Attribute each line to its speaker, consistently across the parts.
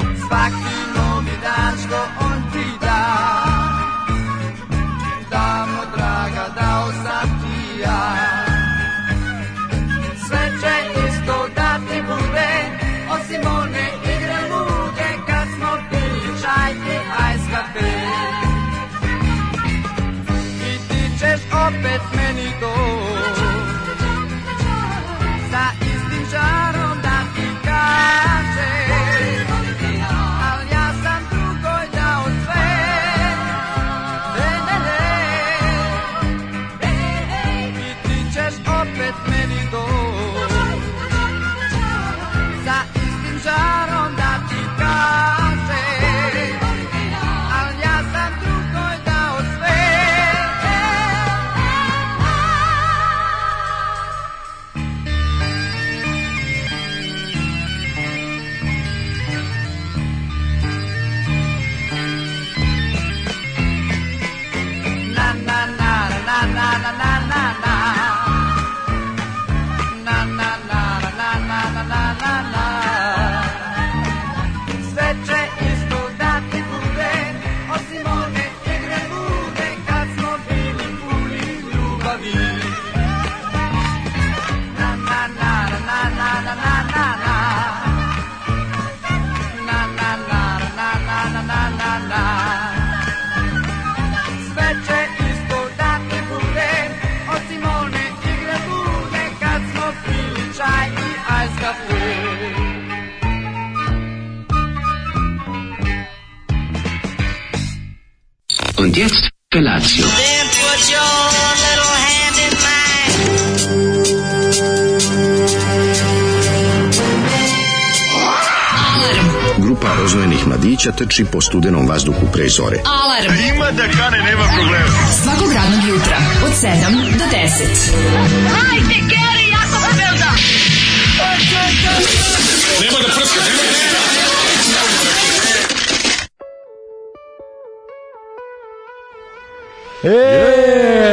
Speaker 1: svaki novi dan što on ti da Davno draga dao sam ti ja Sve će isto da ti bude Osim one igre lude Kad smo pili čaj i ice cafe I ti ćeš opet meni doći sa istim čarom da ti kažem Al ja sam drugoj dao sve Ne, ne, ne I ti ćeš opet meni doći Sa istim žarom da ti kažem Al ja sam drugoj dao sve na na na na na na na na na na na na na na na na na na sve će isto da ti bude osim one igre lude kad smo bili puni ljubavi na na na na na na na na na na na na na na na na na sve će isto da ti bude Osim one igre dude Kad smo pili čaj i ice cafe
Speaker 2: Und jetzt Felatio.
Speaker 3: Then put your little hand in mine.
Speaker 4: Grupa roznojenih mladića trči po studenom vazduhu pre zore.
Speaker 5: Alarm.
Speaker 6: Ima da kane, nema problema.
Speaker 5: Svakog radnog jutra od 7 do 10. Hajde, Geri, jako se velda!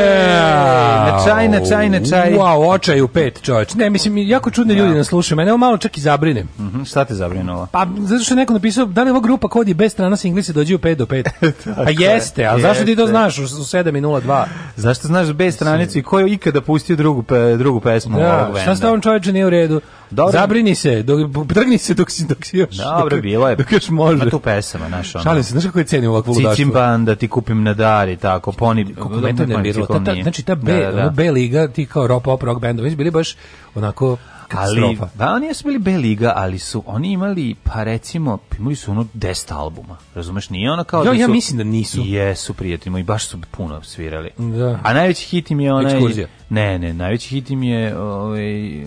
Speaker 7: Na čaj, na čaj, na čaj.
Speaker 8: Wow, očaj u pet, čovječ. Ne, mislim, jako čudni ljudi nas slušaju. Mene ovo malo čak i zabrine.
Speaker 7: Mhm, Šta te zabrinulo?
Speaker 8: Pa, zato što je neko napisao, da li je ova grupa kodi bez strana sa Inglisi dođe u 5 do 5? pa jeste, ali zašto ti to
Speaker 7: jeste.
Speaker 8: znaš u, u 7 i 02?
Speaker 7: Zašto znaš B stranicu i ko je ikada pustio drugu, pe- drugu pesmu
Speaker 8: Da,
Speaker 7: ovog benda?
Speaker 8: šta s ovom čovječe nije u redu?
Speaker 7: Dobro.
Speaker 8: Zabrini se, dok, trgni se dok si, dok si još.
Speaker 7: Dobro,
Speaker 8: dok,
Speaker 7: bilo je.
Speaker 8: Dok još može.
Speaker 7: Ima tu pesama, znaš, ono.
Speaker 8: Šalim se, znaš kako je cenim ovakvu
Speaker 7: Cicim
Speaker 8: ludaštvo?
Speaker 7: banda, ti kupim na dar i tako, poni...
Speaker 8: kako me to nerviralo. Ta, ta, znači ta B,
Speaker 7: Da, da, da.
Speaker 8: ono B liga, ti kao rock pop rock bendovi su bili baš onako
Speaker 7: Ali,
Speaker 8: katastrofa.
Speaker 7: da, oni su bili B liga, ali su oni imali, pa recimo, imali su ono 10 albuma, razumeš, nije ono kao
Speaker 8: Jo,
Speaker 7: da su...
Speaker 8: ja mislim da nisu.
Speaker 7: Jesu, prijatelji moji, baš su puno svirali.
Speaker 8: Da.
Speaker 7: A najveći hit im je onaj...
Speaker 8: Ekskurzija.
Speaker 7: Ne, ne, najveći hit im je... Ovaj, ja,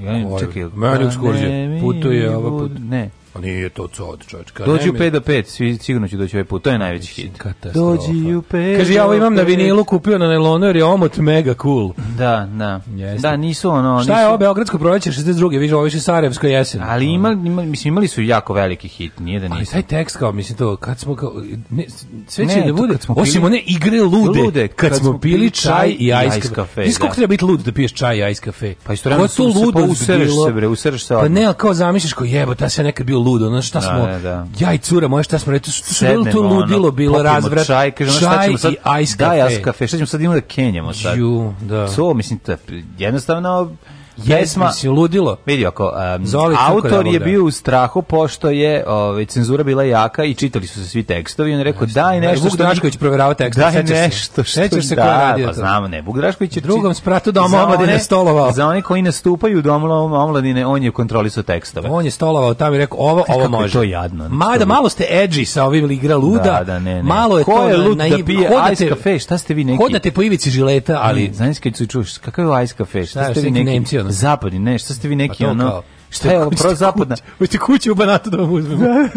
Speaker 7: ne-
Speaker 8: Ovaj,
Speaker 7: čekaj, Pa
Speaker 8: meni ekskurzija,
Speaker 7: ne, mi
Speaker 8: putuje ova
Speaker 7: bud-
Speaker 8: put. Pa
Speaker 7: Ne,
Speaker 8: A nije to cod, čovječka.
Speaker 7: dođi u 5 do 5, svi, sigurno ću doći ovaj put, to je najveći hit.
Speaker 8: Katastrofa.
Speaker 7: Dođi u 5
Speaker 8: Kaže, ja ovo imam na vinilu, kupio na nelonu, jer je omot mega cool.
Speaker 7: Da, da.
Speaker 8: Jeste.
Speaker 7: Da, nisu ono...
Speaker 8: Šta je
Speaker 7: nisu-
Speaker 8: ovo Beogradsko proleće 62. Viš, ovo više Sarajevsko jesen.
Speaker 7: Ali imali, imali, mislim, imali su jako veliki hit, nije da
Speaker 8: Ali
Speaker 7: nisu.
Speaker 8: taj tekst kao, mislim to, kad smo kao, ne, sve će
Speaker 7: Ne,
Speaker 8: da
Speaker 7: to
Speaker 8: bude,
Speaker 7: kad smo
Speaker 8: osim
Speaker 7: pili-
Speaker 8: one igre lude,
Speaker 7: Lude,
Speaker 8: kad, smo pili čaj i ice
Speaker 7: kafe,
Speaker 8: cafe. Znaš koliko
Speaker 7: da.
Speaker 8: treba biti lud da piješ čaj i ice cafe?
Speaker 7: Pa istovremeno
Speaker 8: Ko je to
Speaker 7: se- se
Speaker 8: ludo
Speaker 7: pousereš
Speaker 8: bilo?
Speaker 7: se, bre, usereš se
Speaker 8: Pa
Speaker 7: odmah.
Speaker 8: ne, ali kao zamisliš kao jebo, ta se nekad bio ludo, ono šta smo,
Speaker 7: da, da.
Speaker 8: ja i cura moja šta smo, reći, to je
Speaker 7: Sednemo,
Speaker 8: to
Speaker 7: ono,
Speaker 8: ludilo bilo
Speaker 7: popijemo
Speaker 8: razvrat,
Speaker 7: Čaj, kaže, ono, šta ćemo sad,
Speaker 8: i ice cafe.
Speaker 7: Da, ice cafe, šta ćemo sad imamo da kenjamo sad?
Speaker 8: Ju, da.
Speaker 7: To, mislim, to je jednostavno
Speaker 8: Jesma.
Speaker 7: pesma...
Speaker 8: Mislim, ludilo.
Speaker 7: Vidi ako, um,
Speaker 8: Zoli crko
Speaker 7: autor je
Speaker 8: jabuda.
Speaker 7: bio u strahu pošto je ovaj, cenzura bila jaka i čitali su se svi tekstovi i on je rekao daj nešto
Speaker 8: Vuk Drašković proverava tekste,
Speaker 7: Daj
Speaker 8: sećaš se?
Speaker 7: nešto što
Speaker 8: Sećaš se ko je
Speaker 7: da,
Speaker 8: radio
Speaker 7: pa
Speaker 8: to?
Speaker 7: znamo, ne, Vuk Drašković je
Speaker 8: Drugom
Speaker 7: čit-
Speaker 8: spratu doma
Speaker 7: za
Speaker 8: omladine
Speaker 7: one-
Speaker 8: stolovao.
Speaker 7: Za one koji nastupaju u domu omladine, on je kontrolisao tekstove. E,
Speaker 8: On je stolovao tamo i rekao ovo, ovo
Speaker 7: kako je
Speaker 8: može.
Speaker 7: to jadno, znači,
Speaker 8: Mada
Speaker 7: to je-
Speaker 8: malo ste edgy sa ovim igra luda.
Speaker 7: Da, da, ne, ne.
Speaker 8: Malo je
Speaker 7: Ko
Speaker 8: to
Speaker 7: je
Speaker 8: na-
Speaker 7: lud
Speaker 8: na-
Speaker 7: da pije
Speaker 8: hodate-
Speaker 7: ice cafe? Šta ste vi neki? Mm.
Speaker 8: Hodate po ivici žileta, ali
Speaker 7: ali znaš kad su čuš kakav je ice cafe šta,
Speaker 8: Šta,
Speaker 7: ste
Speaker 8: šta
Speaker 7: vi
Speaker 8: neki
Speaker 7: neki
Speaker 8: Nemci, ono?
Speaker 7: zapadni ne šta ste vi neki
Speaker 8: Pa to
Speaker 7: ono
Speaker 8: kao,
Speaker 7: šta je ovo
Speaker 8: hoćete
Speaker 7: prozapadna
Speaker 8: kući- Hoćete kući u Banatu da vam uzmemo. E,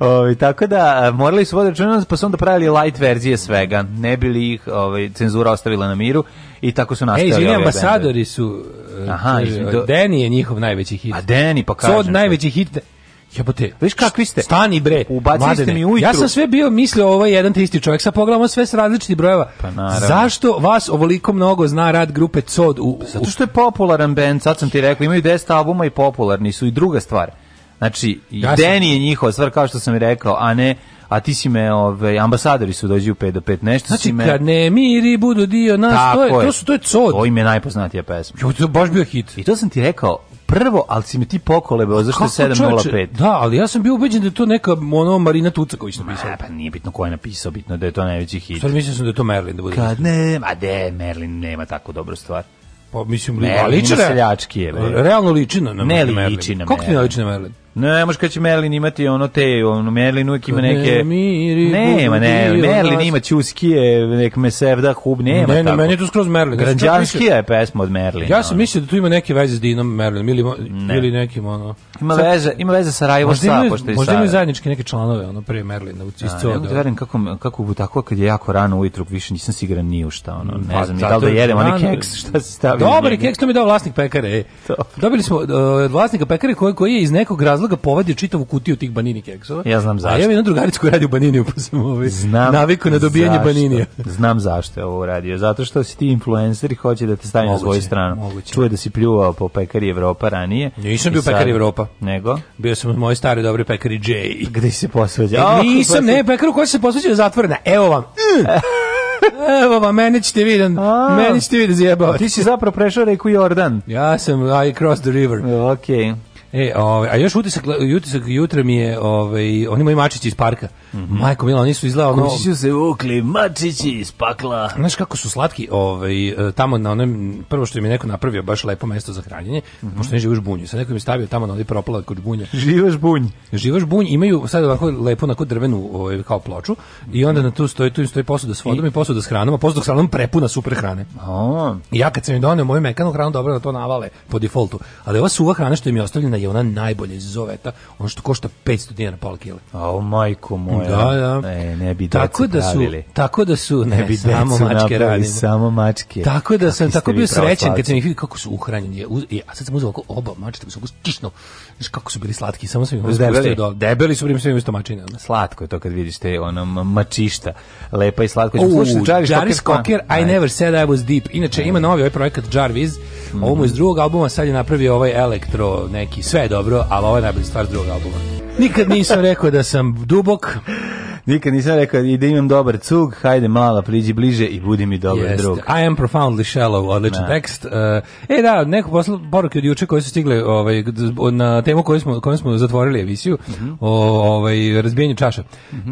Speaker 7: Ovaj, tako da e, morali su voditi računa pa su onda pravili light verzije svega ne bi li ih ovaj cenzura ostavila na miru i tako su
Speaker 8: Ej,
Speaker 7: nastali
Speaker 8: E, izvini,
Speaker 7: ovi
Speaker 8: ambasadori su... eh,
Speaker 7: Aha,
Speaker 8: kaže,
Speaker 7: izvini, do-
Speaker 8: Danny je njihov najveći hit.
Speaker 7: bendovi. a Deni pa
Speaker 8: Cod
Speaker 7: kažem
Speaker 8: najveći hit. Jebote,
Speaker 7: Viš kakvi ste?
Speaker 8: Stani bre.
Speaker 7: Ubacili ste
Speaker 8: Mladene.
Speaker 7: mi ujutru.
Speaker 8: Ja sam sve bio mislio ovo je jedan te isti čovjek. Sad pogledamo sve s različitih brojeva.
Speaker 7: Pa naravno.
Speaker 8: Zašto vas ovoliko mnogo zna rad grupe Cod u, u
Speaker 7: zato što je popularan bend sad sam ti rekao imaju 10 albuma i popularni su i druga stvar Znači,
Speaker 8: Ja
Speaker 7: ja
Speaker 8: sam-
Speaker 7: Deni je njihova stvar, kao što sam i rekao, a ne, a ti si me, ove, ambasadori su dođi u 5 do 5, nešto si
Speaker 8: Znači,
Speaker 7: me...
Speaker 8: kad ne miri budu dio nas, to je, to, su, to je cod.
Speaker 7: To im je najpoznatija pesma.
Speaker 8: Jo, to je baš bio hit.
Speaker 7: I to sam ti rekao, prvo, ali si mi ti pokolebao, zašto je
Speaker 8: Kako, čoveče,
Speaker 7: 7.05?
Speaker 8: Da, ali ja sam bio ubeđen da je to neka ono, Marina Tucaković napisala.
Speaker 7: E, pa nije bitno ko je napisao, bitno da je to najveći
Speaker 8: U
Speaker 7: hit.
Speaker 8: stvari mislio sam da je to Merlin da bude.
Speaker 7: Kad ne, a de, Merlin nema tako dobru stvar.
Speaker 8: Pa mislim,
Speaker 7: Merlin
Speaker 8: a liči
Speaker 7: ima
Speaker 8: re-
Speaker 7: seljački je, bre.
Speaker 8: Realno liči na, na
Speaker 7: Ne
Speaker 8: Merlin.
Speaker 7: liči na
Speaker 8: Kako ti ne
Speaker 7: Merlin?
Speaker 8: liči na Merlin?
Speaker 7: Ne, možeš kad će Merlin imati ono te, ono Merlin uvijek ima
Speaker 8: Kad ne
Speaker 7: neke...
Speaker 8: miri
Speaker 7: Nema, ne,
Speaker 8: budu dio
Speaker 7: Merlin
Speaker 8: nas.
Speaker 7: ima Ćuskije, nek me sevda hub, nema
Speaker 8: ne, ne,
Speaker 7: tako.
Speaker 8: meni je to skroz Merlin. Ja sam čak
Speaker 7: Građanskija je pesma od
Speaker 8: mislio-
Speaker 7: Merlina. ono.
Speaker 8: Ja sam mislio da tu ima neke veze s Dinom Merlin ili, mo- ili nekim ono...
Speaker 7: Ima
Speaker 8: Sad-
Speaker 7: veze, ima veze sa Rajevo
Speaker 8: Možda
Speaker 7: Sa,
Speaker 8: imaju,
Speaker 7: Pa pošto je
Speaker 8: možda
Speaker 7: Sara.
Speaker 8: imaju zajedničke neke članove ono prije Merlina u iz
Speaker 7: A, Ne
Speaker 8: coda.
Speaker 7: mogu da verujem kako, kako bu tako kad je jako rano ujutru, više nisam siguran ni u šta, ono,
Speaker 8: Pa,
Speaker 7: ne znam, i da
Speaker 8: zato
Speaker 7: li
Speaker 8: je
Speaker 7: da jedem,
Speaker 8: rano.
Speaker 7: onaj keks, šta se stavi.
Speaker 8: Dobar je keks, to mi je dao vlasnik pekare. e.
Speaker 7: Dobro.
Speaker 8: Dobili smo uh, od vlasnika pekare koji, koji je iz nekog razloga povadio čitavu kutiju tih banini keksova.
Speaker 7: Ja znam
Speaker 8: A
Speaker 7: zašto.
Speaker 8: ja imam jednu drugaricu koja radi u baniniju, pa sam ovaj
Speaker 7: Znam
Speaker 8: naviku na dobijanje
Speaker 7: zašto.
Speaker 8: baninija.
Speaker 7: Znam zašto je ovo uradio. Zato što si ti influencer i hoće da te stavi na
Speaker 8: Moguće,
Speaker 7: svoju stranu.
Speaker 8: moguće.
Speaker 7: Čuje da si pljuvao po pekari Evropa ranije.
Speaker 8: Nisam
Speaker 7: I
Speaker 8: bio
Speaker 7: sad-
Speaker 8: pekar Evropa.
Speaker 7: Nego?
Speaker 8: Bio sam od moje stare dobre pekari Jay.
Speaker 7: Gde si se posvađao?
Speaker 8: E, nisam, ne, pekaru koja se posveća je zatvorena. Evo vam. Mm. Evo vam, mene ćete vidjeti.
Speaker 7: A.
Speaker 8: Mene ćete vidjeti zjebavati.
Speaker 7: Ti si zapravo prešao reku Jordan.
Speaker 8: Ja sam I cross the river.
Speaker 7: Okej.
Speaker 8: E, ovaj, a još utisak, utisak jutra mi je, ovaj, oni moji mačići iz parka.
Speaker 7: Mhm.
Speaker 8: Majko Mila, oni su izgleda ono...
Speaker 7: Kući se ukli, mačići iz pakla.
Speaker 8: Znaš kako su slatki, ovaj, e, tamo na onom, prvo što im je neko napravio baš lepo mesto za hranjenje,
Speaker 7: Mhm.
Speaker 8: pošto ne živiš bunju, sad neko mi je stavio tamo na onaj propala kod bunja.
Speaker 7: Živaš bunj.
Speaker 8: Živaš bunj, imaju sad ovako lepo onako drvenu ovaj, kao ploču i onda na tu stoji, tu im stoji posuda s vodom i, posuda s hranom, a posuda s hranom prepuna super hrane.
Speaker 7: A,
Speaker 8: I ja kad sam im donio moju mekanu hranu, dobro da to navale po defoltu, ali ova suva hrana što im je ostavljena je ona najbolja iz zoveta, ono što košta 500 dinara pola kile.
Speaker 7: o majko moja.
Speaker 8: Da, da.
Speaker 7: E, ne bi
Speaker 8: tako
Speaker 7: decu
Speaker 8: da su,
Speaker 7: pravili.
Speaker 8: tako da su, ne,
Speaker 7: Ne bi
Speaker 8: samo
Speaker 7: decu
Speaker 8: mačke
Speaker 7: napravili,
Speaker 8: radimo.
Speaker 7: Samo mačke.
Speaker 8: Tako da sam
Speaker 7: Kakvi ste
Speaker 8: tako
Speaker 7: vi
Speaker 8: bio srećan kad
Speaker 7: pravoslavci.
Speaker 8: sam ih vidio kako su uhranjeni. Je, uz- je, a sad sam uzeo oko oba mačeta, sam stisnuo. Znaš kako su bili slatki, samo sam ih ono
Speaker 7: Debeli?
Speaker 8: spustio dole. Debeli su bili sve isto mačine. ono.
Speaker 7: Slatko je to kad vidiš te ono ma- mačišta. Lepa i slatko. Ćemo
Speaker 8: U,
Speaker 7: slušati Jarvis
Speaker 8: Jarvis
Speaker 7: Cocker.
Speaker 8: Cocker, I never said I was deep. Inače, ima novi ovaj projekat Jarvis, ovo mu iz drugog albuma, sad je napravio ovaj elektro neki, sve je dobro, ali ovo je najbolja stvar drugog albuma. Nikad nisam rekao da sam dubok,
Speaker 7: Nikad nisam rekao i da imam dobar cug, hajde mala, priđi bliže i budi mi dobar
Speaker 8: Jeste.
Speaker 7: drug.
Speaker 8: I am profoundly shallow, odličan
Speaker 7: Da.
Speaker 8: tekst. E, e da, neko posla poruke od juče koje su stigle ovaj, na temu koju smo, kojom smo zatvorili emisiju
Speaker 7: Mhm.
Speaker 8: o ovaj, razbijanju čaša.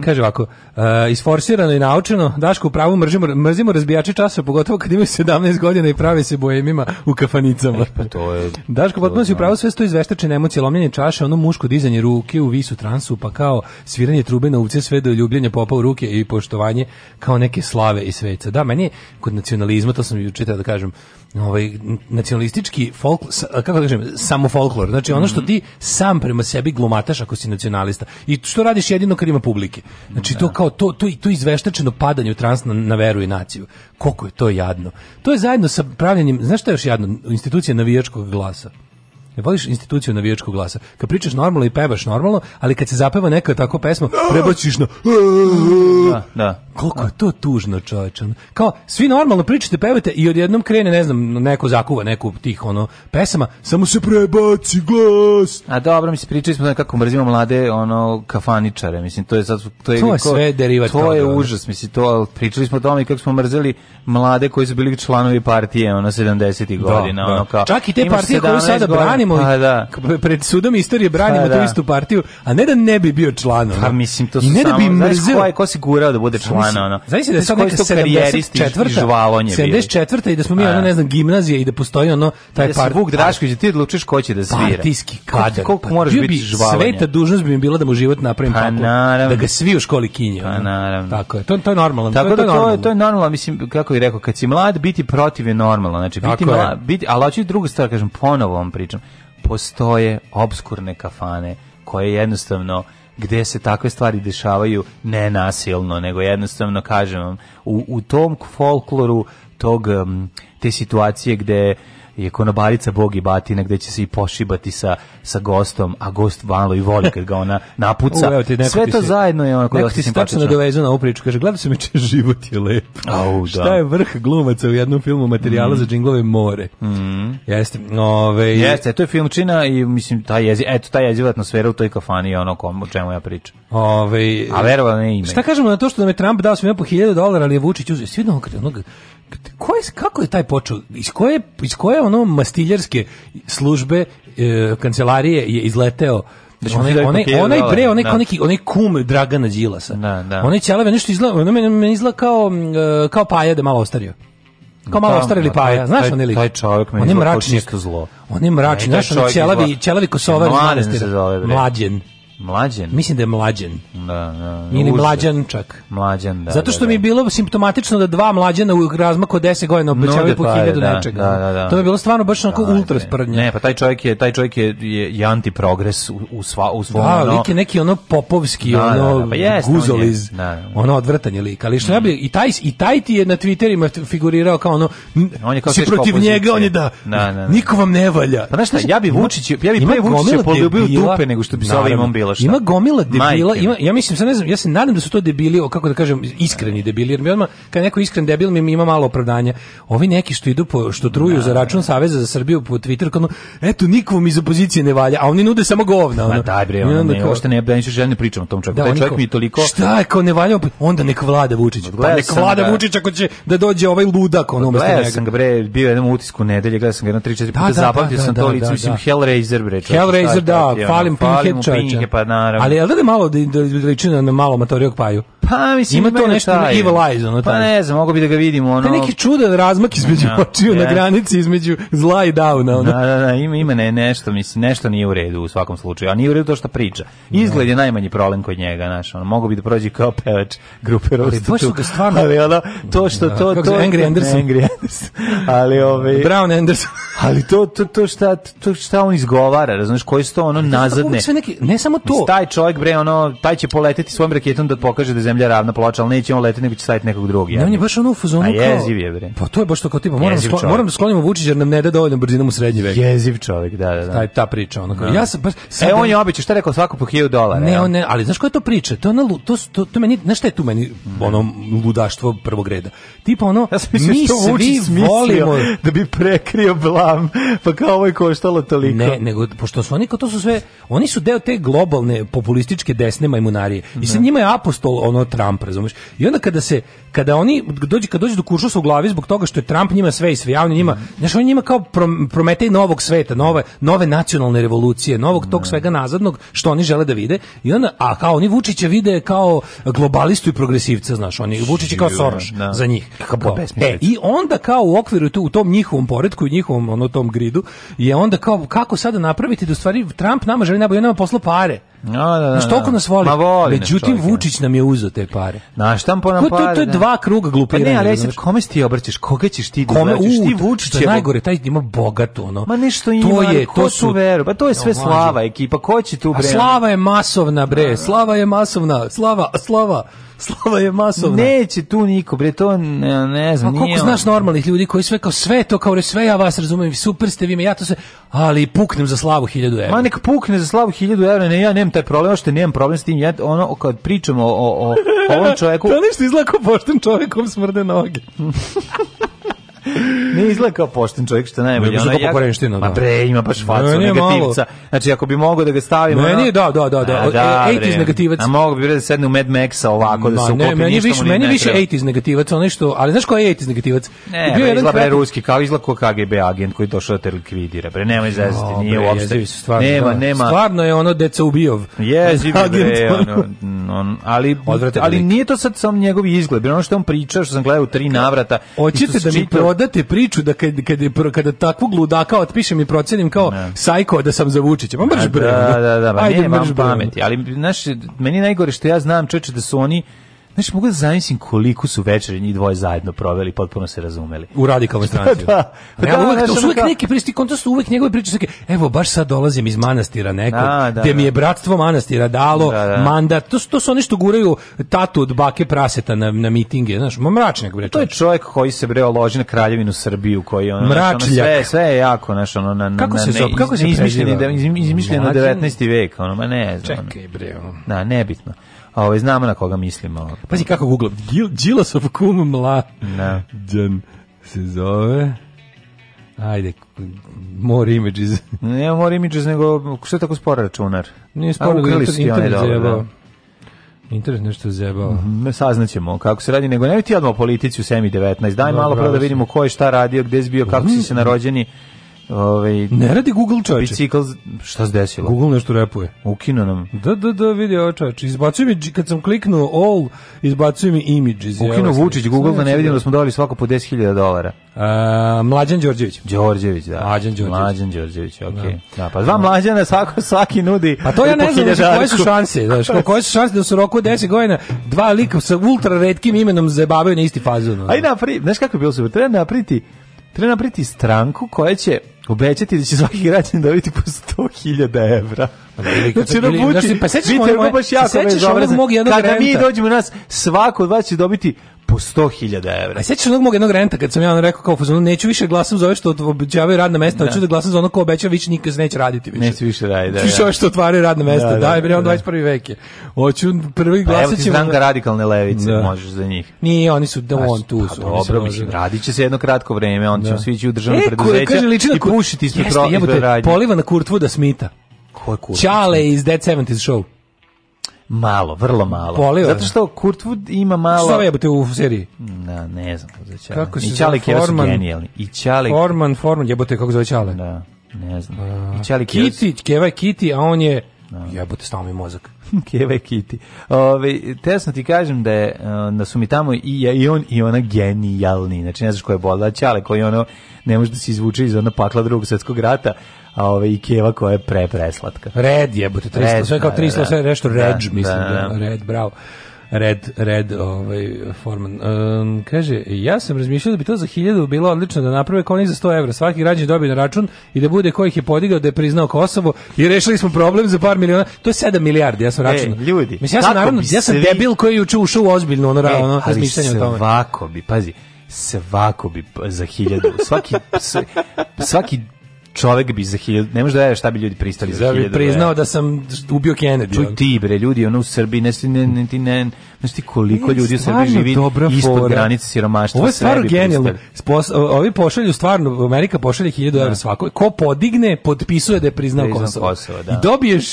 Speaker 8: Kaže ovako, e, isforsirano i naučeno, Daško u pravu mržimo, mrzimo razbijače časa, pogotovo kad imaju 17 godina i prave se boemima u kafanicama.
Speaker 7: Pa to je...
Speaker 8: Daško, potpuno si upravo sve sto izveštačene emocije, lomljenje čaše, ono muško dizanje ruke u visu transu, pa kao sviranje trube na uvce, sve do ljubljenja popa u ruke i poštovanje kao neke slave i sveca. Da, meni je kod nacionalizma, to sam ju čitao da kažem, ovaj, n- nacionalistički folk, sa- kako da kažem, samo folklor. Znači ono što ti sam prema sebi glumataš ako si nacionalista. I što radiš jedino kad ima publike. Znači to kao to, to, to izveštačeno padanje u trans na, na veru i naciju. Koliko je to jadno. To je zajedno sa pravljenjem, znaš što je još jadno? Institucija navijačkog glasa. Ne voliš instituciju navijačkog glasa. Kad pričaš normalno i pevaš normalno, ali kad se zapeva neka tako pesma, prebaciš na...
Speaker 7: Da, da.
Speaker 8: Koliko je to tužno, čoveče. ono. Kao, svi normalno pričate, pevate i odjednom krene, ne znam, neko zakuva neku tih, ono, pesama, samo se prebaci glas.
Speaker 7: A dobro, mislim, pričali smo kako mrzimo mlade ono kafaničare, mislim, to je sad... To je,
Speaker 8: To je sve derivat
Speaker 7: To je
Speaker 8: toga, ono.
Speaker 7: užas, mislim, to, ali pričali smo o tome i kako smo mrzeli mlade koji su bili članovi partije, ono, 70-ih godina, ono kao...
Speaker 8: Čak i te
Speaker 7: imaš
Speaker 8: partije koju
Speaker 7: 17
Speaker 8: sada
Speaker 7: godina,
Speaker 8: branimo,
Speaker 7: Pa da.
Speaker 8: k- pred sudom istorije branimo
Speaker 7: Pa
Speaker 8: tu
Speaker 7: da.
Speaker 8: istu partiju, a ne da ne bi bio član. ono.
Speaker 7: Pa mislim to
Speaker 8: I
Speaker 7: su
Speaker 8: ne da
Speaker 7: samo,
Speaker 8: bi
Speaker 7: znaš
Speaker 8: mrzeo.
Speaker 7: ko je ko si gurao da bude član
Speaker 8: Mislim,
Speaker 7: ono.
Speaker 8: Znači da je
Speaker 7: Znaš
Speaker 8: sad
Speaker 7: koji
Speaker 8: neka
Speaker 7: su to karijeristi i
Speaker 8: 74.
Speaker 7: žvalonje bili.
Speaker 8: 74. i da smo mi,
Speaker 7: A.
Speaker 8: ono, ne znam, gimnazije i da postoji ono, taj
Speaker 7: Da si
Speaker 8: par-
Speaker 7: Vuk Drašković, da ti odlučiš ko će da svira.
Speaker 8: partijski
Speaker 7: Koliko-
Speaker 8: kadar.
Speaker 7: Koliko
Speaker 8: Pa,
Speaker 7: moraš
Speaker 8: bio
Speaker 7: biti
Speaker 8: bi
Speaker 7: žvalanje.
Speaker 8: Sveta dužnost bi mi bila da mu život napravim
Speaker 7: Pa,
Speaker 8: tako,
Speaker 7: naravno.
Speaker 8: da ga svi u školi kinje.
Speaker 7: Pa, naravno.
Speaker 8: Tako je, to, to je normalno.
Speaker 7: Tako da to
Speaker 8: normalno.
Speaker 7: je, to je normalno, mislim, kako bih rekao, kad si mlad, biti protiv je normalno. Znači, biti
Speaker 8: Tako je.
Speaker 7: mlad, biti, ali hoću i drugu stvar, kažem, ponovo vam pričam. Postoje obskurne kafane koje jednostavno gde se takve stvari dešavaju ne nasilno, nego jednostavno kažem vam, u, u tom folkloru tog, em, te situacije gde je konobarica bog i batina gde će se i pošibati sa, sa gostom, a gost malo i voli kad ga ona napuca.
Speaker 8: U, evo ti, neko
Speaker 7: Sve
Speaker 8: ti
Speaker 7: to
Speaker 8: se-
Speaker 7: zajedno je onako
Speaker 8: Neko
Speaker 7: dosta
Speaker 8: ti se tačno
Speaker 7: simpatično.
Speaker 8: nadovezu na ovu priču, kaže, gledao sam juče život je lep.
Speaker 7: Au, da. Mm.
Speaker 8: Šta je vrh glumaca u jednom filmu materijala za džinglove more? Jeste, ove...
Speaker 7: Jeste, to je filmčina i mislim ta jezi, eto ta jeziva atmosfera u toj kafani je ono kom, o čemu ja pričam.
Speaker 8: Ove,
Speaker 7: A verovano ne ime.
Speaker 8: Šta kažemo na to što nam je Trump dao svima po 1000 dolara, ali je Vučić uzeo svi onog onog ko je, kako je taj počeo iz koje iz koje ono mastiljarske službe e, kancelarije je izleteo
Speaker 7: Da
Speaker 8: Da
Speaker 7: će mu
Speaker 8: onaj,
Speaker 7: dati po
Speaker 8: onaj,
Speaker 7: 1000
Speaker 8: onaj bre,
Speaker 7: dolara,
Speaker 8: onaj,
Speaker 7: da.
Speaker 8: neki, onaj kum Dragana Đilasa.
Speaker 7: Da, da.
Speaker 8: Onaj ćelave nešto izgleda, ono meni, meni izgleda kao, mm, e, kao paja da je malo ostario. Kao malo
Speaker 7: Da,
Speaker 8: ostarili
Speaker 7: da, taj-
Speaker 8: paja, znaš
Speaker 7: taj-
Speaker 8: onaj lik?
Speaker 7: taj čovjek meni
Speaker 8: On je
Speaker 7: izgleda kao
Speaker 8: mračnjak.
Speaker 7: čisto zlo.
Speaker 8: On je mračnjak,
Speaker 7: Ne, taj
Speaker 8: znaš onaj
Speaker 7: čovjek
Speaker 8: ćelavi,
Speaker 7: izgleda-
Speaker 8: ćelavi kosovar iz
Speaker 7: Mladen se
Speaker 8: manastira.
Speaker 7: zove, bre.
Speaker 8: Mlađen.
Speaker 7: Mlađen.
Speaker 8: Mislim da je mlađen.
Speaker 7: da, da, da,
Speaker 8: Ili
Speaker 7: užas.
Speaker 8: mlađan čak.
Speaker 7: Mlađan, da.
Speaker 8: Zato što
Speaker 7: da,
Speaker 8: mi
Speaker 7: da.
Speaker 8: je bilo simptomatično da dva mlađana u razmaku od 10 godina obećavaju
Speaker 7: Nude
Speaker 8: po
Speaker 7: pare,
Speaker 8: 1000
Speaker 7: pa da,
Speaker 8: nečega.
Speaker 7: da, da, da.
Speaker 8: To je bilo stvarno baš onako
Speaker 7: Da,
Speaker 8: ultra
Speaker 7: ne.
Speaker 8: sprdnje.
Speaker 7: Ne, pa taj čovjek je taj čovjek je je, je antiprogres u, u sva u svom
Speaker 8: Da,
Speaker 7: ono-
Speaker 8: lik je neki ono popovski,
Speaker 7: Da, da,
Speaker 8: ono
Speaker 7: da, pa jeste,
Speaker 8: guzoliz,
Speaker 7: on je, da, Mm. da.
Speaker 8: ono odvrtanje lika. Ali što ja bi, i taj, i taj ti je na Twitterima t- figurirao kao ono, n-
Speaker 7: On je kao
Speaker 8: si
Speaker 7: teška
Speaker 8: protiv
Speaker 7: opozicija.
Speaker 8: njega, on je da,
Speaker 7: Da, da, da.
Speaker 8: niko vam ne valja.
Speaker 7: Pa znaš šta, ja bi
Speaker 8: Ima-
Speaker 7: Vučić, ja bi
Speaker 8: ima
Speaker 7: pre Vučića
Speaker 8: gomila
Speaker 7: poljubil
Speaker 8: debila-
Speaker 7: dupe nego što bi sa
Speaker 8: Naravno.
Speaker 7: ovim imam bilo šta.
Speaker 8: Ima gomila debila,
Speaker 7: Majke mi.
Speaker 8: ima, ja mislim, sad ne znam, ja se nadam da su to debili, o, kako da kažem, iskreni debili, jer mi odmah, kad je neko iskren debil, mi ima malo opravdanja. Ovi neki što idu po, što truju za račun Saveza za Srbiju po Twitteru, kao ono, eto, nikom iz opozicije ne valja, a oni nude samo govna.
Speaker 7: Ma
Speaker 8: ono.
Speaker 7: daj bre,
Speaker 8: I
Speaker 7: ono,
Speaker 8: onda
Speaker 7: ne,
Speaker 8: kao-
Speaker 7: uopšte ne, ja neću želim da pričam o tom čovjeku. taj
Speaker 8: oni
Speaker 7: čovjek
Speaker 8: kao,
Speaker 7: mi je toliko...
Speaker 8: Šta je kao ne valja, Pa onda nek vlada Vučić. Pa
Speaker 7: Gledao
Speaker 8: nek
Speaker 7: sam
Speaker 8: vlada
Speaker 7: ga.
Speaker 8: Vučić ako će da dođe ovaj ludak ono umesto
Speaker 7: Gledao
Speaker 8: njega.
Speaker 7: sam ga bre, bio je jednom utisku nedelje, gledao sam ga jedno 3-4 puta,
Speaker 8: da,
Speaker 7: zapamtio
Speaker 8: da,
Speaker 7: sam
Speaker 8: da,
Speaker 7: to
Speaker 8: da,
Speaker 7: lice,
Speaker 8: da.
Speaker 7: mislim Hellraiser bre. čovječe, šta
Speaker 8: Hellraiser,
Speaker 7: je
Speaker 8: da,
Speaker 7: to ti, ono,
Speaker 8: falim
Speaker 7: falim
Speaker 8: Pinhead
Speaker 7: mu
Speaker 8: čovječa.
Speaker 7: Pinhead, pa naravno.
Speaker 8: Ali jel da je malo da, da da liči na, na malo matorijog paju?
Speaker 7: pa mislim,
Speaker 8: ima to
Speaker 7: mene
Speaker 8: nešto
Speaker 7: taj-
Speaker 8: evil eyes, ono,
Speaker 7: Pa
Speaker 8: taj.
Speaker 7: ne znam, mogu bi da ga vidim, ono...
Speaker 8: Te neki čudan razmak između
Speaker 7: Ja,
Speaker 8: očiju na
Speaker 7: ja.
Speaker 8: granici između zla i dauna. Ono.
Speaker 7: Da, da, da, ima, ima ne, nešto, mislim, nešto nije u redu u svakom slučaju, a nije u redu to što priča. Izgled je najmanji problem kod njega, znaš, ono, mogu bi da prođe kao pevač grupe Rostu
Speaker 8: baš su ga stvarno-
Speaker 7: ali ono, to što, to, to,
Speaker 8: Kako se zove, Angry Anderson?
Speaker 7: Angry Anderson, ali ovaj- ove...
Speaker 8: Brown Anderson.
Speaker 7: Ali to, to, to, šta, to šta on izgovara, razumiješ, koji su to ono nazadne.
Speaker 8: Sve neki, ne samo to.
Speaker 7: Mislim, Taj čovjek, bre, ono, taj će poleteti svojim raketom da pokaže da je zemlja ravna ploča, ali neće on leteti, nego će staviti nekog drugog.
Speaker 8: Ne, on je
Speaker 7: jadnika.
Speaker 8: baš ono u fazonu
Speaker 7: A
Speaker 8: kao...
Speaker 7: jeziv je, bre.
Speaker 8: Pa to je baš to kao tipa, moram,
Speaker 7: Jeziv
Speaker 8: sklo,
Speaker 7: čovjek.
Speaker 8: moram da sklonimo Vučić jer nam ne da dovoljno brzinom u srednji vek.
Speaker 7: Jeziv čovjek, da, da, da.
Speaker 8: Taj, ta priča, ono kao, ja sam baš... sad-
Speaker 7: E, on je običao, šta je rekao, svako po 1000 dolara.
Speaker 8: Ne,
Speaker 7: ja?
Speaker 8: on ne, ali znaš koja je to priča? To je ono, lu- to, su- to, to meni, znaš šta je tu meni ono ludaštvo prvog reda? Tipa ono,
Speaker 7: Ja sam mislio
Speaker 8: mi
Speaker 7: što Vučić
Speaker 8: svi
Speaker 7: smislio
Speaker 8: volimo...
Speaker 7: da bi prekrio blam, pa kao ovo je koštalo toliko.
Speaker 8: Ne, nego pošto su oni kao to su sve, oni su deo te globalne populističke desne majmunarije. I sad njima je apostol ono Trump, razumeš? I onda kada se kada oni dođe kad dođe do kuršosa u glavi zbog toga što je Trump njima sve i sve javno njima, znaš, on njima kao prom- prometej novog sveta, nove nove nacionalne revolucije, novog tog svega nazadnog što oni žele da vide. I onda a kao oni Vučića vide kao globalistu i progresivca, znaš, oni Vučić je kao
Speaker 7: Sigurno,
Speaker 8: Soros
Speaker 7: da.
Speaker 8: za njih.
Speaker 7: Kako
Speaker 8: Kao,
Speaker 7: besmislica.
Speaker 8: e, i onda kao u okviru tu, u tom njihovom poredku i njihovom ono tom gridu je onda kao kako sada napraviti da u stvari Trump nama želi najbolje on nama posla pare.
Speaker 7: No, da, da,
Speaker 8: Znaš, toliko
Speaker 7: da.
Speaker 8: nas voli.
Speaker 7: Ma voli nas
Speaker 8: Međutim,
Speaker 7: čovjek, ja.
Speaker 8: Vučić nam je uzeo te pare.
Speaker 7: Na štampo
Speaker 8: Ko
Speaker 7: nam
Speaker 8: je to,
Speaker 7: pare.
Speaker 8: to je
Speaker 7: da.
Speaker 8: dva kruga
Speaker 7: Pa
Speaker 8: glupiranja.
Speaker 7: ne, ali ja
Speaker 8: razumeš?
Speaker 7: sad, kome si ti obraćaš? Koga ćeš ti da
Speaker 8: Kome
Speaker 7: obraćaš?
Speaker 8: u
Speaker 7: Ti
Speaker 8: Vučić je
Speaker 7: Vučićevo-
Speaker 8: najgore taj ima bogato ono.
Speaker 7: Ma Pa nešto ima,
Speaker 8: To je
Speaker 7: ali ko
Speaker 8: to
Speaker 7: tu
Speaker 8: su
Speaker 7: veru. Pa to je sve
Speaker 8: Ja, mlađe.
Speaker 7: slava ekipa. Ko će tu
Speaker 8: A
Speaker 7: bre? ono?
Speaker 8: slava je masovna bre, slava je masovna, slava, slava, slava je masovna.
Speaker 7: Neće tu niko, bre, to ne, ne znam,
Speaker 8: A koliko
Speaker 7: nije ono. on.
Speaker 8: znaš normalnih ljudi koji sve kao sve to kao re, sve ja vas razumem, super ste vi me, ja to sve, ali puknem za slavu 1000 evra.
Speaker 7: Ma nek pukne za slavu 1000 evra, ne, ja nemam taj problem, što nemam problem s tim, ja, ono, kad pričam o, o, o ovom čovjeku,
Speaker 8: To nešto izgleda kao pošten čovjek kom smrde noge.
Speaker 7: ne izgleda kao pošten čovjek, što je najbolje.
Speaker 8: Ne, baš
Speaker 7: ono,
Speaker 8: kao
Speaker 7: ja-
Speaker 8: Korenština, da.
Speaker 7: Ma bre, ima baš facu
Speaker 8: Meni je malo.
Speaker 7: negativca. Znači, ako bi mogao da ga stavim...
Speaker 8: Meni
Speaker 7: ono-
Speaker 8: je, da, da, da, da,
Speaker 7: A,
Speaker 8: e,
Speaker 7: bre,
Speaker 8: 80s negativac.
Speaker 7: A mogu bi bre da sedne u Mad Maxa ovako, da
Speaker 8: Ma
Speaker 7: se uklopi,
Speaker 8: ne, meni
Speaker 7: ništa mu
Speaker 8: više,
Speaker 7: ni
Speaker 8: meni
Speaker 7: ne
Speaker 8: više
Speaker 7: treba.
Speaker 8: 80s negativac, onaj što, ali znaš ko je 80s negativac?
Speaker 7: Ne,
Speaker 8: je
Speaker 7: bre, izgleda bre
Speaker 8: kratak-
Speaker 7: ruski, kao izgleda kao KGB agent koji je došao da te likvidira. Bre, nemoj zezati,
Speaker 8: O,
Speaker 7: nije
Speaker 8: bre,
Speaker 7: uopšte.
Speaker 8: jezivi su stvarno,
Speaker 7: nema,
Speaker 8: da.
Speaker 7: nema.
Speaker 8: Stvarno je ono deca ubijov.
Speaker 7: Jezivi bre,
Speaker 8: Agent,
Speaker 7: ono, on, ali,
Speaker 8: Odvratan
Speaker 7: ali
Speaker 8: lik.
Speaker 7: nije to sad sam njegov izgled, bre, ono što on priča, što sam gledao u tri navrata. i
Speaker 8: Hoćete
Speaker 7: što sam
Speaker 8: da mi
Speaker 7: čitao-
Speaker 8: prodate priču da kad, kad, je pro- kada takvog ludaka otpišem i procenim kao sajko da sam za Vučića. Ma mrš bre.
Speaker 7: Da,
Speaker 8: ono.
Speaker 7: da, da, pa
Speaker 8: Ajde,
Speaker 7: nije
Speaker 8: mrš
Speaker 7: vam
Speaker 8: bre, ono.
Speaker 7: pameti, ali znaš, meni je najgore što ja znam čeče da su oni Znaš, mogu da zamislim koliko su večeri njih dvoje zajedno proveli, potpuno se razumeli.
Speaker 8: u radikalnoj stranci.
Speaker 7: da.
Speaker 8: Pa
Speaker 7: Da,
Speaker 8: ja uvek,
Speaker 7: znaš,
Speaker 8: to su
Speaker 7: ono
Speaker 8: uvek
Speaker 7: kao-
Speaker 8: neki pristi kontrast, uvek njegove priče su neke, evo, baš sad dolazim iz manastira nekog,
Speaker 7: Da, da,
Speaker 8: gde mi je
Speaker 7: da.
Speaker 8: bratstvo manastira dalo
Speaker 7: Da, da.
Speaker 8: mandat, to, su- to su oni što guraju tatu od bake praseta na, na mitinge, znaš, ma mračnjak, bre,
Speaker 7: To je
Speaker 8: čovječ.
Speaker 7: čovjek koji se breo loži na kraljevinu Srbiju, koji ono,
Speaker 8: Mračljak.
Speaker 7: znaš, ono, sve, sve je jako, znaš, ono, na, na,
Speaker 8: Kako se
Speaker 7: na-
Speaker 8: zove? Kako se
Speaker 7: izmišljeni,
Speaker 8: preziva?
Speaker 7: de- izmi- izmišljeno
Speaker 8: Mlađan?
Speaker 7: 19. vek, ono, ma ne znam. ono.
Speaker 8: Čekaj, bre, ono.
Speaker 7: Da, nebitno. A ovaj, znamo na koga mislimo.
Speaker 8: Pazi kako googlam, Đil- Đilasov kum
Speaker 7: Da.
Speaker 8: mlađan se zove, ajde, more images,
Speaker 7: Ne more images, nego što je tako spora računar?
Speaker 8: nije
Speaker 7: A,
Speaker 8: sporno,
Speaker 7: ukrali
Speaker 8: internet,
Speaker 7: su ti one
Speaker 8: internet
Speaker 7: dobro,
Speaker 8: zajebao.
Speaker 7: da.
Speaker 8: Internet nešto zajebao.
Speaker 7: Ne, saznaćemo kako se radi, nego ne ti odmah o politici u semi 19. Daj
Speaker 8: Da,
Speaker 7: malo prvo
Speaker 8: pravo
Speaker 7: da
Speaker 8: si.
Speaker 7: vidimo ko je šta radio, gde si bio, kako si se narođeni. Ovaj,
Speaker 8: Ne radi Google čovječe.
Speaker 7: bicikl, šta se desilo?
Speaker 8: Google nešto repuje.
Speaker 7: Ukino nam.
Speaker 8: Da, da, da, vidi ovo čovječ. Izbacuje mi, kad sam kliknuo all, izbacuje mi images.
Speaker 7: Ukino
Speaker 8: Evo,
Speaker 7: Vučić,
Speaker 8: sad-
Speaker 7: Google
Speaker 8: sad
Speaker 7: da ne
Speaker 8: ću
Speaker 7: vidimo da smo dali svako po 10.000 dolara.
Speaker 8: A, E, Mlađan Đorđević.
Speaker 7: Đorđević, da.
Speaker 8: Mlađan Đorđević.
Speaker 7: Mlađan Đorđević, okej. Da. pa dva mlađana svako, svaki nudi.
Speaker 8: Pa to ja ne
Speaker 7: po
Speaker 8: znam, znači, koje su
Speaker 7: hiljadarku.
Speaker 8: šanse, znaš, ko- koje su šanse da su u roku od 10 godina dva lika sa ultra redkim imenom zabavaju na isti fazon. ono?
Speaker 7: Aj napri, znaš kako je bilo super, treba napriti, treba napriti stranku koja će obećati da će svaki građan dobiti po 100.000 evra.
Speaker 8: Pa ili kad-
Speaker 7: Znači, ono
Speaker 8: ili-
Speaker 7: buči,
Speaker 8: znači, pa sećaš
Speaker 7: vidite,
Speaker 8: one
Speaker 7: ono
Speaker 8: moje-
Speaker 7: baš
Speaker 8: se
Speaker 7: jako
Speaker 8: sećaš onog
Speaker 7: bezobrazno.
Speaker 8: mog jednog
Speaker 7: Kada mi
Speaker 8: renta?
Speaker 7: dođemo nas, svako od vas će dobiti po 100.000 evra.
Speaker 8: A sećaš E, se onog mog jednog renta kad sam ja ono rekao kao u fazonu neću više glasam za ove što obećavaju radna mesta, hoću da glasam za ono ko obećava više nikad se neće raditi više.
Speaker 7: Neće više raditi, da,
Speaker 8: Više
Speaker 7: da.
Speaker 8: ove što otvaraju radna mesta,
Speaker 7: Da, da,
Speaker 8: daj bre, on
Speaker 7: da.
Speaker 8: 21. vek je. Hoću prvi
Speaker 7: Pa evo
Speaker 8: glasat
Speaker 7: ti
Speaker 8: ćemo-
Speaker 7: stranka radikalne levice,
Speaker 8: ono- Da.
Speaker 7: možeš za njih.
Speaker 8: Nije, oni su da
Speaker 7: Pa,
Speaker 8: on tu
Speaker 7: pa
Speaker 8: su. oni su
Speaker 7: dobro, mislim,
Speaker 8: možda-
Speaker 7: radit će se jedno kratko vreme, on će svi ići u državno
Speaker 8: E, ko-
Speaker 7: preduzeća
Speaker 8: kaže, liči na
Speaker 7: i
Speaker 8: Kurt-
Speaker 7: pušiti ispred
Speaker 8: Jeste,
Speaker 7: ro- ispred
Speaker 8: jebote,
Speaker 7: radnje.
Speaker 8: Poliva na Kurtvuda Smita.
Speaker 7: Ko je Kurt?
Speaker 8: Čale iz Dead 70s show.
Speaker 7: Malo, vrlo malo.
Speaker 8: Poliva.
Speaker 7: Zato što Kurt Wood ima
Speaker 8: Što
Speaker 7: malo...
Speaker 8: zove jebote u seriji?
Speaker 7: Da, ne znam kako se zove.
Speaker 8: Kako
Speaker 7: Kako
Speaker 8: se
Speaker 7: I
Speaker 8: zove,
Speaker 7: Čale i Keva su
Speaker 8: Forman?
Speaker 7: genijalni. I Čale...
Speaker 8: Forman, Forman, jebote kako zove Čale.
Speaker 7: Da, ne znam. I Čale i Keva su-
Speaker 8: Kiti, Keva je Kiti, a on je jebote stao mi mozak.
Speaker 7: Keva i Kiti. Ove, te sam ti kažem da, je, e, da su mi tamo i, ja- i on i ona genijalni. Znači ne znaš ko je Bola Ćale koji ono ne može da se izvuče iz ono pakla drugog svetskog rata, a ove, i Keva koja je pre preslatka.
Speaker 8: Red jebote, 300,
Speaker 7: Red,
Speaker 8: sve kao
Speaker 7: da,
Speaker 8: 300,
Speaker 7: da.
Speaker 8: sve nešto
Speaker 7: Da,
Speaker 8: Reg,
Speaker 7: da,
Speaker 8: mislim, da,
Speaker 7: da.
Speaker 8: Red, bravo. Red, Red, ovaj, Forman. Um, kaže, ja sam razmišljao da bi to za hiljadu bilo odlično da naprave kao onih za 100 evra. Svaki građan dobije na račun i da bude ko ih je podigao da je priznao Kosovo i rešili smo problem za par miliona. To je 7 milijardi, ja sam
Speaker 7: E,
Speaker 8: računao.
Speaker 7: ljudi,
Speaker 8: Mislim, ja sam,
Speaker 7: kako
Speaker 8: naravno,
Speaker 7: bi
Speaker 8: ja sam
Speaker 7: svi-
Speaker 8: debil koji je juče ušao u ozbiljno ono, ra-
Speaker 7: E,
Speaker 8: ono
Speaker 7: ali
Speaker 8: razmišljanje o tome.
Speaker 7: Svako bi, pazi, svako bi pa, za hiljadu, svaki, s- svaki čovek bi za hiljadu, ne možeš da veruješ šta bi ljudi pristali za
Speaker 8: Da
Speaker 7: hiljadu.
Speaker 8: bi
Speaker 7: evra.
Speaker 8: priznao da sam ubio Kennedy. ono.
Speaker 7: Čuj ti bre, ljudi ono u Srbiji, ne, ne, ne, ti ne, znaš ti koliko
Speaker 8: E,
Speaker 7: ljudi u Srbiji
Speaker 8: stvarno
Speaker 7: živi
Speaker 8: dobra
Speaker 7: ispod
Speaker 8: fora.
Speaker 7: granice siromaštva.
Speaker 8: Ovo je stvarno
Speaker 7: sve bi
Speaker 8: genijalno.
Speaker 7: pristali.
Speaker 8: Spos- o- ovi pošalju stvarno, Amerika pošalje 1000 evra svako. Ko podigne, potpisuje da je priznao
Speaker 7: Priznao
Speaker 8: Kosovo.
Speaker 7: Kosovo, da.
Speaker 8: I dobiješ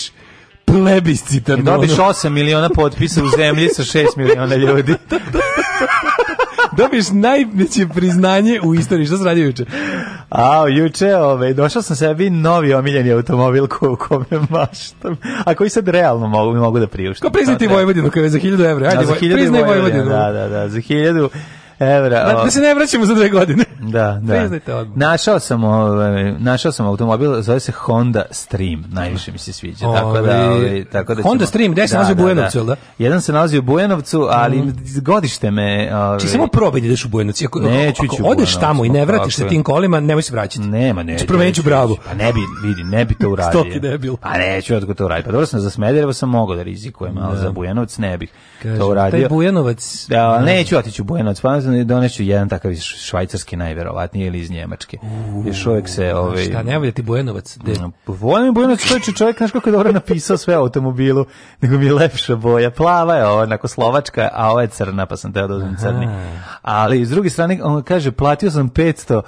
Speaker 8: plebiscitarno.
Speaker 7: I Dobiš
Speaker 8: ono,
Speaker 7: 8 miliona potpisa u zemlji sa 6 miliona ljudi.
Speaker 8: dobiješ najveće priznanje u istoriji. Šta se radi juče?
Speaker 7: A, juče, ovaj, došao sam sebi novi omiljeni automobil ko, kome maštam, a koji sad realno mogu, mogu da priuštim.
Speaker 8: Ko priznati
Speaker 7: Sad,
Speaker 8: Vojvodinu kada je za 1000 evra? Ajde,
Speaker 7: Da, za
Speaker 8: Voj-
Speaker 7: hiljadu
Speaker 8: priznaj
Speaker 7: Vojvodina,
Speaker 8: Vojvodinu.
Speaker 7: Da, da, da, za hiljadu evra.
Speaker 8: Da, da se ne vraćamo za dve godine.
Speaker 7: Da, da.
Speaker 8: Priznajte odmah.
Speaker 7: Našao sam, ovaj, našao sam automobil, zove se Honda Stream, najviše mi se sviđa. tako da,
Speaker 8: Ovaj,
Speaker 7: ovaj, tako da
Speaker 8: Honda Stream, gde se nalazi u Bujanovcu, jel da?
Speaker 7: Jedan se nalazi u Bujanovcu, ali godište me... Ovaj,
Speaker 8: Ti samo probaj da ideš u Bujanovac. Ako,
Speaker 7: Neću
Speaker 8: ako
Speaker 7: ići
Speaker 8: odeš
Speaker 7: u Bujanovac,
Speaker 8: tamo i ne
Speaker 7: pa
Speaker 8: vratiš
Speaker 7: tako
Speaker 8: se
Speaker 7: je.
Speaker 8: tim kolima, nemoj se vraćati.
Speaker 7: Nema, ne.
Speaker 8: Promenit ću bravu.
Speaker 7: Pa ne bi, vidi, ne bi to uradio.
Speaker 8: Stoki debil.
Speaker 7: Pa neću otko to uradio. Pa dobro sam za Smederevo sam mogao da rizikujem, ali za Bujanovac ne bih
Speaker 8: Kažem,
Speaker 7: to uradio.
Speaker 8: Taj Bujanovac...
Speaker 7: Da, ali neću otići u Buenos Aires, doneću jedan takav iz švajcarski najverovatnije ili iz Njemačke. Još uvek se... Ovaj, ono,
Speaker 8: Šta, ne volja ti Bujanovac? De,
Speaker 7: Volim Buenos Aires, čovjek, znaš kako je dobro napisao sve o automobilu, nego mi je lepša boja. Plava je ova, onako slovačka, a ova je crna, pa sam teo da uzmem crni. Ali, s druge strane, on kaže, platio sam 500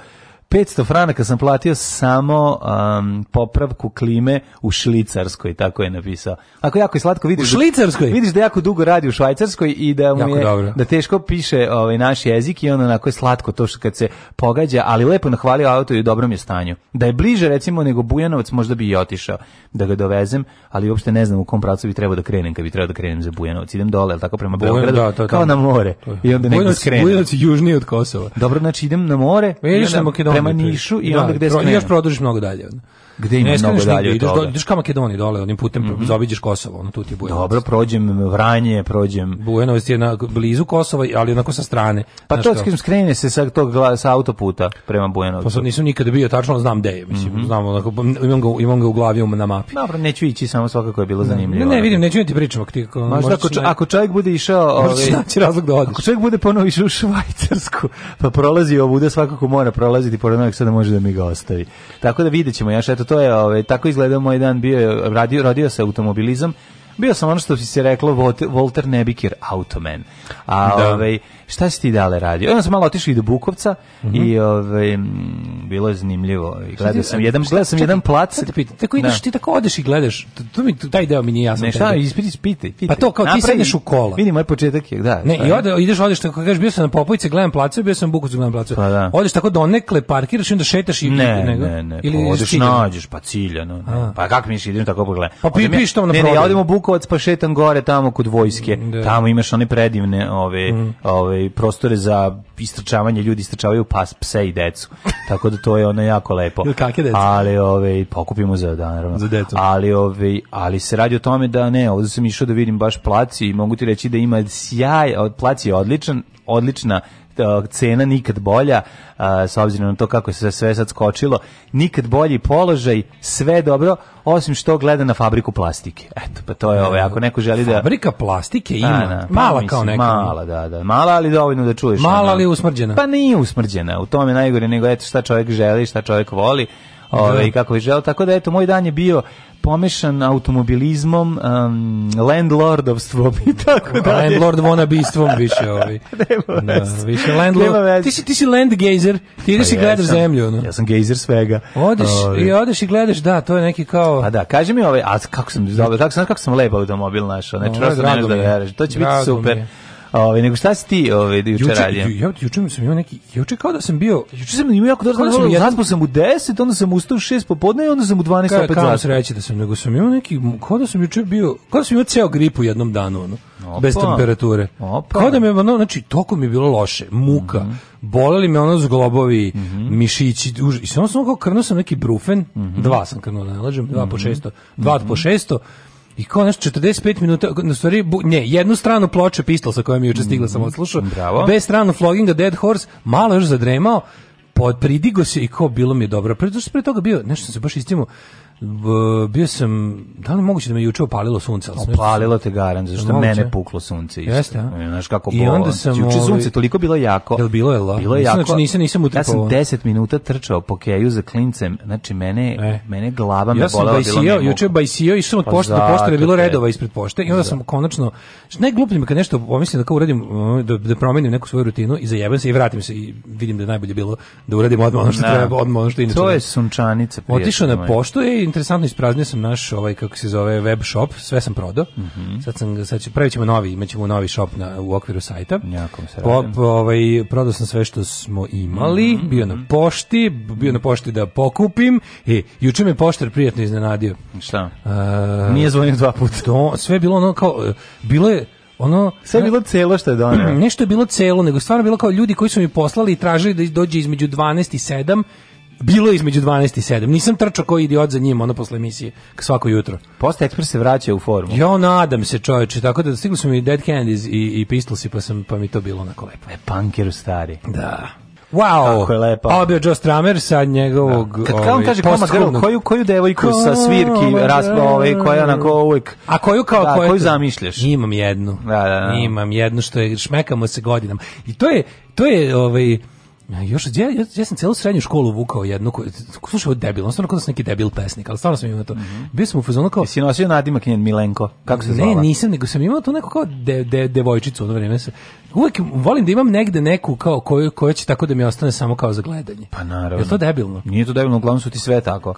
Speaker 7: 500 franaka sam platio samo um, popravku klime u Švicarskoj, tako je napisao. Ako jako je slatko vidiš...
Speaker 8: U Švicarskoj?
Speaker 7: Da, vidiš da jako dugo radi u Švajcarskoj i da mu
Speaker 8: Jako
Speaker 7: je,
Speaker 8: dobro.
Speaker 7: da teško piše ovaj naš jezik i ono onako je slatko to što kad se pogađa, ali lepo nahvalio auto i u dobrom je stanju. Da je bliže recimo nego Bujanovac možda bi i otišao da ga dovezem, ali uopšte ne znam u kom pravcu bi trebao da krenem, kad bi trebao da krenem za Bujanovac. Idem dole, ali tako prema
Speaker 8: Bujanovac,
Speaker 7: Beogradu,
Speaker 8: da, to je
Speaker 7: kao
Speaker 8: tamo.
Speaker 7: na more. I onda negdje
Speaker 8: Bujanovac,
Speaker 7: skrenem.
Speaker 8: Bujanovac je južnije od Kosova.
Speaker 7: Dobro, znači idem na more,
Speaker 8: E,
Speaker 7: i
Speaker 8: ideš
Speaker 7: onda
Speaker 8: na Makedoniju.
Speaker 7: prema Nišu i
Speaker 8: Da,
Speaker 7: onda gde
Speaker 8: pro- i
Speaker 7: skrenem.
Speaker 8: Još produžiš mnogo dalje. ono.
Speaker 7: Gde ima
Speaker 8: ne
Speaker 7: mnogo
Speaker 8: skreneš nigde,
Speaker 7: dalje od
Speaker 8: ideš,
Speaker 7: toga? Mhm.
Speaker 8: do, ideš ka Makedoniji dole, onim putem zaobiđeš Kosovo, ono tu ti je Bujanovac.
Speaker 7: Dobro, prođem Vranje, prođem...
Speaker 8: Bujanovac je na, blizu Kosova, ali onako sa strane.
Speaker 7: Pa
Speaker 8: Znaš
Speaker 7: to
Speaker 8: kao-
Speaker 7: skim skrene se sa tog gla- sa autoputa prema Bujanovcu.
Speaker 8: Pa sad nisam nikada bio tačno, ali znam gde je, mislim,
Speaker 7: Mhm.
Speaker 8: znam, onako, imam, ga, imam ga u glavi um, na mapi.
Speaker 7: Dobro, neću ići, samo svakako je bilo zanimljivo.
Speaker 8: Ne, ne, vidim, neću ni ti pričam, ako ti, ako,
Speaker 7: Možda ako, čo- ako čovjek bude išao...
Speaker 8: Možda ćeš
Speaker 7: ovaj,
Speaker 8: naći razlog da odiš.
Speaker 7: Ako čovjek bude ponovo išao u Švajcarsku, pa prolazi ovuda, svakako mora prolaziti pored Novog Sada, može da mi ga ostavi. Tako da vidjet ćemo još, eto, to je, ovaj, tako izgledao moj dan, bio je, radio, radio se automobilizam, bio sam ono što bi se reklo Vot- Walter Nebikir Automan. A
Speaker 8: Da.
Speaker 7: ovaj, šta si ti dale radio? Onda sam malo otišao i do Bukovca
Speaker 8: Mhm.
Speaker 7: i ovaj, mm, bilo je zanimljivo. I Gledao sam jedan, gledao sam jedan plac.
Speaker 8: Sad te pitam, tako ideš,
Speaker 7: Da.
Speaker 8: ti tako odeš i gledaš, to, to mi, taj deo mi nije jasno.
Speaker 7: Ne, šta, ispiti, ispiti.
Speaker 8: Pa to, kao ti sedneš u kola.
Speaker 7: Vidi, moj početak je, da.
Speaker 8: Ne,
Speaker 7: šta
Speaker 8: i
Speaker 7: je?
Speaker 8: ode, ideš, odeš, tako kažeš, bio sam na Popovice, gledam placu, bio sam u Bukovcu, gledam placu.
Speaker 7: Pa da.
Speaker 8: Odeš tako donekle, parkiraš i onda šetaš i...
Speaker 7: Ne,
Speaker 8: nego-
Speaker 7: ne, ne,
Speaker 8: Ili
Speaker 7: ili
Speaker 8: ideš
Speaker 7: odeš
Speaker 8: ciljano?
Speaker 7: nađeš, pa ciljano. Ne. Pa kako mi idem tako pogledam?
Speaker 8: Pa pi-
Speaker 7: Odem ja-
Speaker 8: piš tamo na
Speaker 7: Ne, ne, ja
Speaker 8: prodaju. Mm,
Speaker 7: odem u Bukovac pa šetam gore tamo kod vojske.
Speaker 8: Da. Mm.
Speaker 7: Tamo imaš one predivne ove, ove prostore za istrčavanje, ljudi istrčavaju pas, pse i decu. Tako da to je ono jako lepo.
Speaker 8: Ili kakve decu?
Speaker 7: Ali ove, pokupimo za da, naravno.
Speaker 8: Za decu.
Speaker 7: Ali, ove, ali se radi o tome da ne, ovdje sam išao da vidim baš placi i mogu ti reći da ima sjaj, od- plac je odličan, odlična e, cena nikad bolja a, s obzirom na to kako se sve sad skočilo nikad bolji položaj sve dobro osim što gleda na fabriku plastike eto pa to je ovaj ako neko želi da
Speaker 8: Fabrika plastike ima,
Speaker 7: A, da, pa
Speaker 8: mala
Speaker 7: mislim,
Speaker 8: kao neka.
Speaker 7: mala da da mala ali dovoljno da čuješ
Speaker 8: Mala,
Speaker 7: ono.
Speaker 8: ali usmrđena.
Speaker 7: pa nije usmrđena u tome je najgore nego eto šta čovjek želi šta čovjek voli ovaj i kako je želeo tako da eto moj dan je bio pomešan automobilizmom um, landlordovstvom i tako da
Speaker 8: Landlord wanna be stvom više ovaj.
Speaker 7: Nema
Speaker 8: Da,
Speaker 7: veze.
Speaker 8: više
Speaker 7: Nema
Speaker 8: landlord.
Speaker 7: veze. Pa
Speaker 8: Ti si ti si land gazer, ti ideš i gledaš zemlju, ono. no.
Speaker 7: Ja sam gejzer svega.
Speaker 8: Odeš
Speaker 7: Ovaj.
Speaker 8: i odeš i gledaš, da, to je neki kao
Speaker 7: Pa da, kaži mi ovaj, a kako sam dobro, kako sam kako sam lep automobil našao. Znači,
Speaker 8: Ovo je
Speaker 7: prosto ne
Speaker 8: drago
Speaker 7: možeš da
Speaker 8: mi je.
Speaker 7: veruješ. To će biti
Speaker 8: Drago mi
Speaker 7: super.
Speaker 8: je.
Speaker 7: Ovaj nego šta si ti ovaj juče
Speaker 8: Juče,
Speaker 7: radio?
Speaker 8: ju- ja, juče sam imao neki, juče kao da sam bio,
Speaker 7: Juče sam imao jako dobro
Speaker 8: Kako sam
Speaker 7: zaspao,
Speaker 8: jedan-
Speaker 7: zaspao sam u 10, onda sam ustao u 6 popodne i onda sam u 12
Speaker 8: kao,
Speaker 7: opet
Speaker 8: kao
Speaker 7: zaspao.
Speaker 8: sreće da sam, nego sam imao neki, kao da sam juče bio, kao da sam imao ceo grip u jednom danu, ono,
Speaker 7: Opa.
Speaker 8: bez temperature.
Speaker 7: Opa. Mhm.
Speaker 8: Kao da me, ono, znači, toliko mi je bilo loše, muka, boleli me ono zglobovi, mišići, už, i samo sam kao krnuo sam neki brufen,
Speaker 7: Mhm.
Speaker 8: dva sam krnuo, da ne lažem, dva po šesto, dva po šesto, I kao nešto 45 minuta, na stvari, bu- ne, jednu stranu ploče pistol sa kojom je juče stigla sam odslušao,
Speaker 7: Mhm. Bravo.
Speaker 8: bez stranu floginga Dead Horse, malo još zadremao, pod pridigo se i kao bilo mi je dobro. Pre, zašto sam pre toga bio, nešto sam se baš istimo, bio sam, da li je moguće da me juče opalilo sunce? Ali sam nešto-
Speaker 7: Opalilo te garan, zašto
Speaker 8: Moguće.
Speaker 7: mene puklo sunce isto.
Speaker 8: Jeste, a?
Speaker 7: E, Znaš kako
Speaker 8: I
Speaker 7: bolo.
Speaker 8: onda sam,
Speaker 7: Juče
Speaker 8: ovaj,
Speaker 7: sunce toliko bilo jako.
Speaker 8: Jel bilo, jel da?
Speaker 7: Bilo je
Speaker 8: Nisam,
Speaker 7: jako.
Speaker 8: znači, nisam- nisam
Speaker 7: Ja sam
Speaker 8: utripao.
Speaker 7: 10 minuta trčao po keju za klincem. Znači, mene,
Speaker 8: E.
Speaker 7: mene glava me
Speaker 8: ja sam
Speaker 7: bolela. bilo mi je
Speaker 8: bajsio,
Speaker 7: muka.
Speaker 8: juče bajsio i sam od
Speaker 7: Pa
Speaker 8: pošte do pošte, jer je bilo
Speaker 7: zato te.
Speaker 8: redova ispred pošte i onda sam konačno, što najgluplje mi je kad nešto pomislim da kao uradim, uh, da, da promenim neku svoju rutinu i zajebem se i vratim se i vidim da je najbolje bilo da uradim odmah ono što
Speaker 7: Da.
Speaker 8: treba, odmah ono što inače.
Speaker 7: To
Speaker 8: ne.
Speaker 7: je sunčanica. prijatelju
Speaker 8: Otišao na
Speaker 7: moj.
Speaker 8: poštu i interesantno ispraznio sam naš ovaj kako se zove web shop, sve sam prodao.
Speaker 7: Mhm.
Speaker 8: Sad sam ga- sad će, pravit ćemo novi, imaćemo novi shop na u okviru sajta.
Speaker 7: Jako se
Speaker 8: Po,
Speaker 7: radujem.
Speaker 8: po- ovaj prodao sam sve što smo imali,
Speaker 7: Mhm,
Speaker 8: bio na pošti, bio na pošti da pokupim i juče me poštar prijatno iznenadio.
Speaker 7: Šta?
Speaker 8: E,
Speaker 7: Nije zvonio dva puta.
Speaker 8: to sve je bilo ono kao e, bilo je ono
Speaker 7: Sve je bilo celo što je donio.
Speaker 8: nešto je bilo celo, nego stvarno je bilo kao ljudi koji su mi poslali i tražili da dođe između 12 i 7, bilo je između 12 i 7. Nisam trčao koji idiot za njim, ono posle emisije, k- svako jutro.
Speaker 7: Posta Ekspres se vraća u formu.
Speaker 8: Ja nadam se čoveče, tako da stigli su mi Dead Candies i, i Pistolsi, pa, sam, pa mi to bilo onako lepo.
Speaker 7: E, punkeru stari.
Speaker 8: Da. Wow!
Speaker 7: Kako je lepo.
Speaker 8: Ovo je bio Joe Stramer sa njegovog...
Speaker 7: Kad kao on
Speaker 8: ovaj,
Speaker 7: kaže Koma Girl,
Speaker 8: posthumnog-
Speaker 7: koju, koju devojku sa svirki
Speaker 8: Koma
Speaker 7: raspa
Speaker 8: girl.
Speaker 7: ovaj, koja je onako uvijek...
Speaker 8: A koju kao
Speaker 7: da,
Speaker 8: koje-
Speaker 7: koju zamišljaš?
Speaker 8: Imam jednu.
Speaker 7: Da, da, da.
Speaker 8: Imam jednu što je šmekamo se godinama. I to je to je ovaj Još ja, ja, ja sam celu srednju školu vukao jednu koju slušaj ovo je debil, on stvarno kao da sam neki debil pesnik, ali stvarno sam imao to. Bio sam u fazonu kao
Speaker 7: Si nosio nadimak njen Milenko. Kako Mhm. se
Speaker 8: Ne,
Speaker 7: zvala?
Speaker 8: nisam, nego sam imao tu neku kao de, de, devojčicu u ono vreme. se- Uvek volim da imam negde neku kao koju, koja će tako da mi ostane samo kao za gledanje.
Speaker 7: Pa naravno.
Speaker 8: Je to debilno?
Speaker 7: Nije to debilno, uglavnom su ti sve tako.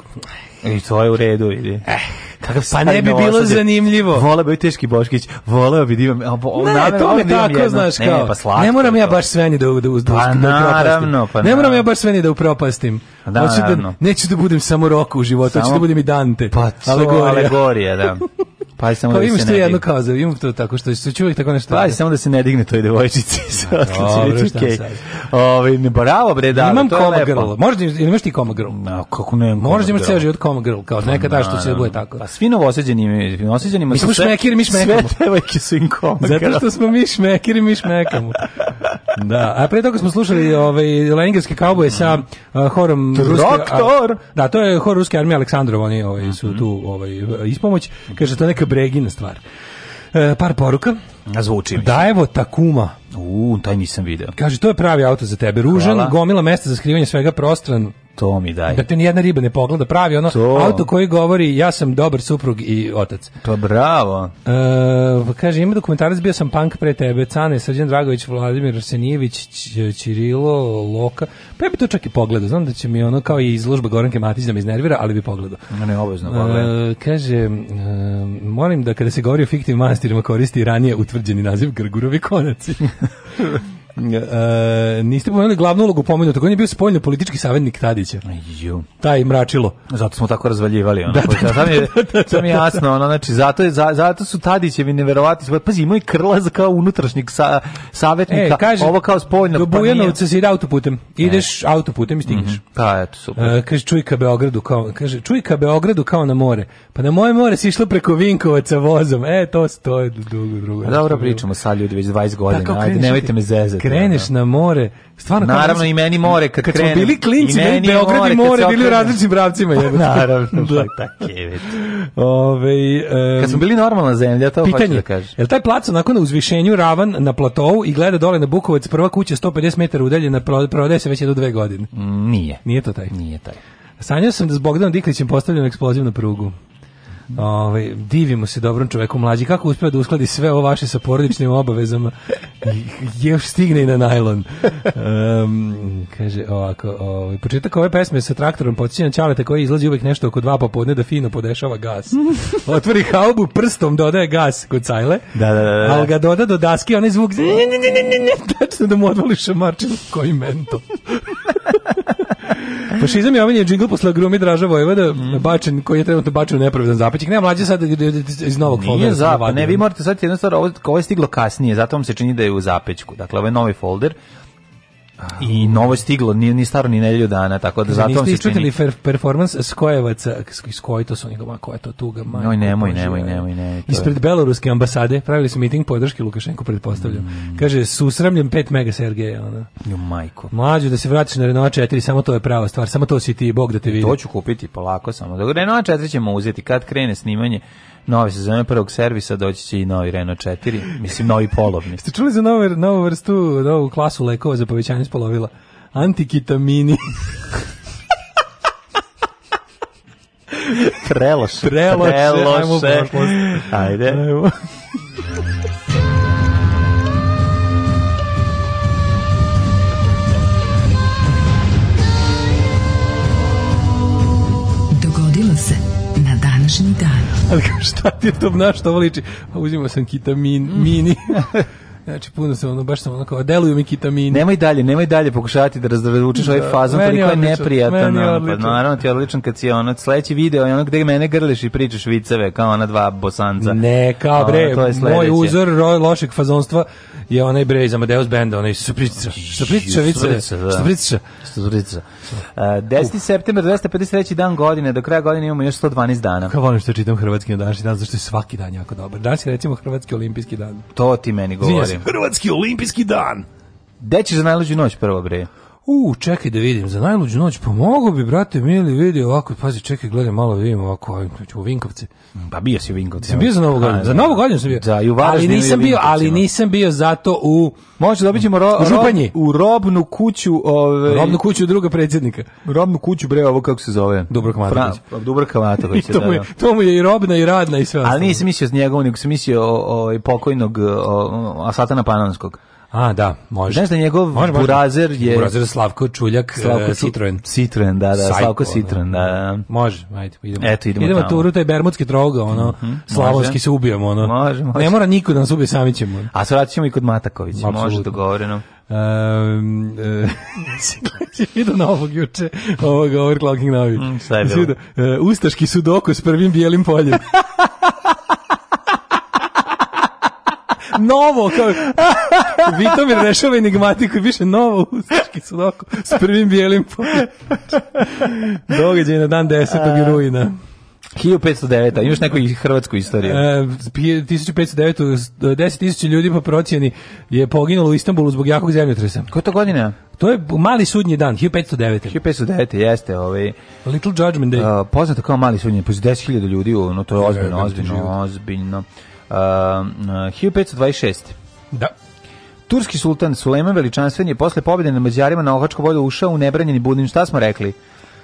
Speaker 7: I to je u redu, vidi. Eh, Kakav
Speaker 8: Pa ne bi bilo zanimljivo.
Speaker 7: Voleo bi teški Boškić, voleo bi da imam... a, bo-
Speaker 8: Ne,
Speaker 7: namerno
Speaker 8: to
Speaker 7: volim
Speaker 8: mi
Speaker 7: da imam
Speaker 8: tako,
Speaker 7: jedno.
Speaker 8: znaš,
Speaker 7: Ne,
Speaker 8: kao,
Speaker 7: pa slatko
Speaker 8: ne moram
Speaker 7: je
Speaker 8: ja
Speaker 7: to.
Speaker 8: baš sve ni da, da, da, da,
Speaker 7: Pa
Speaker 8: da
Speaker 7: naravno,
Speaker 8: upropastim.
Speaker 7: pa
Speaker 8: ne moram
Speaker 7: naravno.
Speaker 8: ja baš sve ni da upropastim.
Speaker 7: Pa da,
Speaker 8: Hoću da,
Speaker 7: naravno.
Speaker 8: neću da budem samo roku u životu, hoću
Speaker 7: Samo-
Speaker 8: da budem i Dante.
Speaker 7: Pa to,
Speaker 8: alegorija.
Speaker 7: alegorija, da. Pazi samo
Speaker 8: Kao
Speaker 7: da
Speaker 8: Pa imaš
Speaker 7: se
Speaker 8: tu
Speaker 7: ne
Speaker 8: jedno
Speaker 7: digne.
Speaker 8: kao za, imam to tako što se čuvek tako nešto.
Speaker 7: Pazi samo da se ne digne toj devojčici.
Speaker 8: dobro, šta
Speaker 7: okay.
Speaker 8: sad?
Speaker 7: Ovaj ne bravo bre da.
Speaker 8: imam
Speaker 7: to je
Speaker 8: Coma
Speaker 7: lepo.
Speaker 8: Girl. Možda ili imaš ti Coma Girl?
Speaker 7: A kako ne?
Speaker 8: Možda imaš
Speaker 7: Coma
Speaker 8: ceo
Speaker 7: Girl?
Speaker 8: život Coma Girl, kao neka ta što će bude tako.
Speaker 7: Pa svi novoseđeni imaju, novoseđeni imaju.
Speaker 8: Mi smo šmekiri, mi šmekamo.
Speaker 7: Sve devojke su im koma.
Speaker 8: Zato što smo mi šmekiri, mi šmekamo. Da, a pre toga smo slušali ovaj leningerske kauboje sa uh, horom
Speaker 7: Mhm. Traktor! Mhm.
Speaker 8: a- da, to je hor ruske armije Aleksandrov, oni ovaj, su tu ovaj, ispomoć. Kaže, to je neka bregina stvar. E, par poruka.
Speaker 7: A zvuči mi.
Speaker 8: Dajevo Takuma.
Speaker 7: U, taj nisam video.
Speaker 8: Kaže, to je pravi auto za tebe. Ružan,
Speaker 7: Hvala.
Speaker 8: gomila mesta za skrivanje svega prostran.
Speaker 7: To mi daj.
Speaker 8: Da te nijedna riba ne pogleda. Pravi ono
Speaker 7: To.
Speaker 8: auto koji govori ja sam dobar suprug i otac.
Speaker 7: To bravo.
Speaker 8: E, kaže, ima dokumentarac, bio sam punk pre tebe, Cane, Srđan Dragović, Vladimir Arsenijević, Ć- Ćirilo, Loka, pa ja bi to čak i pogledao, znam da će mi ono kao i izložba Goranke Matić da me iznervira, ali bi pogledao.
Speaker 7: Ne obavezno pogledam.
Speaker 8: E, kaže, e, molim da kada se govori o fiktivnim manastirima koristi ranije utvrđeni naziv Grgurovi konaci. E, niste pomenuli glavnu ulogu pomenutog, on je bio spoljno politički savjetnik Tadića,
Speaker 7: Ju.
Speaker 8: taj mračilo.
Speaker 7: Zato smo tako razvaljivali ono. Da, da, da, mi je jasno, ono, znači, zato, je, za, zato su Tadićevi neverovatni. svoj- Pazi, imao i krla za kao unutrašnjeg sa, savjetnika,
Speaker 8: E, kaže,
Speaker 7: ovo kao spoljno.
Speaker 8: do
Speaker 7: pa nije- E.
Speaker 8: Bujanovca se ide autoputem, ideš autoputem i stigneš.
Speaker 7: Pa, eto, super.
Speaker 8: E, kaže čuj ka Beogradu kao kaže čuj ka Beogradu kao na more. Pa na moje more si išla preko Vinkovaca vozom. E to stoji drugo drugo.
Speaker 7: Pa Dobro pričamo sa ljudi već 20 godina.
Speaker 8: Tako,
Speaker 7: Ajde,
Speaker 8: kreneš-
Speaker 7: nemojte me zezati.
Speaker 8: Kreneš
Speaker 7: ono.
Speaker 8: na more. Stvarno kao
Speaker 7: Naravno,
Speaker 8: nas-
Speaker 7: i meni more kad
Speaker 8: kad
Speaker 7: krenem.
Speaker 8: smo bili klinci,
Speaker 7: I
Speaker 8: meni
Speaker 7: meni
Speaker 8: Beograd
Speaker 7: more
Speaker 8: i
Speaker 7: kad
Speaker 8: more
Speaker 7: se
Speaker 8: bili u
Speaker 7: okrenem.
Speaker 8: različitim pravcima. jebote.
Speaker 7: Naravno,
Speaker 8: da.
Speaker 7: pa tako je, vidi.
Speaker 8: Ovaj, em,
Speaker 7: Kad smo bili normalna zemlja, to hoću
Speaker 8: Pitanje,
Speaker 7: da
Speaker 8: da
Speaker 7: kažem.
Speaker 8: je li taj plac onako na uzvišenju ravan na platovu i gleda dole na Bukovac, prva kuća 150 metara udaljena, pro- prodaje se već jedno dve godine.
Speaker 7: Mm, Nije.
Speaker 8: Nije to taj?
Speaker 7: Nije taj.
Speaker 8: Sanjao sam da s Bogdanom Diklićem postavljam eksploziv na prugu. Ove, divimo se dobrom čoveku mlađi kako uspeo da uskladi sve ovo vaše sa porodičnim obavezama I još stigne i na najlon Em, kaže ovako ovaj, početak ove pesme sa traktorom podsjeća na Ćaleta koji izlazi uvek nešto oko dva popodne da fino podešava gas otvori haubu prstom dodaje gas kod cajle
Speaker 7: Da, da, da, da.
Speaker 8: ali ga doda do daske onaj zvuk tačno da mu odvali šamarčin koji mento Fašizam je omiljen džingl posle grumi Draža Vojvoda,
Speaker 7: Mhm.
Speaker 8: bačen, koji je trenutno bačen u nepravedan zapećik. Ne, mlađe sad iz novog foldera.
Speaker 7: Nije
Speaker 8: sam
Speaker 7: zap,
Speaker 8: vadio.
Speaker 7: ne, vi morate sad jednu stvar, ovo, ovo je stiglo kasnije, zato vam se čini da je u zapećku. Dakle, ovo je novi folder i novo je stiglo, nije ni staro ni nedelju dana, tako da zato vam
Speaker 8: Niste
Speaker 7: se čini...
Speaker 8: isčutili fer- performans Skojevaca, s koji to su oni ma koja je to tuga, majko
Speaker 7: Oj, nemoj,
Speaker 8: Božja.
Speaker 7: nemoj, nemoj, nemoj, to je-
Speaker 8: Ispred beloruske ambasade pravili su miting podrške Lukašenku, pretpostavljam.
Speaker 7: Mm.
Speaker 8: Kaže, susramljen 5 mega Sergeja, ona.
Speaker 7: Jo, majko.
Speaker 8: Mlađo, da se vratiš na Renova 4, samo to je prava stvar, samo to si ti, Bog da te vidi.
Speaker 7: To ću kupiti polako samo. Dok Renault 4 ćemo uzeti kad krene snimanje nove sezone prvog servisa, doći će i novi Renault 4, mislim novi polovni.
Speaker 8: Ste čuli za novu, novu vrstu, novu klasu lekova za povećanje spolovila? Antikitamini.
Speaker 7: Preloš.
Speaker 8: Preloše, ajmo u prošlost.
Speaker 7: Ajde.
Speaker 8: Evo.
Speaker 5: Dogodilo se na današnji dan.
Speaker 8: Ali kao, šta ti je to na što ovo liči? A uzimao sam kitamin,
Speaker 7: Mm.
Speaker 8: mini. Znači, puno sam ono, baš sam ono kao, deluju mi kitamini.
Speaker 7: Nemoj dalje, nemoj dalje pokušavati da razvučeš ovaj fazon,
Speaker 8: meni je
Speaker 7: toliko je
Speaker 8: odličan,
Speaker 7: neprijatan.
Speaker 8: meni je
Speaker 7: ono, Pa
Speaker 8: odličan.
Speaker 7: naravno ti je odličan kad si ono, sledeći video je ono gde mene grliš i pričaš viceve kao ona dva bosanca.
Speaker 8: Ne, kao
Speaker 7: Ono,
Speaker 8: bre,
Speaker 7: to je
Speaker 8: moj
Speaker 7: sledeće.
Speaker 8: uzor ro, lošeg fazonstva je onaj bre iz Amadeus benda, onaj supritica, supritica, viceve,
Speaker 7: Supritica, da.
Speaker 8: supritica.
Speaker 7: Storica. E, 10. september, 253. dan godine, do kraja godine imamo još 112 dana.
Speaker 8: Kao volim što čitam hrvatski na današnji dan, zašto je svaki dan jako dobar. Danas je recimo hrvatski olimpijski dan.
Speaker 7: To ti meni
Speaker 8: Izvinjam se,
Speaker 7: govorim.
Speaker 8: hrvatski olimpijski dan!
Speaker 7: Gde ćeš za najluđu noć prvo, bre?
Speaker 8: U, čekaj da vidim, za najluđu noć pomogao bi, brate, mili, vidi ovako, pazi, čekaj, gledaj, malo vidim ovako, aj, u Vinkovce.
Speaker 7: Pa bio si u Vinkovcima.
Speaker 8: Sam bio za Novu godinu. Za Novu godinu sam bio.
Speaker 7: Da, i u
Speaker 8: ali
Speaker 7: Varaždinu
Speaker 8: nisam
Speaker 7: i u
Speaker 8: bio, ali
Speaker 7: Vinkovcima.
Speaker 8: nisam bio zato u
Speaker 7: Može dobit ćemo ro,
Speaker 8: U Županji.
Speaker 7: rob- u robnu kuću, ovaj- ove,
Speaker 8: robnu kuću druga predsjednika.
Speaker 7: robnu kuću bre, ovo kako se zove?
Speaker 8: Dubravka Matović.
Speaker 7: Fra- Dubravka
Speaker 8: I
Speaker 7: Matović,
Speaker 8: to
Speaker 7: da,
Speaker 8: mu, je,
Speaker 7: da.
Speaker 8: to mu je i robna i radna i sve ostalo.
Speaker 7: Ali nisam mislio s njegovom, nego sam mislio o, o pokojnog o, o, Asatana Panonskog.
Speaker 8: A, da, može.
Speaker 7: Znaš da njegov
Speaker 8: Može, može.
Speaker 7: burazer je...
Speaker 8: Burazer Slavko Čuljak, Slavko
Speaker 7: Cu-
Speaker 8: Citroen.
Speaker 7: Citroen, da, da,
Speaker 8: Sajko,
Speaker 7: Slavko
Speaker 8: da.
Speaker 7: Citroen, da, da.
Speaker 8: Može, ajde, idemo.
Speaker 7: Eto, idemo
Speaker 8: idemo
Speaker 7: tamo. Mhm,
Speaker 8: turu, taj bermudski troga, ono, slavonski se ubijamo, ono.
Speaker 7: Može, može.
Speaker 8: Ne mora niko da nas ubije, sami ćemo. ono.
Speaker 7: A svratit ćemo i kod Matakovića, može
Speaker 8: Apsolutno.
Speaker 7: dogovoreno.
Speaker 8: Um, e, si si vidio na ovog juče, ovog overclocking novi.
Speaker 7: Mm, šta je
Speaker 8: Si
Speaker 7: bilo?
Speaker 8: vidio, e, ustaški sudoku s prvim bijelim poljem. novo, kao, Vitomir rešava enigmatiku i više novo ustaški sudoku s prvim bijelim poljem. Događaj na dan 10. rujna.
Speaker 7: 1509. Imaš neku i hrvatsku istoriju.
Speaker 8: E, 1509. 10.000 ljudi po procjeni je poginulo u Istanbulu zbog jakog zemljotresa.
Speaker 7: Koja je to godina?
Speaker 8: To je mali sudnji dan, 1509.
Speaker 7: 1509. jeste ovaj,
Speaker 8: Little Judgment Day.
Speaker 7: Uh, poznato kao mali sudnje, pa 10.000 ljudi, ono, to je ozbiljno,
Speaker 8: Jebem ti život.
Speaker 7: ozbiljno, ozbiljno. Uh, uh, 1526.
Speaker 8: Da.
Speaker 7: Turski sultan Sulejman Veličanstven je posle pobjede na Mađarima na Ohačkom polju ušao u nebranjeni Budin. Šta smo rekli?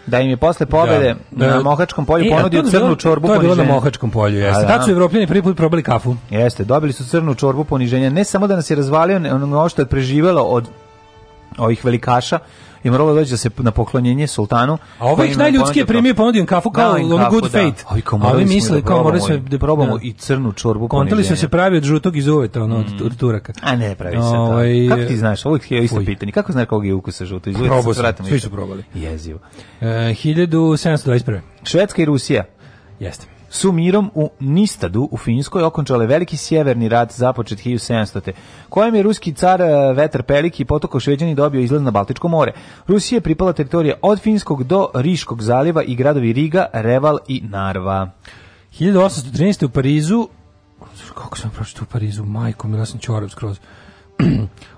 Speaker 7: Da im je posle pobjede
Speaker 8: Da.
Speaker 7: na
Speaker 8: E,
Speaker 7: Mohačkom polju
Speaker 8: e, a
Speaker 7: ponudio
Speaker 8: to je
Speaker 7: crnu
Speaker 8: bilo-
Speaker 7: čorbu
Speaker 8: To je bilo na
Speaker 7: poniženja.
Speaker 8: Mohačkom polju,
Speaker 7: A,
Speaker 8: jeste.
Speaker 7: da.
Speaker 8: Tad su Evropljani prvi put probali kafu.
Speaker 7: Jeste, dobili su crnu čorbu poniženja. Ne samo da nas je razvalio ne- ono što je preživelo od ovih velikaša, i moralo doći da se na poklonjenje sultanu.
Speaker 8: A ovo ih najljudskije primio i ponudio im kafu kao
Speaker 7: Da, im
Speaker 8: ono
Speaker 7: kafu,
Speaker 8: good
Speaker 7: da.
Speaker 8: fate.
Speaker 7: Ovi kao
Speaker 8: A
Speaker 7: morali
Speaker 8: ovi
Speaker 7: smo
Speaker 8: misle
Speaker 7: da
Speaker 8: kao morali smo
Speaker 7: probamo i- da probamo i crnu čorbu
Speaker 8: Kontali su
Speaker 7: poniženja.
Speaker 8: se pravi od žutog iz uveta, ono, od,
Speaker 7: Mm.
Speaker 8: od Turaka.
Speaker 7: A ne, pravi se to.
Speaker 8: Ovaj,
Speaker 7: Kako ti znaš, uvijek je isto
Speaker 8: Uj.
Speaker 7: pitanje. Kako znaš kog je ukusa žuto? Izvijek
Speaker 8: Probao sam, svi su probali.
Speaker 7: Jezivo.
Speaker 8: E, 1721.
Speaker 7: Švedska i Rusija
Speaker 8: Jeste.
Speaker 7: su mirom u Nistadu u Finskoj okončale veliki sjeverni rat započet 1700. kojem je ruski car e, Vetar Peliki potoko Šveđani dobio izlaz na Baltičko more. Rusiji je pripala teritorija od Finskog do Riškog zaljeva i gradovi Riga, Reval i Narva.
Speaker 8: 1813. u Parizu, kako sam pročitao u Parizu, majko, mi ja sam čorav skroz.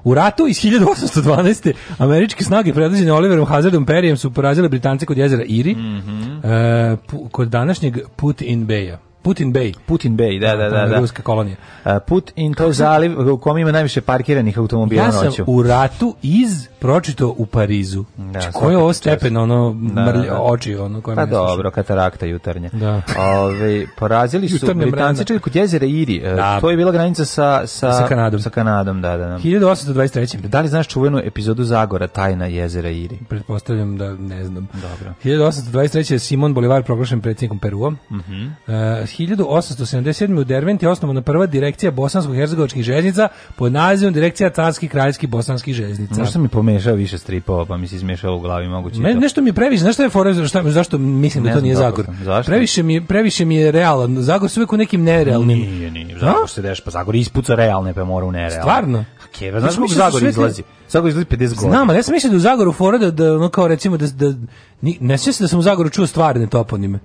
Speaker 8: U ratu iz 1812. američke snage predvođene Oliverom Hazardom Perijem su porazile Britance kod jezera Iri,
Speaker 7: Mhm.
Speaker 8: e, pu- kod današnjeg Putin Beja. Putin Bay.
Speaker 7: Putin Bay, da, da,
Speaker 8: to
Speaker 7: da.
Speaker 8: je
Speaker 7: da.
Speaker 8: Ruska kolonija.
Speaker 7: E, Put in to zaliv u kom ima najviše parkiranih automobila
Speaker 8: Ja sam
Speaker 7: noću.
Speaker 8: u ratu iz pročito u Parizu.
Speaker 7: Da,
Speaker 8: Znači,
Speaker 7: svaka
Speaker 8: Koji je ovo
Speaker 7: ti čast.
Speaker 8: stepen, ono, mrlje,
Speaker 7: da.
Speaker 8: oči, ono, koje
Speaker 7: Pa
Speaker 8: me ne sluša.
Speaker 7: dobro, katarakta jutarnja.
Speaker 8: Da.
Speaker 7: Ove, porazili su
Speaker 8: Jutarnja
Speaker 7: Britanci
Speaker 8: mrana.
Speaker 7: čak i kod jezera Iri. E,
Speaker 8: Da.
Speaker 7: To je bila granica sa, sa,
Speaker 8: Sa Kanadom.
Speaker 7: Sa Kanadom, da, da. da.
Speaker 8: 1823.
Speaker 7: Da li znaš čuvenu epizodu Zagora, tajna jezera Iri?
Speaker 8: Pretpostavljam da ne znam. Dobro. 1823. je Simon Bolivar proglašen predsjednikom Perua. Mm
Speaker 7: Mhm.
Speaker 8: -hmm. uh, 1877. u Derventi je osnovana prva direkcija bosansko-herzegovačkih željeznica pod nazivom Direkcija carskih kraljskih bosanskih željeznica.
Speaker 7: Možda mi pomešao više stripova, pa mi se izmešao u glavi moguće.
Speaker 8: Me,
Speaker 7: i to.
Speaker 8: nešto mi je previše, znaš šta je fora, zašto, zašto mislim
Speaker 7: Ne
Speaker 8: da to
Speaker 7: znam
Speaker 8: nije
Speaker 7: kako
Speaker 8: Zagor?
Speaker 7: sam, zašto?
Speaker 8: Previše mi, je- previše mi je realan, Zagor su uvijek u nekim nerealnim.
Speaker 7: Nije, nije. Zagor se deš, pa Zagor ispuca realne, pa mora u nerealne.
Speaker 8: Stvarno?
Speaker 7: A Keva, znaš
Speaker 8: Znaš,
Speaker 7: kako
Speaker 8: mislim da su
Speaker 7: Zagor
Speaker 8: sve te-
Speaker 7: izlazi? Zagor izlazi 50 godina.
Speaker 8: Znam, ali ja sam mislio da u Zagoru fora da, da ono kao recimo da, da ni- ne sjećam se da sam u Zagoru čuo stvarne toponime.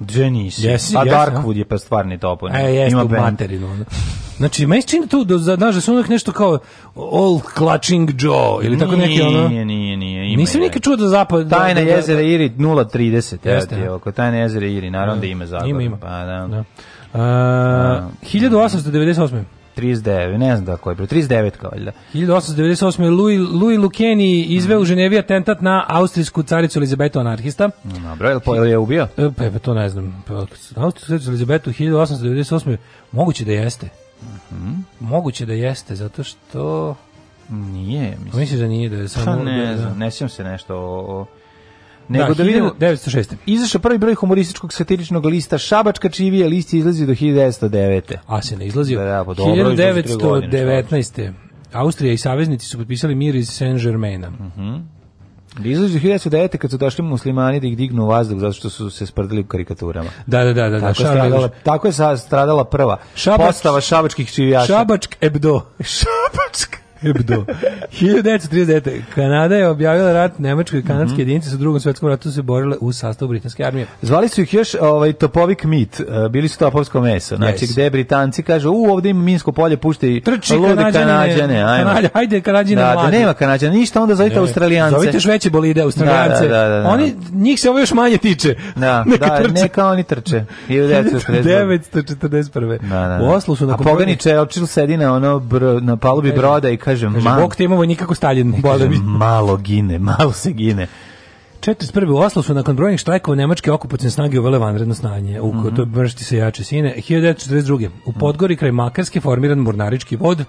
Speaker 7: Gde nisi?
Speaker 8: Jesi,
Speaker 7: A
Speaker 8: jesi,
Speaker 7: Darkwood je pa stvarni toponim.
Speaker 8: E, jeste
Speaker 7: Ima
Speaker 8: u
Speaker 7: band.
Speaker 8: materinu. ono. Znači, meni se čini tu, da, da, znaš, da su uvijek nešto kao All Clutching Joe, ili tako neki ono...
Speaker 7: Nije, nije, nije. ima
Speaker 8: Nisam
Speaker 7: i
Speaker 8: nikad čuo da zapad... da-
Speaker 7: Tajna
Speaker 8: da- da-
Speaker 7: jezera Iri 030.
Speaker 8: Jeste,
Speaker 7: Jeste. Ja,
Speaker 8: da.
Speaker 7: oko Tajna jezera Iri, naravno da ima Zagor.
Speaker 8: Ima, ima.
Speaker 7: Pa da.
Speaker 8: Da. E, A, 1898.
Speaker 7: 39, ne znam da koji je broj, 39 kao valjda.
Speaker 8: Mm, 1898. Louis, Louis Lukeni izveo
Speaker 7: Mhm.
Speaker 8: u Ženevi atentat na austrijsku caricu Elizabetu anarhista.
Speaker 7: Dobro, je li, po- je li je ubio?
Speaker 8: E, Pa, pa to ne znam. Pa, Austrijsku caricu Elizabetu 1898. Moguće da jeste.
Speaker 7: Mhm.
Speaker 8: Moguće da jeste, zato što...
Speaker 7: Nije, mislim.
Speaker 8: Misliš da nije, da je
Speaker 7: Pa
Speaker 8: samo...
Speaker 7: ne
Speaker 8: da-
Speaker 7: znam, ne sjećam se nešto o... o-
Speaker 8: Da,
Speaker 7: Nego da, vidimo...
Speaker 8: 1906.
Speaker 7: Izašao prvi broj humorističkog satiričnog lista Šabačka čivija, list je izlazio do 1909.
Speaker 8: A se ne izlazio.
Speaker 7: Da, da, pa dobro, izlazi tri godine, šta hoćeš.
Speaker 8: 1919. Austrija i saveznici su potpisali mir iz Saint-Germaina.
Speaker 7: Mm. Izlazio do 1909. kad su došli muslimani da ih dignu u vazduh zato što su se sprdili u karikaturama.
Speaker 8: Da, da, da, da. da
Speaker 7: Tako, je stradala, tako je sa- stradala prva
Speaker 8: Šabač-
Speaker 7: postava šabačkih čivijaša.
Speaker 8: Šabačk Ebdo.
Speaker 7: Šabačka.
Speaker 8: Ebdo. 1939. Kanada je objavila rat Nemačkoj i
Speaker 7: Mhm.
Speaker 8: kanadske jedinice su u drugom svjetskom ratu se borile u sastavu britanske armije.
Speaker 7: Zvali su ih još ovaj, topovik mit, e, bili su topovsko meso. Znači,
Speaker 8: Yes.
Speaker 7: gde Britanci kažu, u, ovdje ima Minsko polje, pušte i
Speaker 8: Trči
Speaker 7: lude
Speaker 8: Kanađanine,
Speaker 7: Kanađane. Ajmo.
Speaker 8: Kanadja- hajde Kanađine
Speaker 7: da, da,
Speaker 8: mlade.
Speaker 7: nema Kanađana, ništa, onda zovite Australijance.
Speaker 8: Zovite još veće bolide, Australijance.
Speaker 7: Da, da, da, da.
Speaker 8: Oni, njih se ovo još manje tiče.
Speaker 7: Da,
Speaker 8: Neka
Speaker 7: da,
Speaker 8: trče.
Speaker 7: neka oni trče. 1949.
Speaker 8: 1941.
Speaker 7: Da, da, da.
Speaker 8: U Oslu su
Speaker 7: A
Speaker 8: nakon
Speaker 7: pogani Churchill sedi na, ono br, na palubi broda i kaže,
Speaker 8: Kaže,
Speaker 7: "Man,
Speaker 8: Bog te imamo nikako Stalin. Boga mi.
Speaker 7: kaže, malo gine, malo se gine.
Speaker 8: 41. u Oslo su nakon brojnih štrajkova nemačke okupacijne snage uvele vanredno stanje. U
Speaker 7: Mhm.
Speaker 8: to je mršti se jače sine. 1942. U Podgori kraj Makarske formiran Mornarički vod,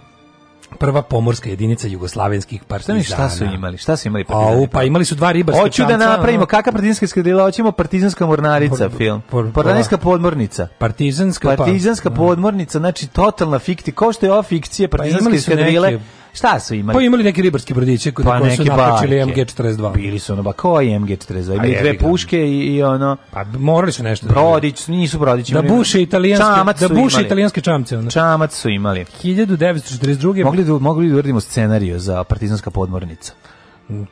Speaker 8: prva pomorska jedinica jugoslavenskih partizana.
Speaker 7: Šta su imali? Šta su imali?
Speaker 8: Au,
Speaker 7: partizani?
Speaker 8: pa imali su dva ribarska
Speaker 7: Hoću da
Speaker 8: čamca,
Speaker 7: napravimo
Speaker 8: ono,
Speaker 7: kakav partizanski skredila, hoćemo partizanska mornarica
Speaker 8: Por-
Speaker 7: film.
Speaker 8: por-
Speaker 7: Partizanska podmornica.
Speaker 8: partizanska, pa-
Speaker 7: Partizanska podmornica, znači totalna fikti, kao što je ova fikcija partizanske
Speaker 8: Pa, imali su
Speaker 7: skadrile,
Speaker 8: neke-
Speaker 7: Šta su imali?
Speaker 8: Pa imali neki ribarski brodiće koji
Speaker 7: Pa
Speaker 8: koji su
Speaker 7: neki
Speaker 8: nakačili
Speaker 7: barke.
Speaker 8: MG42.
Speaker 7: Bili su ono, ba, koji MG42? Imali
Speaker 8: jebi
Speaker 7: dve
Speaker 8: ga.
Speaker 7: puške i, i ono...
Speaker 8: Pa morali su nešto. da-
Speaker 7: Brodić, nisu brodići.
Speaker 8: Da
Speaker 7: imali-
Speaker 8: buše italijanske,
Speaker 7: Čamac
Speaker 8: da
Speaker 7: su
Speaker 8: buše
Speaker 7: imali.
Speaker 8: italijanske čamce. Ono.
Speaker 7: Čamac su imali.
Speaker 8: 1942.
Speaker 7: Mogli da, mogli da uradimo scenariju za partizanska podmornica.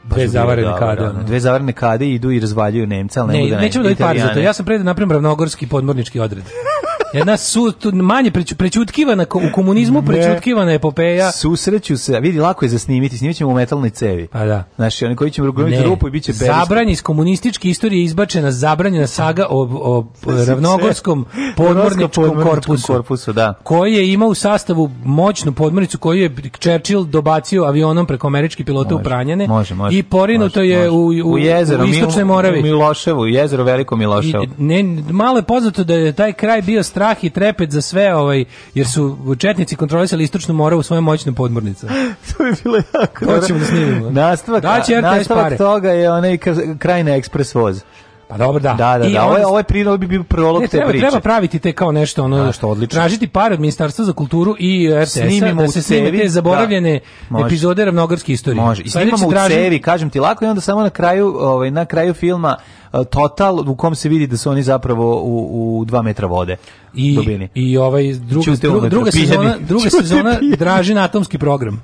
Speaker 8: dve zavarene kade.
Speaker 7: Ono.
Speaker 8: ono.
Speaker 7: Dve zavarene kade idu i razvaljuju Nemca, ali ne,
Speaker 8: Ne,
Speaker 7: mogu da
Speaker 8: nećemo dobiti pare za to.
Speaker 7: Italijane.
Speaker 8: Ja sam pre da napravim ravnogorski podmornički odred. Jedna su, tu manje preću, prećutkivana, ko- u komunizmu prećutkivana epopeja.
Speaker 7: Susreću se, vidi, lako je zasnimiti, snimit ćemo u metalnoj cevi.
Speaker 8: Pa da.
Speaker 7: Znaš, oni koji ćemo
Speaker 8: Ne.
Speaker 7: rugomiti rupu i bit će berijski.
Speaker 8: Zabranj iz komunističke istorije izbačena zabranjena saga o, o ravnogorskom podmorničkom korpusu.
Speaker 7: korpusu, da.
Speaker 8: koji je imao u sastavu moćnu podmornicu koju je Churchill dobacio avionom preko američkih pilota u
Speaker 7: Može,
Speaker 8: Pranjane
Speaker 7: može, može,
Speaker 8: i porinuto
Speaker 7: može,
Speaker 8: je u,
Speaker 7: može.
Speaker 8: u, u,
Speaker 7: jezero,
Speaker 8: istočnoj
Speaker 7: Mil-
Speaker 8: Moravi.
Speaker 7: U Miloševu, u jezero Veliko
Speaker 8: I,
Speaker 7: Miloševo.
Speaker 8: ne, malo je poznato da je taj kraj bio strah i trepet za sve, ovaj, jer su četnici kontrolisali istočnu moravu svojom moćnom podmornicom.
Speaker 7: to je bilo jako. dobro.
Speaker 8: ćemo da snimimo.
Speaker 7: Nastavak,
Speaker 8: Da će RTS
Speaker 7: nastavak
Speaker 8: pare.
Speaker 7: toga je onaj ka- kraj na ekspres voz.
Speaker 8: Pa dobro, da.
Speaker 7: Da, da,
Speaker 8: I
Speaker 7: da.
Speaker 8: onda
Speaker 7: Ovo je, ovo je prilog bi bio prolog
Speaker 8: Ne,
Speaker 7: te
Speaker 8: treba,
Speaker 7: priče.
Speaker 8: treba praviti te kao nešto ono
Speaker 7: Da, što odlično.
Speaker 8: Tražiti pare od Ministarstva za kulturu i RTS-a
Speaker 7: Snimimo
Speaker 8: da
Speaker 7: u
Speaker 8: se snime
Speaker 7: cevi,
Speaker 8: te zaboravljene
Speaker 7: da. Može.
Speaker 8: epizode ravnogorske istorije.
Speaker 7: Može. I
Speaker 8: Sledeći
Speaker 7: snimamo u
Speaker 8: traži-
Speaker 7: cevi, kažem ti lako, i onda samo na kraju, ovaj, na kraju filma eh, total u kom se vidi da su oni zapravo u, u dva metra vode
Speaker 8: I,
Speaker 7: dubini.
Speaker 8: I ovaj druga,
Speaker 7: Ćute
Speaker 8: druga,
Speaker 7: unutra,
Speaker 8: druga
Speaker 7: pijani.
Speaker 8: sezona, druga
Speaker 7: Ćute
Speaker 8: sezona
Speaker 7: pijani.
Speaker 8: Dražin atomski program.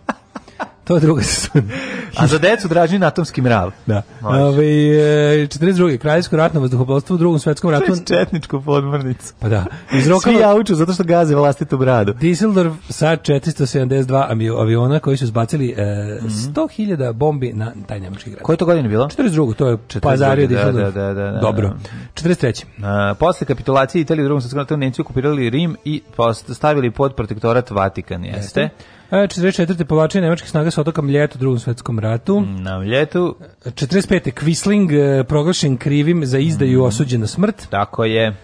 Speaker 8: To je druga sezona.
Speaker 7: A za decu dražin atomski mrav.
Speaker 8: Da. Ovaj,
Speaker 7: Može.
Speaker 8: Ove, 42. Kraljevsko ratno vazduhoplovstvo u drugom svetskom ratu.
Speaker 7: Četničku podmornicu.
Speaker 8: Pa da.
Speaker 7: Svi
Speaker 8: Izrokalo
Speaker 7: jauču zato što gaze vlastitu bradu.
Speaker 8: Düsseldorf sa 472 avio- aviona koji su zbacili e,
Speaker 7: Mhm.
Speaker 8: 100.000 bombi na taj nemački grad.
Speaker 7: Koje je to godine bilo?
Speaker 8: 42. To je
Speaker 7: 42.,
Speaker 8: pazario
Speaker 7: da,
Speaker 8: Düsseldorf.
Speaker 7: da, da, da, da.
Speaker 8: Dobro. 43.
Speaker 7: A, posle kapitulacije Italije u drugom svetskom ratu Nemci okupirali Rim i post- stavili pod protektorat Vatikan, jeste?
Speaker 8: E, 44. povlačenje nemačkih snaga sa otoka Mljet u drugom svetskom ratu.
Speaker 7: Na ljetu,
Speaker 8: 45. Quisling e, proglašen krivim za
Speaker 7: Mhm.
Speaker 8: izdaju osuđen na smrt.
Speaker 7: tako je.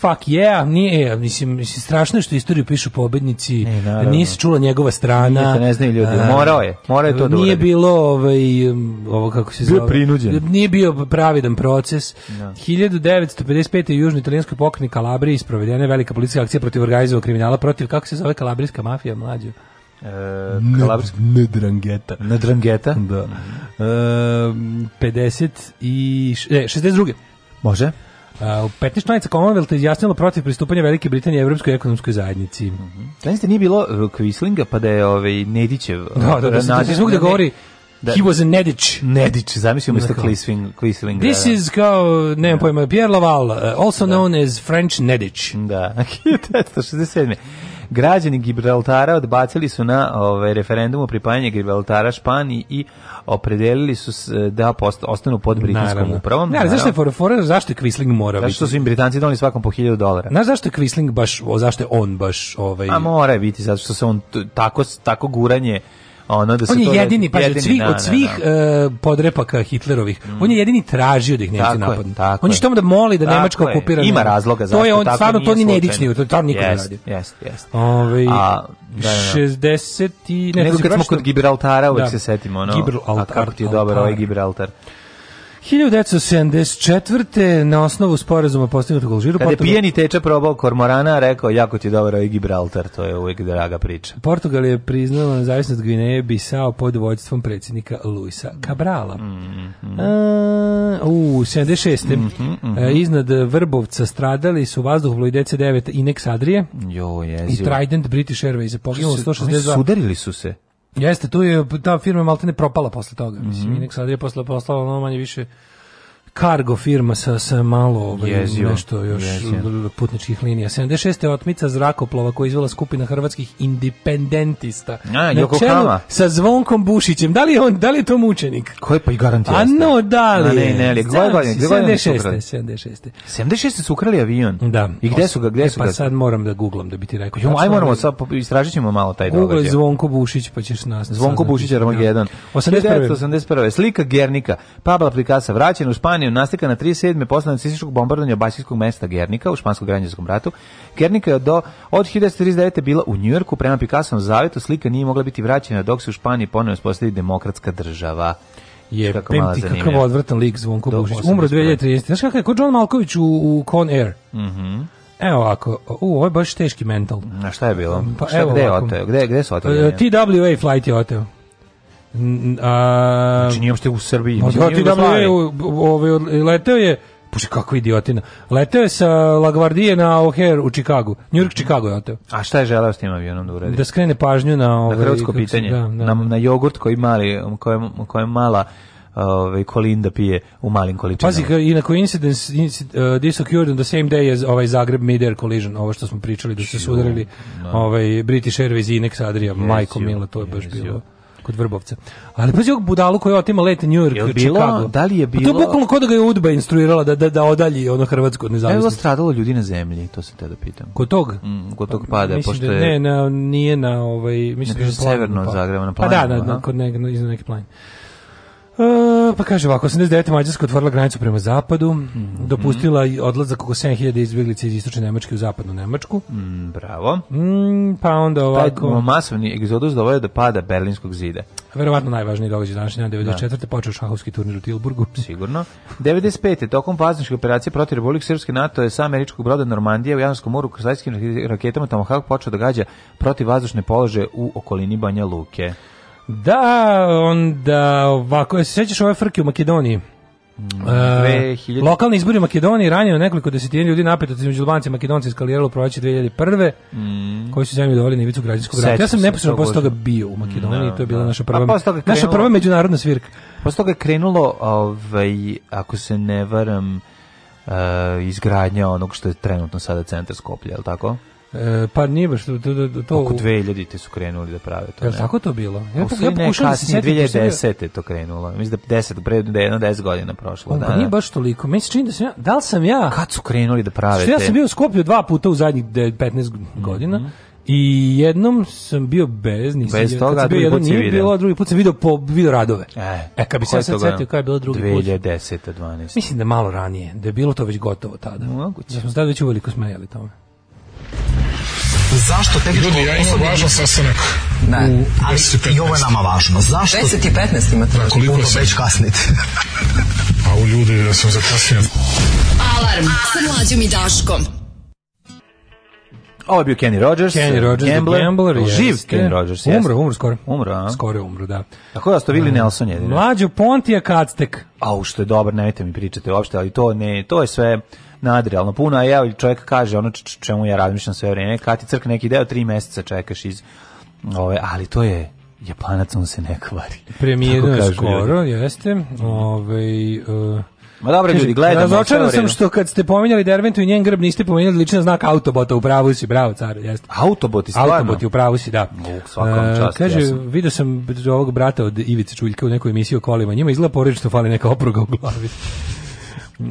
Speaker 8: Fuck yeah, nije, e, mislim, mislim strašno je što istoriju pišu pobednici,
Speaker 7: Ne, E, naravno.
Speaker 8: nije se čula njegova strana.
Speaker 7: Nije se ne znaju ljudi,
Speaker 8: A,
Speaker 7: morao je, morao je to da
Speaker 8: Nije
Speaker 7: uradi.
Speaker 8: bilo ovaj, um, ovo kako se
Speaker 7: Bio
Speaker 8: zove.
Speaker 7: je prinuđen.
Speaker 8: Nije bio pravidan proces. 1955. u južnoj italijanskoj pokrajini Kalabriji isprovedena je velika policijska akcija protiv organizovanog kriminala, protiv, kako se zove kalabrijska mafija, mlađo?
Speaker 7: E, Kalabrska-
Speaker 8: Nedrangeta.
Speaker 7: Nedrangeta.
Speaker 8: Da. Um, 50 i... š- E, 62.
Speaker 7: Može.
Speaker 8: A, u 15 članica Commonwealtha izjasnilo protiv pristupanja Velike Britanije Evropskoj ekonomskoj zajednici.
Speaker 7: Znači, nije bilo e, Kvislinga, pa da je ovaj, Nedićev...
Speaker 8: Da, da, da, da,
Speaker 7: naziv-
Speaker 8: da, da
Speaker 7: ne,
Speaker 8: govori
Speaker 7: da.
Speaker 8: He was a Nedić.
Speaker 7: Nedić, zamisli umjesto
Speaker 8: Dakle.
Speaker 7: Kvisling, Kvislinga.
Speaker 8: This
Speaker 7: da.
Speaker 8: is kao, nemam pojma, Pierre Laval, uh, also known as French Nedić.
Speaker 7: Da, 1967. Građani Gibraltara odbacili su na ovaj, referendumu pripajanje Gibraltara Španiji i opredelili su se da post, ostanu pod britanskom upravom.
Speaker 8: Ne, ali zašto je
Speaker 7: Naravno.
Speaker 8: fora, fora, zašto je Quisling mora
Speaker 7: Zato
Speaker 8: biti?
Speaker 7: što su im Britanci doneli svakom po 1000 dolara.
Speaker 8: Znaš zašto je Quisling baš, o, zašto je on baš ovaj...
Speaker 7: A mora je biti, zato što se on t- tako, tako guranje ono da se
Speaker 8: on je
Speaker 7: to
Speaker 8: jedini, pa od
Speaker 7: jedini,
Speaker 8: svih,
Speaker 7: da, da,
Speaker 8: od svih
Speaker 7: da. Mm.
Speaker 8: e, podrepaka Hitlerovih, on je jedini tražio da ih Nemci
Speaker 7: Tako je,
Speaker 8: napadnu.
Speaker 7: tako
Speaker 8: on je
Speaker 7: je.
Speaker 8: što da moli da
Speaker 7: Tako
Speaker 8: Nemačka
Speaker 7: je.
Speaker 8: okupira.
Speaker 7: Ima
Speaker 8: Nemčiju.
Speaker 7: razloga
Speaker 8: To je
Speaker 7: zašto,
Speaker 8: on,
Speaker 7: tako
Speaker 8: stvarno, to
Speaker 7: nije
Speaker 8: ni
Speaker 7: slučajno.
Speaker 8: Nedić nije, to, to niko ne
Speaker 7: Jest,
Speaker 8: radi.
Speaker 7: jest, jest.
Speaker 8: Ovaj
Speaker 7: A, da, da, da.
Speaker 8: 60 i ne, to
Speaker 7: Nego
Speaker 8: si
Speaker 7: kad smo
Speaker 8: pročitao?
Speaker 7: kod Gibraltara uvek
Speaker 8: Da.
Speaker 7: se setimo ono,
Speaker 8: Gibraltar,
Speaker 7: a kako ti je dobar ovaj
Speaker 8: altar.
Speaker 7: Gibraltar.
Speaker 8: 1974. na osnovu sporazuma postignutog u Alžiru
Speaker 7: Kada je
Speaker 8: Portugal-
Speaker 7: pijeni teča probao kormorana, rekao jako ti je dobar ovaj Gibraltar, to je uvijek draga priča.
Speaker 8: Portugal je priznala nezavisnost Gvineje Bisao pod vođstvom predsjednika Luisa Cabrala.
Speaker 7: Mhm.
Speaker 8: A, u 76. e, iznad Vrbovca stradali su vazduhoplovi DC-9 Inex Adrije
Speaker 7: Jo,
Speaker 8: i
Speaker 7: jezivo.
Speaker 8: Trident British Airways. Poginulo
Speaker 7: Oni su- oni
Speaker 8: 162
Speaker 7: Sudarili su se.
Speaker 8: Jeste, tu je ta firma maltene propala posle toga. Mislim,
Speaker 7: Mhm.
Speaker 8: Inex Adria posle poslala ono manje više kargo firma sa, sa malo ovaj,
Speaker 7: Jezivo,
Speaker 8: nešto još
Speaker 7: jezivo.
Speaker 8: putničkih linija. 76. je otmica zrakoplova koja je izvela skupina hrvatskih independentista.
Speaker 7: A,
Speaker 8: Na
Speaker 7: Yokohama.
Speaker 8: čelu sa Zvonkom Bušićem. Da li je, on, da li je to mučenik?
Speaker 7: Ko je pa i garantija?
Speaker 8: A no, da li
Speaker 7: A ne,
Speaker 8: je?
Speaker 7: ne, ali koje godine? Gde godine su
Speaker 8: 76.
Speaker 7: ukrali?
Speaker 8: 76.
Speaker 7: 76. su ukrali avion.
Speaker 8: Da.
Speaker 7: I gde su ga,
Speaker 8: E,
Speaker 7: gde su
Speaker 8: Pa
Speaker 7: ga?
Speaker 8: sad moram da googlam da bi ti rekao.
Speaker 7: Jo, aj
Speaker 8: Tačno
Speaker 7: moramo
Speaker 8: je-
Speaker 7: sad po- istražit ćemo malo taj
Speaker 8: Google
Speaker 7: događaj.
Speaker 8: Zvonko Bušić pa ćeš nas
Speaker 7: Zvonko
Speaker 8: saznati.
Speaker 7: Bušić Armagedon.
Speaker 8: Da. 81.
Speaker 7: 1981. Slika Gernika. Pabla Picasso vraćen u Španiju, naslika na 37. posle nacističkog bombardovanja basijskog mesta Gernika u špansko-granđanskom ratu. Gernika je do, od 1939. bila u Njujorku prema Picassovom zavetu. Slika nije mogla biti vraćena dok se u Španiji ponovno uspostavi demokratska država.
Speaker 8: Je,
Speaker 7: Kako
Speaker 8: prim
Speaker 7: mala
Speaker 8: ti
Speaker 7: zanimljiva.
Speaker 8: kakav odvratan lik Zvonko
Speaker 7: Do
Speaker 8: Bušić. Umro
Speaker 7: 81.
Speaker 8: 2013. Znaš kakav je, ko John Malković u, u Con Air.
Speaker 7: Mhm.
Speaker 8: Evo ovako, u, ovo je baš teški mental. E,
Speaker 7: Na šta je bilo?
Speaker 8: Pa
Speaker 7: šta,
Speaker 8: evo
Speaker 7: gde je
Speaker 8: ovako.
Speaker 7: oteo? Gde, gde su oteo?
Speaker 8: E, TWA flight je oteo. n- a,
Speaker 7: Znači nije uopšte u Srbiji.
Speaker 8: Pa
Speaker 7: mislim,
Speaker 8: da,
Speaker 7: nije
Speaker 8: ti da
Speaker 7: Jugoslaviji.
Speaker 8: je, u- u- ovaj, od- leteo je, puši kakva idiotina, leteo je sa Lagvardije na O'Hare u Čikagu, New York, Čikago je oteo,
Speaker 7: A šta je želeo s tim avionom da uradi?
Speaker 8: da skrene pažnju na...
Speaker 7: na
Speaker 8: Ovaj,
Speaker 7: hrvatsko
Speaker 8: kako se-
Speaker 7: pitanje,
Speaker 8: Da, da.
Speaker 7: na, na jogurt koji mali, kojem, kojem mala ovaj, kolinda pije u malim količinama.
Speaker 8: Pazi, ka- i na coincidence, inci- uh, this occurred on the same day as ovaj Zagreb mid-air collision, ovo što smo pričali da su se sudarili ovaj, British Airways i Inex Adria, majko
Speaker 7: you,
Speaker 8: Mila, to je baš
Speaker 7: yes,
Speaker 8: bilo
Speaker 7: you.
Speaker 8: kod Vrbovca. Ali pazi ovog budalu koji je otima let New
Speaker 7: Jel
Speaker 8: York,
Speaker 7: bilo-
Speaker 8: Chicago.
Speaker 7: da li je
Speaker 8: Pa to
Speaker 7: bilo-
Speaker 8: je bukvalno kod da ga je Udba instruirala da, da, da odalji ono Hrvatsko od
Speaker 7: Da je bilo
Speaker 8: nezavisnosti.
Speaker 7: stradalo ljudi na zemlji, to se te da pitam.
Speaker 8: Kod tog?
Speaker 7: Mm, kod tog pada,
Speaker 8: Pa, mislim
Speaker 7: pošto
Speaker 8: da,
Speaker 7: je...
Speaker 8: ne, na, nije na ovaj, mislim
Speaker 7: Ne,
Speaker 8: da je
Speaker 7: kaže
Speaker 8: na planinu
Speaker 7: severno od
Speaker 8: pao.
Speaker 7: Zagreba, na
Speaker 8: Pa da,
Speaker 7: planinu,
Speaker 8: na, na,
Speaker 7: aha.
Speaker 8: kod neg, na, iznad neke planine. E, pa kaže ovako, 89. Mađarska otvorila granicu prema zapadu,
Speaker 7: Mhm.
Speaker 8: dopustila i odlazak oko 7000 izbjeglica iz istočne Nemačke u zapadnu Nemačku,
Speaker 7: Mm, bravo.
Speaker 8: mm, pa onda
Speaker 7: Taj
Speaker 8: ovako...
Speaker 7: masovni egzodus doveo je do pada Berlinskog zida,
Speaker 8: Verovatno najvažniji događaj današnji dan 94. počeo šahovski turnir u Tilburgu.
Speaker 7: sigurno. 95. tokom vazničke operacije protiv Republike Srpske NATO je sa američkog broda Normandija u Janskom moru krasajskim raketama Tomahawk počeo događa protiv vazdušne polože u okolini Banja
Speaker 8: E,
Speaker 7: Luke.
Speaker 8: Da, onda ovako, jel se sećaš ove frke u Makedoniji? E,
Speaker 7: 2000.
Speaker 8: Lokalni izbori u Makedoniji ranjeno nekoliko desetina ljudi napet između Albanci i Makedonci eskaliralo u proleće 2001. koji su zemlju doveli na ivicu građanskog rata.
Speaker 7: Mm. Sećam
Speaker 8: Ja sam
Speaker 7: se
Speaker 8: neposredno
Speaker 7: toga
Speaker 8: posle toga
Speaker 7: užasno.
Speaker 8: bio u Makedoniji i to je bila
Speaker 7: da.
Speaker 8: naša
Speaker 7: A
Speaker 8: prva,
Speaker 7: posle toga
Speaker 8: naša
Speaker 7: krenulo-
Speaker 8: prva međunarodna svirka.
Speaker 7: Posle toga je krenulo, ovaj, ako se ne varam, e, izgradnja onog što je trenutno sada centar Skoplja, je li tako?
Speaker 8: E, pa nije baš to... to, to, to
Speaker 7: Oko 2000 su krenuli da prave to.
Speaker 8: je li
Speaker 7: ne?
Speaker 8: tako to bilo? Ja,
Speaker 7: U
Speaker 8: pok-
Speaker 7: stvari
Speaker 8: ja
Speaker 7: ne,
Speaker 8: pokušavam da se
Speaker 7: kasnije,
Speaker 8: setim.
Speaker 7: 2010. je to krenulo. Mislim da 10, pre da je jedno 10 godina prošlo.
Speaker 8: Pa
Speaker 7: Da,
Speaker 8: nije
Speaker 7: da.
Speaker 8: baš toliko. Meni se čini da sam ja... Da li sam ja...
Speaker 7: Kad su krenuli da prave
Speaker 8: Što ja
Speaker 7: te-
Speaker 8: sam bio u Skopju dva puta u zadnjih de- 15 godina. I jednom sam bio bez, nisam
Speaker 7: Bez
Speaker 8: bio-
Speaker 7: toga,
Speaker 8: kad sam bio
Speaker 7: drugi
Speaker 8: jedan
Speaker 7: put si
Speaker 8: nije
Speaker 7: video.
Speaker 8: bilo, a drugi put sam video po video radove.
Speaker 7: E,
Speaker 8: e kad bi se
Speaker 7: koje
Speaker 8: ja sad
Speaker 7: to godine?
Speaker 8: setio kada je bilo drugi put.
Speaker 7: 2010. 12.
Speaker 8: Mislim da je malo ranije, da je bilo to već gotovo tada.
Speaker 7: Moguće.
Speaker 8: Da smo se tada već uveliko smejali tome.
Speaker 9: Ljudi, ja imam važan sastanak. Ne, ali i ovo je nama važno. Zašto? 10 i 15 imate. Da, koliko sam? Već kasnite. A Pa u ljudi da sam zakasnio.
Speaker 5: Alarm sa mlađom i Daškom.
Speaker 7: Ovo je bio Kenny Rogers.
Speaker 8: Kenny Rogers,
Speaker 7: Gambler. Pa
Speaker 8: Gambler, Gambler jeste.
Speaker 7: Živ Kenny Rogers, jeste.
Speaker 8: Umro, umro skoro. Mm.
Speaker 7: Umro, a?
Speaker 8: Skoro je umro, da.
Speaker 7: Tako da ostavili Nelson jedino.
Speaker 8: Mlađo Pontija Kactek.
Speaker 7: Au, što je dobar, nemojte mi pričati uopšte, ali to ne, to je sve nadrealno puno, a ja čovjek kaže ono č- č- čemu ja razmišljam sve vrijeme, kad ti crkne neki deo, tri mjeseca čekaš iz ove, ali to je Japanac, on se ne kvari.
Speaker 8: Premijerno
Speaker 7: Tako
Speaker 8: je
Speaker 7: kažu ljudi.
Speaker 8: skoro, jeste. Ovaj, uh,
Speaker 7: Ma dobro ljudi, gledamo.
Speaker 8: Razočaran
Speaker 7: sve u
Speaker 8: sam
Speaker 7: redu.
Speaker 8: što kad ste pominjali Derventu i njen grb niste pominjali ličan znak Autobota, u pravu si, bravo car, jeste.
Speaker 7: Autoboti, stvarno.
Speaker 8: Autobot je u pravu si, da.
Speaker 7: U, svaka vam
Speaker 8: E,
Speaker 7: čast,
Speaker 8: kaže,
Speaker 7: ja sam.
Speaker 8: vidio sam ovog brata od Ivice Čuljka u nekoj emisiji o kolima. Njima izgleda porodično što fali neka opruga u glavi.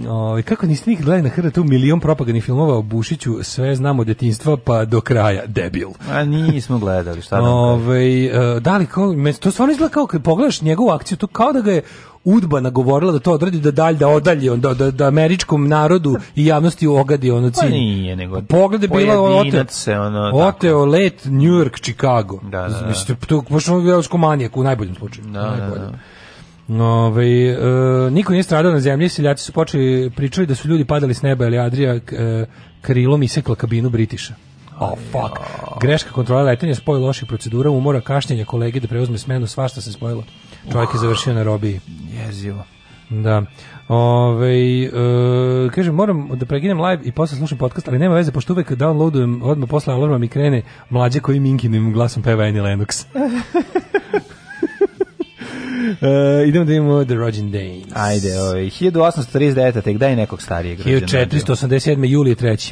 Speaker 8: O, kako niste nikad gledali na HRT-u milion propagandnih filmova o Bušiću, sve znamo od detinstva pa do kraja, debil.
Speaker 7: A nismo gledali, šta da vam kažem.
Speaker 8: Ovaj e, da li kao, me- to stvarno izgleda kao kad pogledaš njegovu akciju, to kao da ga je Udba nagovorila da to odradi, da dalje, da odalje, on, da, da, da američkom narodu i javnosti ogadi ono cilj.
Speaker 7: Pa nije, nego
Speaker 8: Pogled je bilo ono,
Speaker 7: pojedinac
Speaker 8: oteo,
Speaker 7: se, ono, tako.
Speaker 8: oteo Dakle, let New York, Chicago.
Speaker 7: Da, da, da.
Speaker 8: Mislim, to je baš ono gledalačko manijak u najboljem slučaju. Da, Ovaj, e, niko nije stradao na zemlji, seljaci su počeli pričali da su ljudi padali s neba, ali Adria e, krilom isekla kabinu Britiša. Oh, fuck. Greška kontrola letenja, spoj loših procedura, umora, kašnjenja kolege da preuzme smenu, svašta se spojilo. Čovjek je završio na robiji.
Speaker 7: Jezivo.
Speaker 8: Da. Ove, e, kažem, moram da preginem live i posle slušam podcast, ali nema veze, pošto uvek downloadujem, odmah posle alarma mi krene mlađe koji minkinim glasom peva Annie Lennox. e, idemo da imamo The Rođen Danes.
Speaker 7: Ajde, ovaj, 1839. tek daj nekog starijeg. rođendan.
Speaker 8: 1487. Julije 3.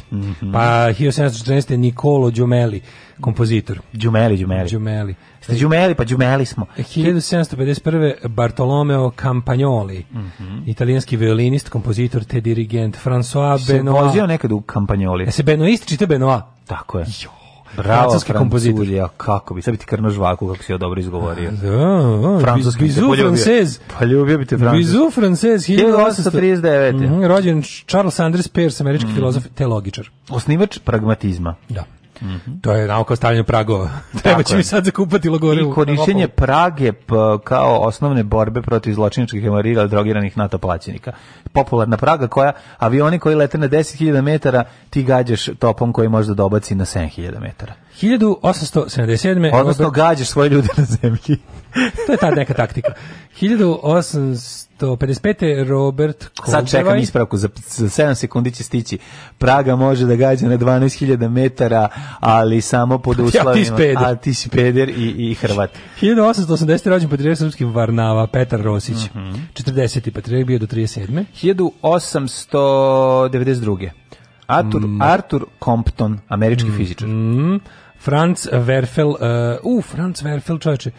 Speaker 8: Pa 1714. Nikolo Đomeli, kompozitor.
Speaker 7: Đumeli, Đumeli.
Speaker 8: Đomeli.
Speaker 7: Ste Đumeli, pa Đumeli smo.
Speaker 8: E, 1751. Bartolomeo Campagnoli, Mhm. italijanski violinist, kompozitor te dirigent François
Speaker 7: Se vozio
Speaker 8: Benoit.
Speaker 7: nekad u kampanjoli.
Speaker 8: E se Benoist čita Benoit.
Speaker 7: Tako je. Bravo,
Speaker 8: Francuski kompozitor.
Speaker 7: Ja, kako bi, sad bi ti krno žvaku, kako si joj dobro izgovorio.
Speaker 8: Da,
Speaker 7: Francuski bi te
Speaker 8: Bizu
Speaker 7: poljubio.
Speaker 8: Francez.
Speaker 7: Pa ljubio bi te Francuz.
Speaker 8: Bizu Francez,
Speaker 7: 1839. Mhm.
Speaker 8: Mhm, rođen Charles Anders Peirce, američki filozof, teologičar.
Speaker 7: Osnivač pragmatizma.
Speaker 8: Da. To je nauka o stavljanju pragova. Treba će
Speaker 7: Mhm. je.
Speaker 8: mi sad zakupati logore.
Speaker 7: I korišćenje Prage p- kao osnovne borbe protiv zločinačkih hemarila drogiranih NATO plaćenika. Popularna Praga koja, avioni koji lete na 10.000 metara, ti gađaš topom koji možda dobaci na 7.000 metara.
Speaker 8: 1877.
Speaker 7: Odnosno, gađaš svoje ljude na zemlji.
Speaker 8: to je ta neka taktika. 1855. Robert Koldevaj.
Speaker 7: Sad čekam ispravku, za, za 7 sekundi će stići. Praga može da gađa na 12.000 metara, ali samo pod uslovima.
Speaker 8: si peder.
Speaker 7: A ti si peder i, i Hrvat.
Speaker 8: 1880. rođen patrijarh srpski Varnava, Petar Rosić.
Speaker 7: Mhm.
Speaker 8: 40. patrijarh bio do 37.
Speaker 7: 1892. Arthur,
Speaker 8: Mm.
Speaker 7: Arthur Compton, američki fizičar.
Speaker 8: Franz Werfel, uh, u, Franz Werfel, čoveče,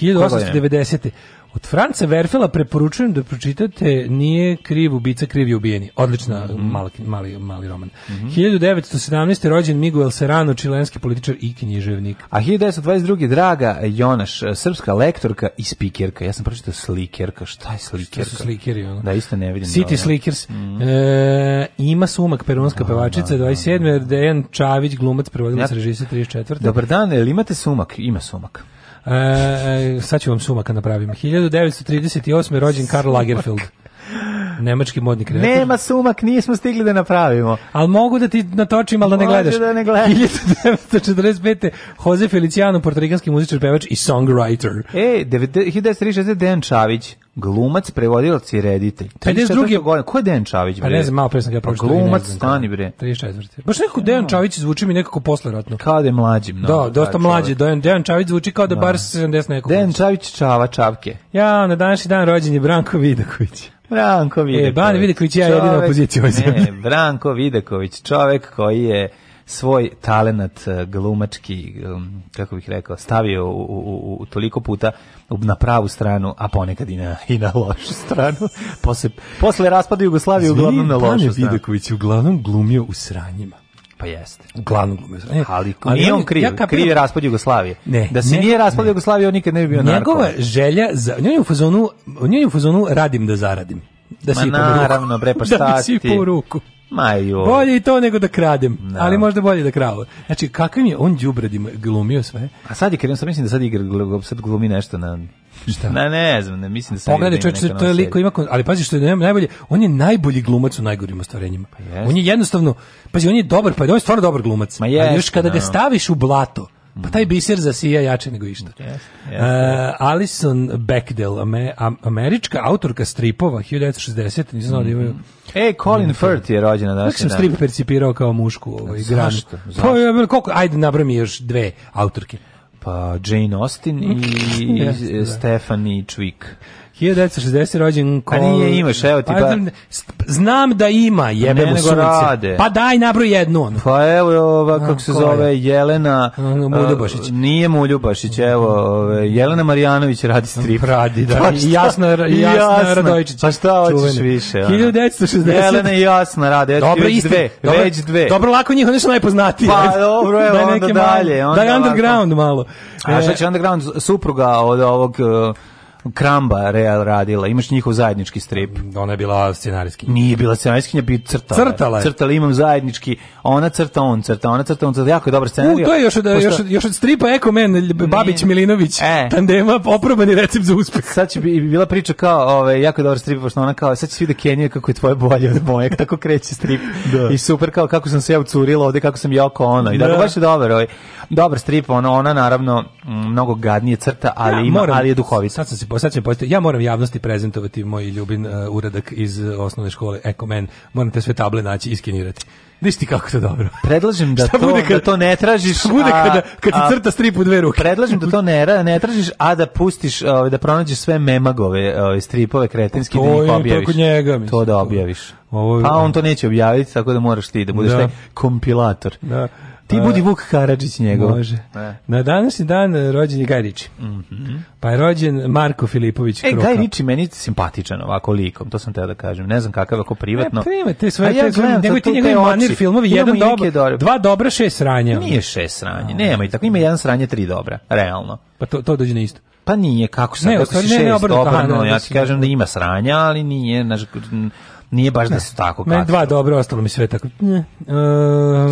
Speaker 7: godine?
Speaker 8: 1890. Od Franca Werfela preporučujem da pročitate Nije kriv ubica, kriv je ubijeni. Odlična,
Speaker 7: Mhm.
Speaker 8: mali, mali, mali roman. 1917. rođen Miguel Serrano, čilenski političar i književnik.
Speaker 7: A 1922. Draga Jonaš, e, srpska lektorka i spikerka. Ja sam pročitao slikerka. Šta je
Speaker 8: To
Speaker 7: slikerka?
Speaker 8: su slikeri, ono.
Speaker 7: Da, Mhm. isto ne vidim.
Speaker 8: City
Speaker 7: dobro.
Speaker 8: Slickers. E, ima sumak peronska pevačica 27. Dejan Čavić, glumac, prevodilac,
Speaker 7: Ja-
Speaker 8: režisa 34.
Speaker 7: Dobar dan, jel imate sumak? Ima sumak.
Speaker 8: E, e, sad ću vam sumaka napravim. 1938. rođen Karl Lagerfeld. Nemački modni kreator.
Speaker 7: Nema sumak, nismo stigli da napravimo.
Speaker 8: Ali mogu da ti natočim, ali da ne
Speaker 7: Može
Speaker 8: gledaš.
Speaker 7: da ne gledam.
Speaker 8: 1945. Jose Feliciano, portorikanski muzičar, pevač i songwriter.
Speaker 7: E, 1936. Dejan Čavić, glumac, prevodilac i reditelj.
Speaker 8: 52.
Speaker 7: godine. Ko je Dejan Čavić?
Speaker 8: Pa
Speaker 7: bre?
Speaker 8: ne znam, malo pre sam ga
Speaker 7: Pa
Speaker 8: pročitao i ne
Speaker 7: Glumac,
Speaker 8: znam.
Speaker 7: stani bre.
Speaker 8: 34. Baš nekako Dejan Čavić zvuči mi nekako posleratno.
Speaker 7: Kao da je mlađim. no,
Speaker 8: Da, dosta
Speaker 7: taj
Speaker 8: mlađe.
Speaker 7: čovek.
Speaker 8: Dejan, Dejan Čavić zvuči kao da bar 70 nekog.
Speaker 7: Dejan Čavić, Čava, Čavke.
Speaker 8: Ja, na današnji dan rođen je Branko Vidaković.
Speaker 7: Branko Vidaković.
Speaker 8: E, Bane Vidaković i ja jedina
Speaker 7: Čovek-
Speaker 8: opozicija u ovoj zemlji.
Speaker 7: Ne, Branko Vidaković, čovek koji je svoj talenat eh, glumački, um, kako bih rekao, stavio u, u, u- u toliko puta u- na pravu stranu, a ponekad i na, i na lošu stranu. Posle, posle raspada Jugoslavije uglavnom na
Speaker 8: Bane
Speaker 7: lošu stranu.
Speaker 8: Vidaković je uglavnom glumio u sranjima.
Speaker 7: Pa jeste.
Speaker 8: Uglavnom glumio u sranjima.
Speaker 7: Ali, nije on kriv,
Speaker 8: kapiram-
Speaker 7: kriv je raspad Jugoslavije.
Speaker 8: Ne,
Speaker 7: da se
Speaker 8: ne,
Speaker 7: nije raspad Jugoslavije, on nikad ne bi bio narko.
Speaker 8: Njegova želja, za, on je u fazonu, on je u fazonu radim da zaradim. Da
Speaker 7: Ma
Speaker 8: sipam
Speaker 7: naravno,
Speaker 8: ruku.
Speaker 7: bre,
Speaker 8: Da
Speaker 7: pa šta
Speaker 8: mi sipam
Speaker 7: ti?
Speaker 8: u ruku.
Speaker 7: Ma joj.
Speaker 8: Bolje i to nego da kradem, ali možda bolje da kravo. Znači, kakvim je on đubradima glumio sve?
Speaker 7: A sad je krenuo, sad mislim da sad igra, glu- sad glumi nešto na...
Speaker 8: Šta?
Speaker 7: Na ne znam, ne mislim da sad
Speaker 8: Pogledaj,
Speaker 7: igra neka
Speaker 8: čovječe,
Speaker 7: nova
Speaker 8: to je lik
Speaker 7: serija.
Speaker 8: koji ima, kon- ali pazi što je naj- najbolje, on je najbolji glumac u najgorim ostvarenjima.
Speaker 7: Pa
Speaker 8: on je jednostavno, pazi, on je dobar, pa on je stvarno dobar glumac.
Speaker 7: Ma
Speaker 8: ali
Speaker 7: jeste, Mm.
Speaker 8: još kada ga
Speaker 7: no.
Speaker 8: staviš u blato, pa taj biser zasija jače nego išta. E, Alison Bechdel, ame- am- američka autorka stripova, 1960, nisam znao da imaju...
Speaker 7: E, Colin Firth je rođena
Speaker 8: Kako
Speaker 7: danas.
Speaker 8: sam strip percipirao kao mušku ovaj,
Speaker 7: Zašto?
Speaker 8: granu.
Speaker 7: Zašto?
Speaker 8: Pa, ja, koliko, ajde, nabroj mi još dve autorke.
Speaker 7: Pa Jane Austen i, i
Speaker 8: Jeste, da.
Speaker 7: Stephanie Twig.
Speaker 8: 1960 rođen
Speaker 7: A nije, imaš, evo ti
Speaker 8: Pa,
Speaker 7: ba-
Speaker 8: ne, st- Znam da ima, jebe
Speaker 7: Ne,
Speaker 8: mu
Speaker 7: nego
Speaker 8: sunce.
Speaker 7: rade.
Speaker 8: Pa daj, nabroj jednu onu.
Speaker 7: Pa evo je ova, kako se
Speaker 8: ko
Speaker 7: zove,
Speaker 8: je?
Speaker 7: Jelena...
Speaker 8: Mm, Muljobašić.
Speaker 7: e, Nije Muljubašić, evo, ove, Jelena Marjanović radi strip.
Speaker 8: Radi, da.
Speaker 7: Pa
Speaker 8: I
Speaker 7: šta?
Speaker 8: jasna,
Speaker 7: I
Speaker 8: jasna, Radojčić.
Speaker 7: Pa šta hoćeš
Speaker 8: Čuvena.
Speaker 7: više? ono?
Speaker 8: 1960.
Speaker 7: Jelena i Jasna radi, eto ti
Speaker 8: Dobro,
Speaker 7: već
Speaker 8: isti.
Speaker 7: dve.
Speaker 8: Dobro,
Speaker 7: Već dve.
Speaker 8: Dobro, lako njih, oni su najpoznatiji.
Speaker 7: Pa,
Speaker 8: Ajde.
Speaker 7: dobro, evo,
Speaker 8: Daj
Speaker 7: onda
Speaker 8: neke malo.
Speaker 7: dalje, onda
Speaker 8: Daj
Speaker 7: ovako.
Speaker 8: underground malo.
Speaker 7: A šta
Speaker 8: E,
Speaker 7: će Underground supruga od ovog uh, Kramba Real radila? Imaš njihov zajednički strip?
Speaker 8: Ona je bila scenarijski.
Speaker 7: Nije bila scenarijskinja, bi crtala. je.
Speaker 8: Crtala je.
Speaker 7: Crtala, imam zajednički. Ona crta, on crta, ona crta, on crta. Jako je dobar
Speaker 8: U,
Speaker 7: scenarij.
Speaker 8: to je još od,
Speaker 7: Pošto-
Speaker 8: još od, još od stripa Eko Man, Lj- Babić
Speaker 7: Nije.
Speaker 8: Milinović,
Speaker 7: E.
Speaker 8: tandema, oprobani recept za uspeh.
Speaker 7: Sad će bi, bila priča kao, ove, jako je dobar strip, pošto ona kao, sad će svi da kenjuje kako je tvoje bolje od moje, tako kreće strip. I super kao kako sam se ja ucurila ovde, kako sam ja oko ono. I da,
Speaker 8: Da.
Speaker 7: baš je dobar, ovaj, dobar strip, ono, ona naravno m, mnogo gadnije crta, ali, ima, ali je duhovita.
Speaker 8: Sad sam se, po- sad sam se postavio, ja moram javnosti prezentovati moj ljubin uh, uradak iz uh, osnovne škole Ekomen. Moram te sve table naći i skenirati. Viš ti kako to dobro.
Speaker 7: Predlažem da
Speaker 8: Šta
Speaker 7: to,
Speaker 8: bude
Speaker 7: da
Speaker 8: kad-
Speaker 7: to ne tražiš.
Speaker 8: Šta bude
Speaker 7: a-
Speaker 8: kada, kad
Speaker 7: a-
Speaker 8: ti crta strip u dve ruke?
Speaker 7: Predlažem da to ne, ra- ne tražiš, a da pustiš, ovaj, da pronađeš sve memagove, ovaj, stripove kretenski,
Speaker 8: Pa To
Speaker 7: da
Speaker 8: je-
Speaker 7: ih
Speaker 8: to je
Speaker 7: objaviš.
Speaker 8: kod njega, mislim.
Speaker 7: To da objaviš.
Speaker 8: Ovo je-
Speaker 7: Pa on to neće objaviti, tako da moraš ti da budeš
Speaker 8: Da.
Speaker 7: taj kompilator.
Speaker 8: Da.
Speaker 7: Ti budi Vuk Karadžić njegov. E.
Speaker 8: Može. Na današnji dan e, rođen je Gaj Riči. Pa je rođen Marko Filipović
Speaker 7: Mhm. E,
Speaker 8: Kruka.
Speaker 7: Gaj Riči meni je simpatičan ovako likom, to sam teo da kažem. Ne znam kakav ako privatno.
Speaker 8: E, prima, te
Speaker 7: A
Speaker 8: svoje,
Speaker 7: ja
Speaker 8: te svoje,
Speaker 7: gledam
Speaker 8: nego
Speaker 7: sad
Speaker 8: ti
Speaker 7: tu
Speaker 8: njegovi
Speaker 7: te
Speaker 8: manir
Speaker 7: oči.
Speaker 8: filmovi,
Speaker 7: Imamo
Speaker 8: jedan
Speaker 7: i
Speaker 8: dobar,
Speaker 7: neke dobre.
Speaker 8: dva dobra, šest sranja.
Speaker 7: Nije šest sranje, nema i tako. Ima jedan sranje, tri dobra, realno.
Speaker 8: Pa to, to dođe na isto.
Speaker 7: Pa nije, kako sam
Speaker 8: Ne, u
Speaker 7: ne, rekao,
Speaker 8: stvari,
Speaker 7: si
Speaker 8: ne, ne,
Speaker 7: šest,
Speaker 8: obrnuto, aha,
Speaker 7: obrno,
Speaker 8: ne,
Speaker 7: ja
Speaker 8: mislim.
Speaker 7: ti kažem da ima sranja, ali nije, znaš, nije baš da su tako
Speaker 8: Meni
Speaker 7: kakti.
Speaker 8: dva dobro, ostalo mi sve tako. Ne.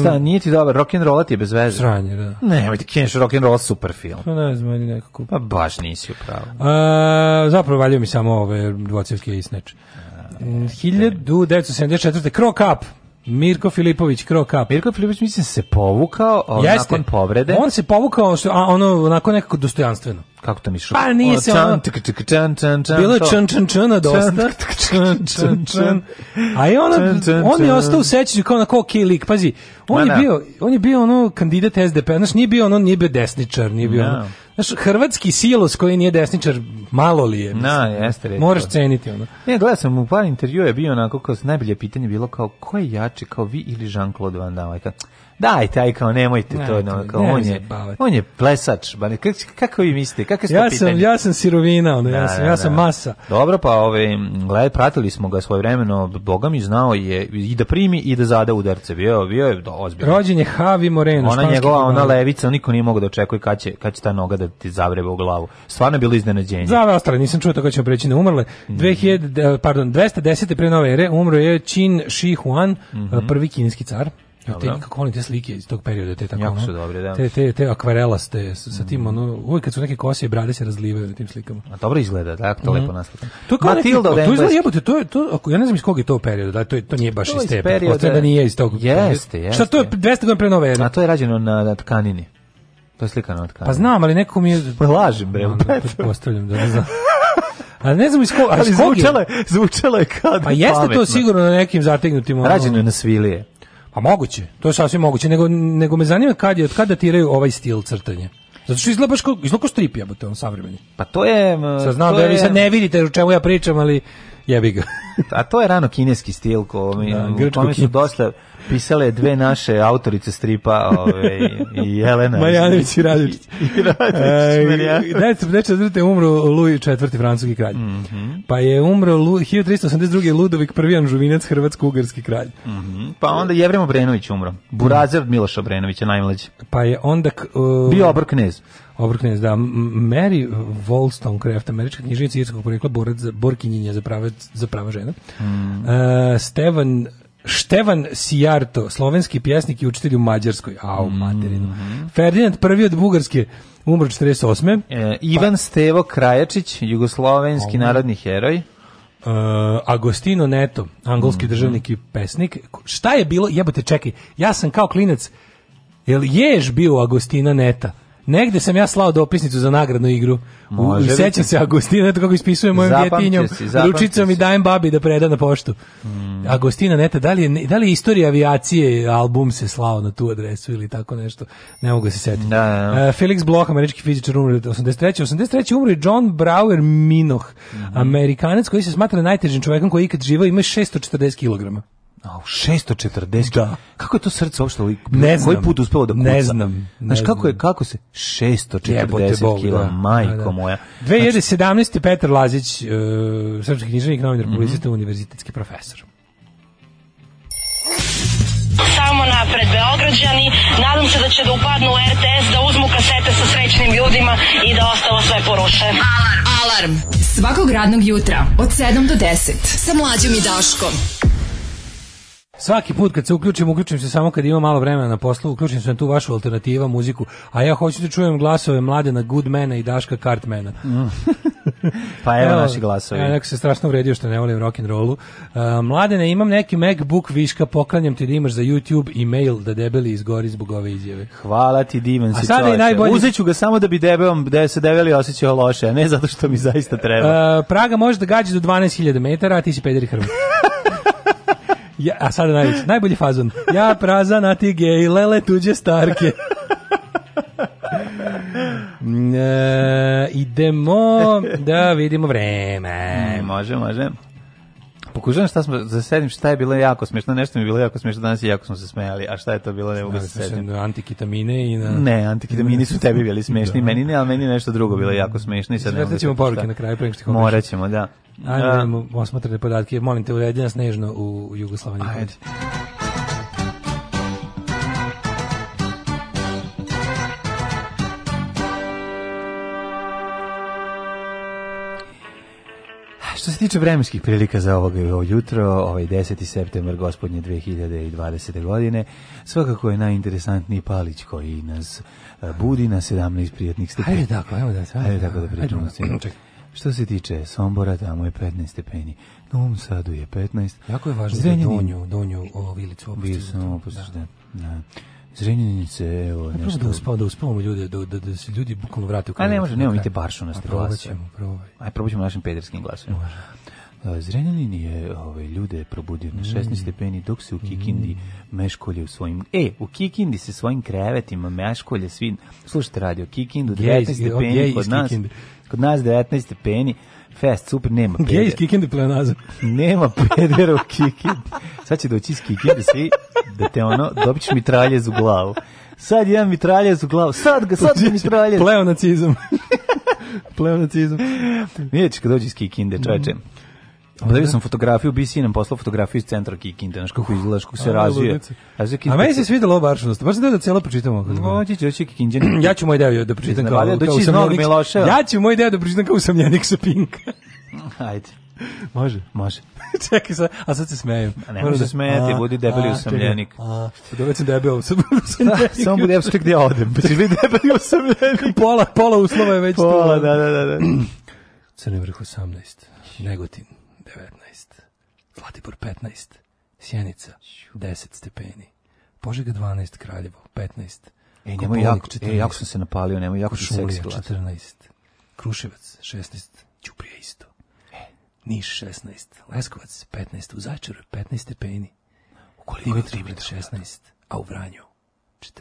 Speaker 7: Šta,
Speaker 8: Uh,
Speaker 7: nije ti dobar, rock'n'rolla ti je bez veze.
Speaker 8: sranje, da.
Speaker 7: Ne, ovaj ti kineš rock'n'roll super film.
Speaker 8: Pa ne znam, meni nekako.
Speaker 7: Pa baš nisi upravo.
Speaker 8: A, Pa, zapravo valjaju mi samo ove dvocevke i sneč. Mm, 1974. Krok up. Mirko Filipović, Krok up.
Speaker 7: Mirko Filipović mislim se povukao o,
Speaker 8: Jeste.
Speaker 7: nakon povrede.
Speaker 8: On se povukao, što- a ono, onako nekako dostojanstveno.
Speaker 7: Kako to mi šlo?
Speaker 8: Pa nije se ono- Bilo je čan čan čana dosta.
Speaker 7: Čan, čan, čan.
Speaker 8: A i ono,
Speaker 7: Čan, čan,
Speaker 8: on je
Speaker 7: čan.
Speaker 8: ostao u sećanju kao onako okej lik. Pazi, on
Speaker 7: Ma
Speaker 8: je
Speaker 7: da.
Speaker 8: bio, on je bio ono kandidat SDP, znaš, nije bio ono, nije bio desničar, nije bio ono. Znaš, hrvatski silos koji nije desničar, malo li je. mislim.
Speaker 7: Na, jeste rekao.
Speaker 8: Moraš ceniti ono.
Speaker 7: Ne, gledao sam u par intervjua je bio onako kao najbolje pitanje bilo kao ko je jači kao vi ili Jean-Claude Van Damme. Kao, Dajte, aj kao nemojte to,
Speaker 8: Nemojte,
Speaker 7: ono, kao,
Speaker 8: nemoj
Speaker 7: on je,
Speaker 8: zajebavati.
Speaker 7: on je plesač, ba ne, kako, kako vi mislite, kakve ste
Speaker 8: Ja sam,
Speaker 7: pitanje?
Speaker 8: ja sam sirovina, ono, ja
Speaker 7: Da,
Speaker 8: sam,
Speaker 7: da,
Speaker 8: ja
Speaker 7: da.
Speaker 8: sam masa.
Speaker 7: Dobro, pa ove, gledaj, pratili smo ga svoje vremeno, Boga mi znao je i da primi i da zada udarce, bio, bio je do- ozbiljno.
Speaker 8: Rođen je Javi Moreno,
Speaker 7: Ona
Speaker 8: španski
Speaker 7: njegova, ona
Speaker 8: fudbaler.
Speaker 7: levica, niko nije mogao da očekuje kad će, kad će ta noga da ti zavreba u glavu. Stvarno je bilo iznenađenje.
Speaker 8: Za ove ostale nisam čuo, tako ćemo preći na umrle.
Speaker 7: Mhm.
Speaker 8: 2000, eh, pardon, 210. pre nove ere umro je Qin Shi Huang,
Speaker 7: Mhm.
Speaker 8: eh, prvi kineski car. Ja te kako volim te slike iz tog perioda, te tako.
Speaker 7: Jako
Speaker 8: ono,
Speaker 7: su dobre, da. Mhm.
Speaker 8: Te, te, te akvarelaste, sa sa tim, ono, uvijek kad su neke kose i brade se razlivaju na tim slikama.
Speaker 7: A dobro izgleda, da, to lepo naslika.
Speaker 8: Mhm. To je kao neki-
Speaker 7: Matilda od
Speaker 8: to izgleda
Speaker 7: Engleske.
Speaker 8: jebote, to je to ako ja ne znam iz kog je to perioda, da to je, to nije baš
Speaker 7: To
Speaker 8: iz
Speaker 7: iz
Speaker 8: te
Speaker 7: perioda-
Speaker 8: perioda, da nije iz tog.
Speaker 7: Jeste, jeste.
Speaker 8: Šta to je 200 godina pre nove ere?
Speaker 7: A to je rađeno na, na tkanini. To je slika na tkanini.
Speaker 8: Pa znam, ali neko mi je
Speaker 7: Pa lažem, bre,
Speaker 8: Onda pretpostavljam da ne znam. A ne znam iz kog, ali pa iz kog je?
Speaker 7: je, zvučalo je kao
Speaker 8: Pa jeste to sigurno na nekim zategnutim ono-
Speaker 7: Rađeno je na svilije.
Speaker 8: Pa moguće, to je sasvim moguće, nego, nego me zanima kad je, od kada datiraju ovaj stil crtanja. Zato što izgleda baš kao, izgleda kao strip jebote, on savremeni.
Speaker 7: Pa to je... m,
Speaker 8: Sad znam
Speaker 7: to
Speaker 8: da vi
Speaker 7: je-
Speaker 8: sad ne vidite o čemu ja pričam, ali jebi ga.
Speaker 7: A to je rano kineski stil ko mi,
Speaker 8: Da,
Speaker 7: u kome su
Speaker 8: grčko-kineski.
Speaker 7: dosta pisale dve naše autorice stripa ove, i Jelena.
Speaker 8: Marjanović i Radović.
Speaker 7: I Radović, Marjanović.
Speaker 8: Dajte, neče, je umro Luj IV. francuski kralj.
Speaker 7: Mhm.
Speaker 8: Pa je umro Lu, 1382. Ludovik I. Anžuvinac, hrvatsko-ugarski kralj.
Speaker 7: Pa onda Jevremo Brenović umro. Burazer od Miloša Brenovića, najmlađi.
Speaker 8: Pa je onda... k- uh,
Speaker 7: Bio obrknez.
Speaker 8: Obrknez, da. M- Mary Wollstonecraft, američka knjižnica irskog porekla, borac za, borkinjenja za prava, za prava žena. E, Stevan Števan Sijarto, slovenski pjesnik i učitelj u Mađarskoj. Au, materinu. Ferdinand prvi od Bugarske, umro 48.
Speaker 7: E, Ivan Stevo Krajačić, jugoslovenski narodni heroj.
Speaker 8: Uh, Agostino Neto,
Speaker 7: Mhm.
Speaker 8: angolski državnik i pesnik. Šta je bilo? Jebote, čekaj. Ja sam kao klinac, jel ješ bio u Agostina Neta? Negde sam ja slao dopisnicu za nagradnu igru. U, u-
Speaker 7: Može biti.
Speaker 8: sećam se Agostina Neta kako ispisuje mojim
Speaker 7: Zapamtio
Speaker 8: djetinjom,
Speaker 7: si, zapamtio
Speaker 8: ručicom
Speaker 7: si.
Speaker 8: i dajem babi da preda na poštu.
Speaker 7: Mm.
Speaker 8: Agostina Neta, da li, je, da li je istorija avijacije album se slao na tu adresu ili tako nešto? Ne mogu se setiti.
Speaker 7: Da, da, da.
Speaker 8: E, Felix Bloch, američki fizičar, umro 83. 83. umro i John Brower Minoh,
Speaker 7: Mhm.
Speaker 8: amerikanac koji se smatra najtežim čovjekom koji je ikad živao, ima 640 kg.
Speaker 7: Au, 640.
Speaker 8: Da.
Speaker 7: Kako je to srce uopšte uvijek-
Speaker 8: Ne znam.
Speaker 7: Koji put uspelo da kuca?
Speaker 8: Ne znam,
Speaker 7: Znaš
Speaker 8: ne
Speaker 7: kako je
Speaker 8: znam.
Speaker 7: kako se 640 kila, majko moja.
Speaker 8: 2017. Petar Lazić, e, srpski književnik, novinar, publicista,
Speaker 7: Mhm.
Speaker 8: univerzitetski profesor.
Speaker 3: Samo napred Beograđani, nadam se da će da upadnu u RTS, da uzmu kasete sa srećnim ljudima i da ostalo sve poruše.
Speaker 5: Alarm. Alarm. Svakog radnog jutra od 7 do 10 sa mlađom i Daškom.
Speaker 8: Svaki put kad se uključim, uključim se samo kad imam malo vremena na poslu, uključim se na tu vašu alternativa muziku, a ja hoću da čujem glasove Mladena Goodmana i Daška Cartmana.
Speaker 7: Pa evo, naši glasovi.
Speaker 8: Ja e, neko se strašno uvredio što ne volim rock and rollu. Uh, mladene, imam neki MacBook viška, poklanjam ti da imaš za YouTube i mail da debeli izgori zbog ove izjave.
Speaker 7: Hvala ti, divan
Speaker 8: A
Speaker 7: si
Speaker 8: sada je
Speaker 7: čoveče.
Speaker 8: najbolji-
Speaker 7: Uzet ću ga samo da bi debelom, da se debeli osjećao loše, a ne zato što mi zaista treba.
Speaker 8: Uh, Praga može da gađa do 12.000 metara, a ti si pederi hrvat. Ja, a sada najveći, najbolji fazon. Ja prazan, a ti gej, lele tuđe starke. Mm, E, idemo da vidimo vreme.
Speaker 7: E, može, može. Pokušavam šta smo, za sedim šta je bilo jako smiješno, nešto mi je bilo jako smiješno, danas i jako smo se smijali, a šta je to bilo, ne mogu se sedim.
Speaker 8: Na Antikitamine i na...
Speaker 7: Ne, antikitamini su tebi bili smešni, meni ne, ali meni je nešto drugo bilo jako smešno. i sad ne mogu
Speaker 8: Izvrtat
Speaker 7: da
Speaker 8: ćemo
Speaker 7: setim
Speaker 8: poruke
Speaker 7: šta.
Speaker 8: na kraju, pa pre nego što ih obrišemo.
Speaker 7: Morat ćemo, da.
Speaker 8: Ajmo
Speaker 7: A,
Speaker 8: da imamo osmotrene podatke. Molim te, uredi nas nežno u Jugoslaviji.
Speaker 7: Ajde. Što se tiče vremenskih prilika za ovog ovo jutro, ovaj 10. september gospodnje 2020. godine, svakako je najinteresantniji palić koji nas e, budi na 17 prijatnih stepeni.
Speaker 8: Ajde tako, ajmo da se-
Speaker 7: Ajde tako da pričamo.
Speaker 8: Ajde,
Speaker 7: o svemu.
Speaker 8: čekaj.
Speaker 7: Što se tiče Sombora, tamo je 15 stepeni. Na Novom Sadu je 15.
Speaker 8: Jako je važno za
Speaker 7: Zrenjanin-
Speaker 8: donju,
Speaker 7: ono,
Speaker 8: donju o, vilicu opustiti.
Speaker 7: Bio sam opustiš, da. da. Zrenjanin se, evo,
Speaker 8: Prvo
Speaker 7: nešto...
Speaker 8: da uspavamo, da uspavamo ljude, da, da, da se ljudi bukvalno vrate u
Speaker 7: A ne
Speaker 8: krevet.
Speaker 7: može, nemamo mi te baršu na
Speaker 8: A
Speaker 7: strelasu.
Speaker 8: Probat ćemo, probaj.
Speaker 7: Aj, probat ćemo našim pederskim glasovima. A, Zrenjanin je ove, ljude probudio na
Speaker 8: Mm.
Speaker 7: 16 stepeni, dok se u Kikindi meškolje u svojim... E, u Kikindi se svojim krevetima meškolje svi... Slušajte radio, Kikindu,
Speaker 8: Gej iz-
Speaker 7: 19
Speaker 8: o, gej
Speaker 7: stepeni
Speaker 8: iz
Speaker 7: kod nas.
Speaker 8: Kikinde.
Speaker 7: Kod nas 19 stepeni, fest, super, nema
Speaker 8: Gej iz
Speaker 7: pedera.
Speaker 8: Kikinde pleonazam.
Speaker 7: Nema pedera u Kikindi. Sad će doći iz Kikinde svi da te ono, dobit ćeš mitraljez u glavu. Sad jedan mitraljez u glavu. Sad ga, sad ga mitraljez.
Speaker 8: Pleonacizam. Pleonacizam.
Speaker 7: Vidjet ćeš kad dođe iz Kikinde, čoveče. Obdavio sam fotografiju, BC nam poslao fotografiju iz centra Kikinde, znaš kako izgledaš, kako se
Speaker 8: A,
Speaker 7: razvije.
Speaker 8: ludnice.
Speaker 7: Razvije
Speaker 8: A
Speaker 7: Kikinda.
Speaker 8: meni se svidelo ovo baršnost. Baš sam teo da cijelo pročitam ovako.
Speaker 7: Doći će, doći Kikinđan.
Speaker 8: Ja ću moj deo da pročitam kao,
Speaker 7: Znavadio, doći
Speaker 8: kao
Speaker 7: iz Novog
Speaker 8: usamljenik.
Speaker 7: Miloševa.
Speaker 8: Ja ću moj deo da pročitam kao usamljenik sa Pinka.
Speaker 7: Ajde,
Speaker 8: Može.
Speaker 7: može.
Speaker 8: Čekaj sad, a sad se smejem.
Speaker 7: A nemoj
Speaker 8: Moram
Speaker 7: se
Speaker 8: da-
Speaker 7: smejati,
Speaker 8: A,
Speaker 7: budi debeli
Speaker 8: a,
Speaker 7: usamljenik.
Speaker 8: čekaj, A, da već sam debel, sad budem usamljenik.
Speaker 7: Samo bude, evo čekaj gdje ja odem, pa ćeš biti debeli usamljeni.
Speaker 8: Pola, pola uslova je već tu.
Speaker 7: Pola, E, da, da, da. da.
Speaker 8: Crni vrh 18, Negotin 19, Zlatibor 15, Sjenica 10 stepeni, Požega 12, Kraljevo 15,
Speaker 7: E, nemoj
Speaker 8: Koponik
Speaker 7: jako,
Speaker 8: 14,
Speaker 7: e, jako sam se napalio, nemoj jako sam
Speaker 8: Kuršumlija
Speaker 7: seksi glas.
Speaker 8: 14, Kruševac 16, Ćuprija isto,
Speaker 7: E.
Speaker 8: Niš 16, Leskovac 15, u Zajčaru je 15 stepeni, Dimitrovgrad 16, a u Vranju 14.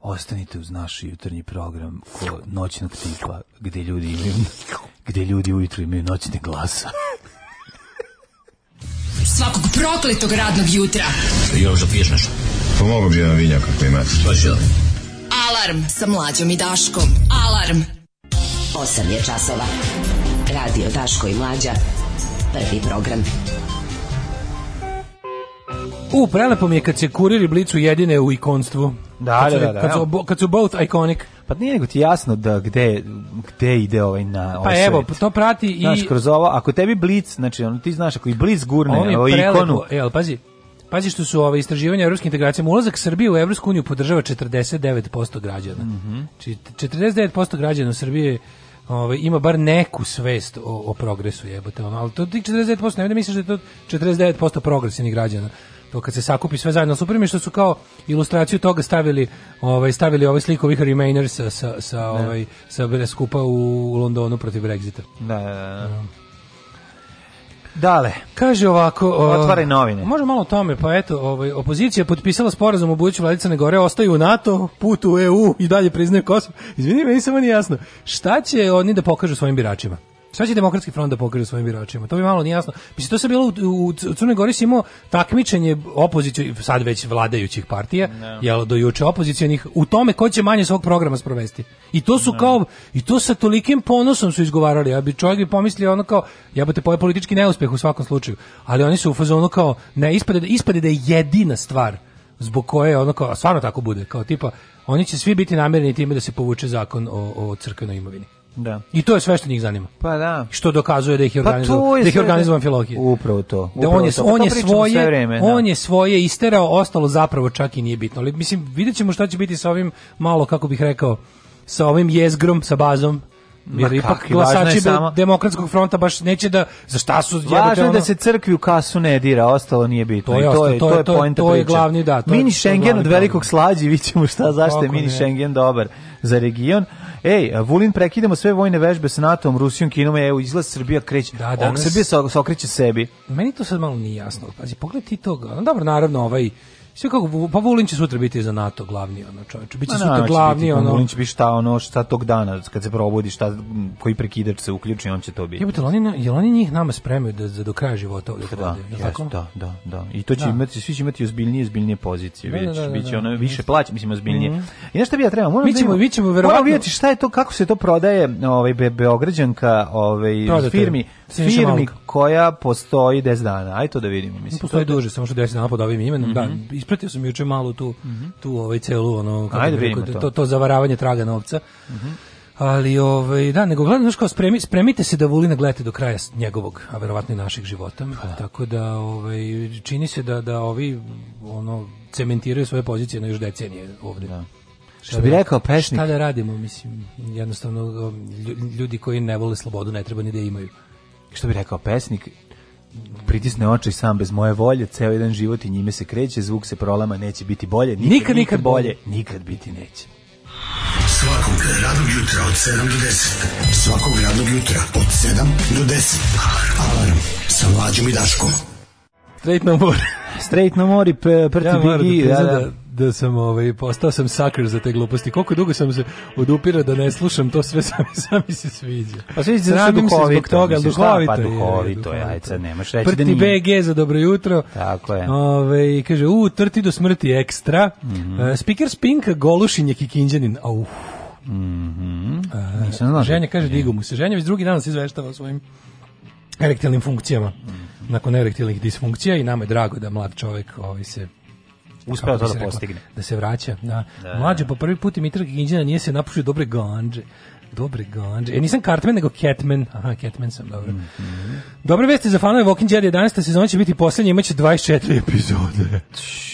Speaker 7: Ostanite uz naš jutarnji program ko noćnog tipa, gdje ljudi imaju, gdje ljudi ujutro imaju noćne glasa.
Speaker 5: Svakog prokletog radnog jutra.
Speaker 6: Pomogu Pa bi jedan vinjak ako imate.
Speaker 5: Alarm sa mlađom i Daškom. Alarm.
Speaker 10: 8 je časova. Radio Daško i Mlađa. Prvi program.
Speaker 8: U, prelepo mi je kad se kurir i blicu jedine u ikonstvu.
Speaker 7: Da,
Speaker 8: Kad su-
Speaker 7: da, da, da,
Speaker 8: Kad su,
Speaker 7: evo.
Speaker 8: obo- kad su both iconic.
Speaker 7: Pa nije nego ti jasno da gde, gde ide ovaj na ovaj
Speaker 8: Pa evo,
Speaker 7: svet.
Speaker 8: to prati i...
Speaker 7: Znaš, kroz ovo, ako tebi blic, znači ono, ti znaš, ako i blic
Speaker 8: Ovo mi
Speaker 7: gurne
Speaker 8: je
Speaker 7: ovo
Speaker 8: prelepo.
Speaker 7: ikonu,
Speaker 8: E, ali pazi, pazi što su ove istraživanja evropskih integracija. Ulazak Srbije u Evropsku uniju podržava 49% građana. Znači, 49% građana u Srbiji ovaj, ima bar neku svest o, o progresu jebote. Ono. Ali to tih 49%, ne vidim, misliš da je to 49% progresivnih građana. To kad se sakupi sve zajedno, super mi je što su kao ilustraciju toga stavili ovaj stavili ovaj sliku ovih Remainers sa sa sa ovaj sa skupa u Londonu protiv Brexita.
Speaker 7: da, da, da. da. Dale,
Speaker 8: Kaže ovako... o-
Speaker 7: Otvaraj novine.
Speaker 8: Može malo o tome, pa eto, ovaj, opozicija je potpisala sporazum o budućoj vladi Crne Gore, ostaju u NATO, put u EU i dalje priznaju Kosovo. Izvini, meni samo nije jasno. Šta će oni da pokažu svojim biračima? Šta će demokratski front da pokaže svojim biračima? To bi malo nije jasno. Mislim, to se bilo u, u, u Crnoj Gori si imao takmičenje opoziciju, sad već vladajućih partija, jel, do juče opozicijonih, u tome ko će manje svog programa sprovesti. I to su kao, i to sa tolikim ponosom su izgovarali. Ja bi čovjek bi pomislio ono kao, ja bi te pojel politički neuspeh u svakom slučaju. Ali oni su u fazonu kao, ne, ispade, da- ispade da je jedina stvar zbog koje je ono kao, a stvarno tako bude, kao tipa, oni će svi biti namireni time da se povuče zakon o, o crkvenoj imovini.
Speaker 7: da.
Speaker 8: I to je sve što njih zanima.
Speaker 7: Pa da. Pa
Speaker 8: Što dokazuje da ih je organizovan, da ih je
Speaker 7: sve-
Speaker 8: organizovan Filohije.
Speaker 7: Upravo to.
Speaker 8: Da
Speaker 7: upravo
Speaker 8: on je,
Speaker 7: to. Pa
Speaker 8: on
Speaker 7: to
Speaker 8: je
Speaker 7: pričamo sve
Speaker 8: svoje,
Speaker 7: vreme, da.
Speaker 8: on je svoje isterao, ostalo zapravo čak i nije bitno. Ali mislim vidjet ćemo šta će biti sa ovim malo kako bih rekao sa ovim jezgrom sa bazom. Jer
Speaker 7: Ma
Speaker 8: ipak
Speaker 7: kakvi, važno
Speaker 8: glasači
Speaker 7: je samo-
Speaker 8: be- demokratskog fronta baš neće da za šta su jebote
Speaker 7: Važno je
Speaker 8: ono-
Speaker 7: da se crkvi u kasu ne dira, ostalo nije bitno.
Speaker 8: To je
Speaker 7: I
Speaker 8: ostalo, to je- to je-
Speaker 7: poenta
Speaker 8: to je
Speaker 7: priče.
Speaker 8: glavni, da, to je- to
Speaker 7: mini
Speaker 8: je
Speaker 7: Schengen
Speaker 8: glavni
Speaker 7: od velikog
Speaker 8: problem.
Speaker 7: slađi, vidjet ćemo šta, zašto je
Speaker 8: Kako
Speaker 7: mini
Speaker 8: ne.
Speaker 7: Schengen dobar za region. Ej, Vulin, prekidamo sve vojne vežbe sa NATO-om, Rusijom, Kinom, evo, izlaz Srbija kreće.
Speaker 8: Da,
Speaker 7: Ok,
Speaker 8: danas-
Speaker 7: Srbija se, se okreće sebi.
Speaker 8: Meni to sad malo nije jasno. Pazi, pogledaj ti toga. No, dobro, naravno, ovaj sve kako pa Vulin će sutra biti za NATO glavni ono čovjek. Biće
Speaker 7: Ma,
Speaker 8: sutra
Speaker 7: naravno će
Speaker 8: glavni
Speaker 7: biti, pa
Speaker 8: ono.
Speaker 7: Vulin će biti šta ono, šta tog dana, kad se probudi, šta, m, koji prekidač se uključi, on će to biti.
Speaker 8: Jebote, jel oni, na- jel oni njih nama spremaju da, za do kraja života ovdje
Speaker 7: Pa Da,
Speaker 8: hodaju, jel
Speaker 7: jes,
Speaker 8: tako?
Speaker 7: da, da, da. I to će
Speaker 8: Da.
Speaker 7: imati, svi će imati ozbiljnije, ozbiljnije pozicije,
Speaker 8: Da, da,
Speaker 7: vidjet ćeš,
Speaker 8: da, da,
Speaker 7: bit će
Speaker 8: da. Mhm.
Speaker 7: ono više plaća, mislim ozbiljnije. I nešto bi ja trebao, moram
Speaker 8: Mi
Speaker 7: da
Speaker 8: ćemo-
Speaker 7: imam-
Speaker 8: mi ćemo
Speaker 7: moram
Speaker 8: verovatno-
Speaker 7: vidjeti šta je to, kako se to prodaje ovaj, Be- Beograđanka ovaj,
Speaker 8: Prodate.
Speaker 7: firmi,
Speaker 8: Siniša
Speaker 7: firmi
Speaker 8: Malog.
Speaker 7: koja postoji 10 dana. Ajde to da vidimo, mislim.
Speaker 8: Postoji
Speaker 7: to-
Speaker 8: duže, samo što 10 dana pod ovim imenom.
Speaker 7: Mhm.
Speaker 8: Da, ispratio sam juče malo tu tu ovaj celu ono kako
Speaker 7: Ajde,
Speaker 8: bih rekao,
Speaker 7: vidimo to. Mhm.
Speaker 8: to to zavaravanje traga novca. Ali, ovaj, da, nego, gledam, znaš kao, spremi, spremite se da Vulina gledate do kraja s- njegovog, a verovatno i naših života.
Speaker 7: Pa
Speaker 8: Tako da, ovaj, čini se da, da ovi, ono, cementiraju svoje pozicije na još decenije ovde.
Speaker 7: Što bi rekao pesnik?
Speaker 8: Šta da radimo, mislim, jednostavno, um, lju- ljudi koji ne vole slobodu ne treba ni da je imaju.
Speaker 7: Što bi rekao pesnik? pritisne oči sam bez moje volje, ceo jedan život i njime se kreće, zvuk se prolama, neće biti bolje, nikad, nikad, bolje, nikad biti neće.
Speaker 9: Svakog radnog jutra od 7 do 10. Svakog radnog jutra od 7 do 10. Alarm sa mlađom i Daškom.
Speaker 8: Straight no more.
Speaker 7: Straight no more, prti
Speaker 8: Ja moram da
Speaker 7: bigi, da,
Speaker 8: priznam
Speaker 7: da.
Speaker 8: da, da sam ovaj, postao sam sucker za te gluposti. Koliko dugo sam se odupirao da ne slušam, to sve sam, sam mi se sviđa.
Speaker 7: Pa sviđa se da su
Speaker 8: Sramim se
Speaker 7: duhovito,
Speaker 8: zbog toga,
Speaker 7: mislim, šta?
Speaker 8: duhovito,
Speaker 7: Pa
Speaker 8: je,
Speaker 7: duhovito je, ajde sad nemaš reći
Speaker 8: Prti
Speaker 7: da nije.
Speaker 8: BG za dobro jutro.
Speaker 7: Tako je.
Speaker 8: Ove, i kaže, u, trti do smrti ekstra. Mm
Speaker 7: Mhm.
Speaker 8: -hmm. speaker Spinka, Golušin je Kikinđanin. Au,
Speaker 7: Nisam znao.
Speaker 8: Ženja kaže, digu mu se. Ženja već drugi dan nas izveštava o svojim erektilnim funkcijama.
Speaker 7: Mhm.
Speaker 8: Nakon erektilnih disfunkcija i nama je drago da mlad čovek ovaj se
Speaker 7: Uspeo
Speaker 8: kako bi
Speaker 7: to
Speaker 8: se
Speaker 7: da ono
Speaker 8: reklo,
Speaker 7: postigne.
Speaker 8: Da se vraća, da. Mlađe, po prvi put Mitra Kikinđina nije se napušio dobre ganđe. Dobre ganđe. E, nisam Cartman, nego Catman. Aha, Catman sam, dobro.
Speaker 7: Mhm.
Speaker 8: Dobre vesti za fanove Walking Dead 11. sezona će biti poslednja, imaće 24 epizode.